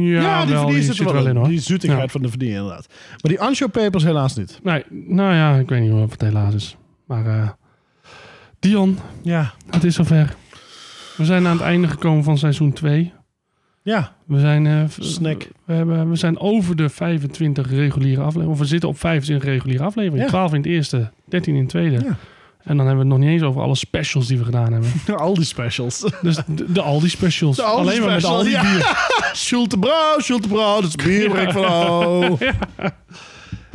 [SPEAKER 2] die vanille
[SPEAKER 1] zit er wel in, hoor.
[SPEAKER 2] Die zoetigheid
[SPEAKER 1] Ja.
[SPEAKER 2] van de vanille inderdaad. Maar die anchoopepers helaas niet.
[SPEAKER 1] Nee, nou ja, ik weet niet of het helaas is. Maar eh, Dion,
[SPEAKER 2] Ja.
[SPEAKER 1] het is zover. We zijn aan het einde gekomen van seizoen 2.
[SPEAKER 2] Ja.
[SPEAKER 1] We zijn, eh, v- *laughs*
[SPEAKER 2] Snack.
[SPEAKER 1] We, hebben, we zijn over de 25 reguliere afleveringen. Of we zitten op 25 reguliere afleveringen.
[SPEAKER 2] Ja.
[SPEAKER 1] 12 in het eerste, 13 in het tweede.
[SPEAKER 2] Ja.
[SPEAKER 1] En dan hebben we het nog niet eens over alle specials die we gedaan hebben.
[SPEAKER 2] Al die *laughs* specials.
[SPEAKER 1] Dus de, de Aldi specials.
[SPEAKER 2] De Aldi
[SPEAKER 1] Alleen maar
[SPEAKER 2] specials,
[SPEAKER 1] met Aldi
[SPEAKER 2] ja. *laughs*
[SPEAKER 1] bier.
[SPEAKER 2] Schulte Brouw, Schulte Brouw, dat is bier waar ik van
[SPEAKER 1] *laughs*
[SPEAKER 2] hou.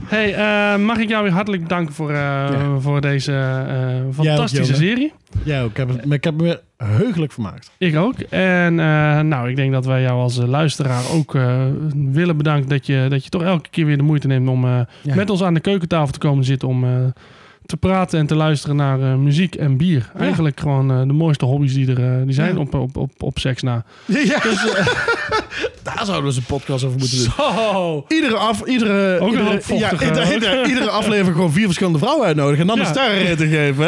[SPEAKER 1] Hey, eh, mag ik jou weer hartelijk bedanken voor, eh, voor deze eh, fantastische
[SPEAKER 2] Jonne.
[SPEAKER 1] serie.
[SPEAKER 2] Ja, ik heb, het, maar ik heb me weer heugelijk vermaakt.
[SPEAKER 1] Ik ook. En eh, nou, ik denk dat wij jou als eh, luisteraar ook eh, willen bedanken dat je, dat je toch elke keer weer de moeite neemt om eh,
[SPEAKER 2] Ja.
[SPEAKER 1] met ons aan de keukentafel te komen zitten om eh, te praten en te luisteren naar eh, muziek en bier. Eigenlijk gewoon eh, de mooiste hobby's die er eh, die zijn
[SPEAKER 2] Ja.
[SPEAKER 1] op, op, op, op seks na.
[SPEAKER 2] Ja.
[SPEAKER 1] Dus, eh, *laughs*
[SPEAKER 2] daar zouden we eens een podcast over moeten doen.
[SPEAKER 1] Zo!
[SPEAKER 2] Iedere, af, iedere,
[SPEAKER 1] Ook een
[SPEAKER 2] iedere, ja,
[SPEAKER 1] handvochtige,
[SPEAKER 2] ieder-
[SPEAKER 1] hoor. *laughs*
[SPEAKER 2] ieder- iedere aflevering gewoon vier verschillende vrouwen uitnodigen en dan
[SPEAKER 1] Ja.
[SPEAKER 2] een sterrenrating
[SPEAKER 1] *laughs*
[SPEAKER 2] geven.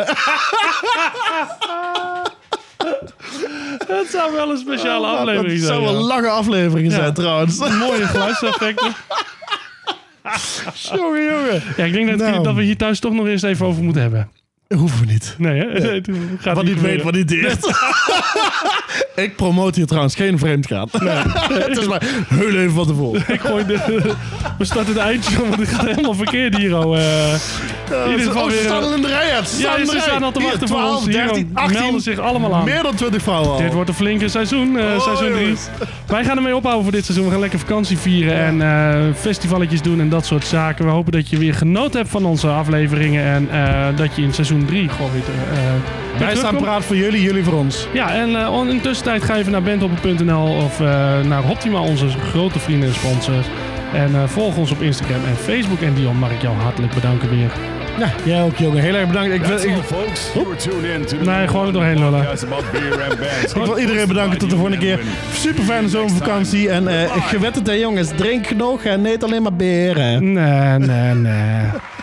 [SPEAKER 1] Het zou wel een speciale
[SPEAKER 2] *laughs* dat
[SPEAKER 1] aflevering zijn.
[SPEAKER 2] zou een
[SPEAKER 1] ja.
[SPEAKER 2] lange aflevering
[SPEAKER 1] Ja.
[SPEAKER 2] zijn trouwens.
[SPEAKER 1] *laughs* Mooie geluidseffecten.
[SPEAKER 2] *laughs* jongen, jongen.
[SPEAKER 1] Ja, ik denk dat,
[SPEAKER 2] Nou.
[SPEAKER 1] dat we hier thuis toch nog eens even over moeten hebben.
[SPEAKER 2] Hoeven we niet.
[SPEAKER 1] Nee, hè? *laughs* Het gaat
[SPEAKER 2] Wat niet weet, wat niet deert. *laughs* ik promote hier trouwens geen vreemdgaan. *laughs* Het is maar heel even van tevoren.
[SPEAKER 1] Ik gooi
[SPEAKER 2] *laughs*
[SPEAKER 1] de, *laughs* we starten het eindje, want het gaat helemaal verkeerd hier. Oh, eh. in ieder geval
[SPEAKER 2] Oh, ze
[SPEAKER 1] weer...
[SPEAKER 2] staan al in de rij uit. Ze
[SPEAKER 1] Ja,
[SPEAKER 2] staan in de
[SPEAKER 1] ze
[SPEAKER 2] rij.
[SPEAKER 1] staan al te
[SPEAKER 2] Hier,
[SPEAKER 1] wachten voor ons. Hier,
[SPEAKER 2] 13,
[SPEAKER 1] oh,
[SPEAKER 2] 18.
[SPEAKER 1] melden zich allemaal aan.
[SPEAKER 2] Meer dan 20 vrouwen al.
[SPEAKER 1] Dit wordt een flinke seizoen, eh,
[SPEAKER 2] Oh,
[SPEAKER 1] seizoen 3.
[SPEAKER 2] jongens.
[SPEAKER 1] Wij gaan ermee ophouden voor dit seizoen. We gaan lekker vakantie vieren en eh, festivaletjes doen en dat soort zaken. We hopen dat je weer genoten hebt van onze afleveringen. En eh, dat je in seizoen 3 gewoon weer, eh, weer
[SPEAKER 2] Wij staan
[SPEAKER 1] terugkomt.
[SPEAKER 2] praat voor jullie, jullie voor ons.
[SPEAKER 1] Ja, en eh, on- in de tussentijd ga even naar bandhopper.nl of eh, naar Optima, onze grote vrienden en sponsors. En eh, volg ons op Instagram en Facebook. En Dion, mag ik jou hartelijk bedanken weer.
[SPEAKER 2] Ja, jij ook, jongen. Heel erg bedankt. Ik, wil-
[SPEAKER 3] That's
[SPEAKER 2] ik,
[SPEAKER 3] all, folks. You were tuned in to the
[SPEAKER 1] Nee, gewoon er doorheen lullen.
[SPEAKER 3] podcast about beer and bands.
[SPEAKER 2] ik wil iedereen bedanken tot de volgende keer. Super fijne zomervakantie. En eh, ik gewet het, hè, jongens. Drink genoeg en eet alleen maar beren.
[SPEAKER 1] Nee, nee, nee.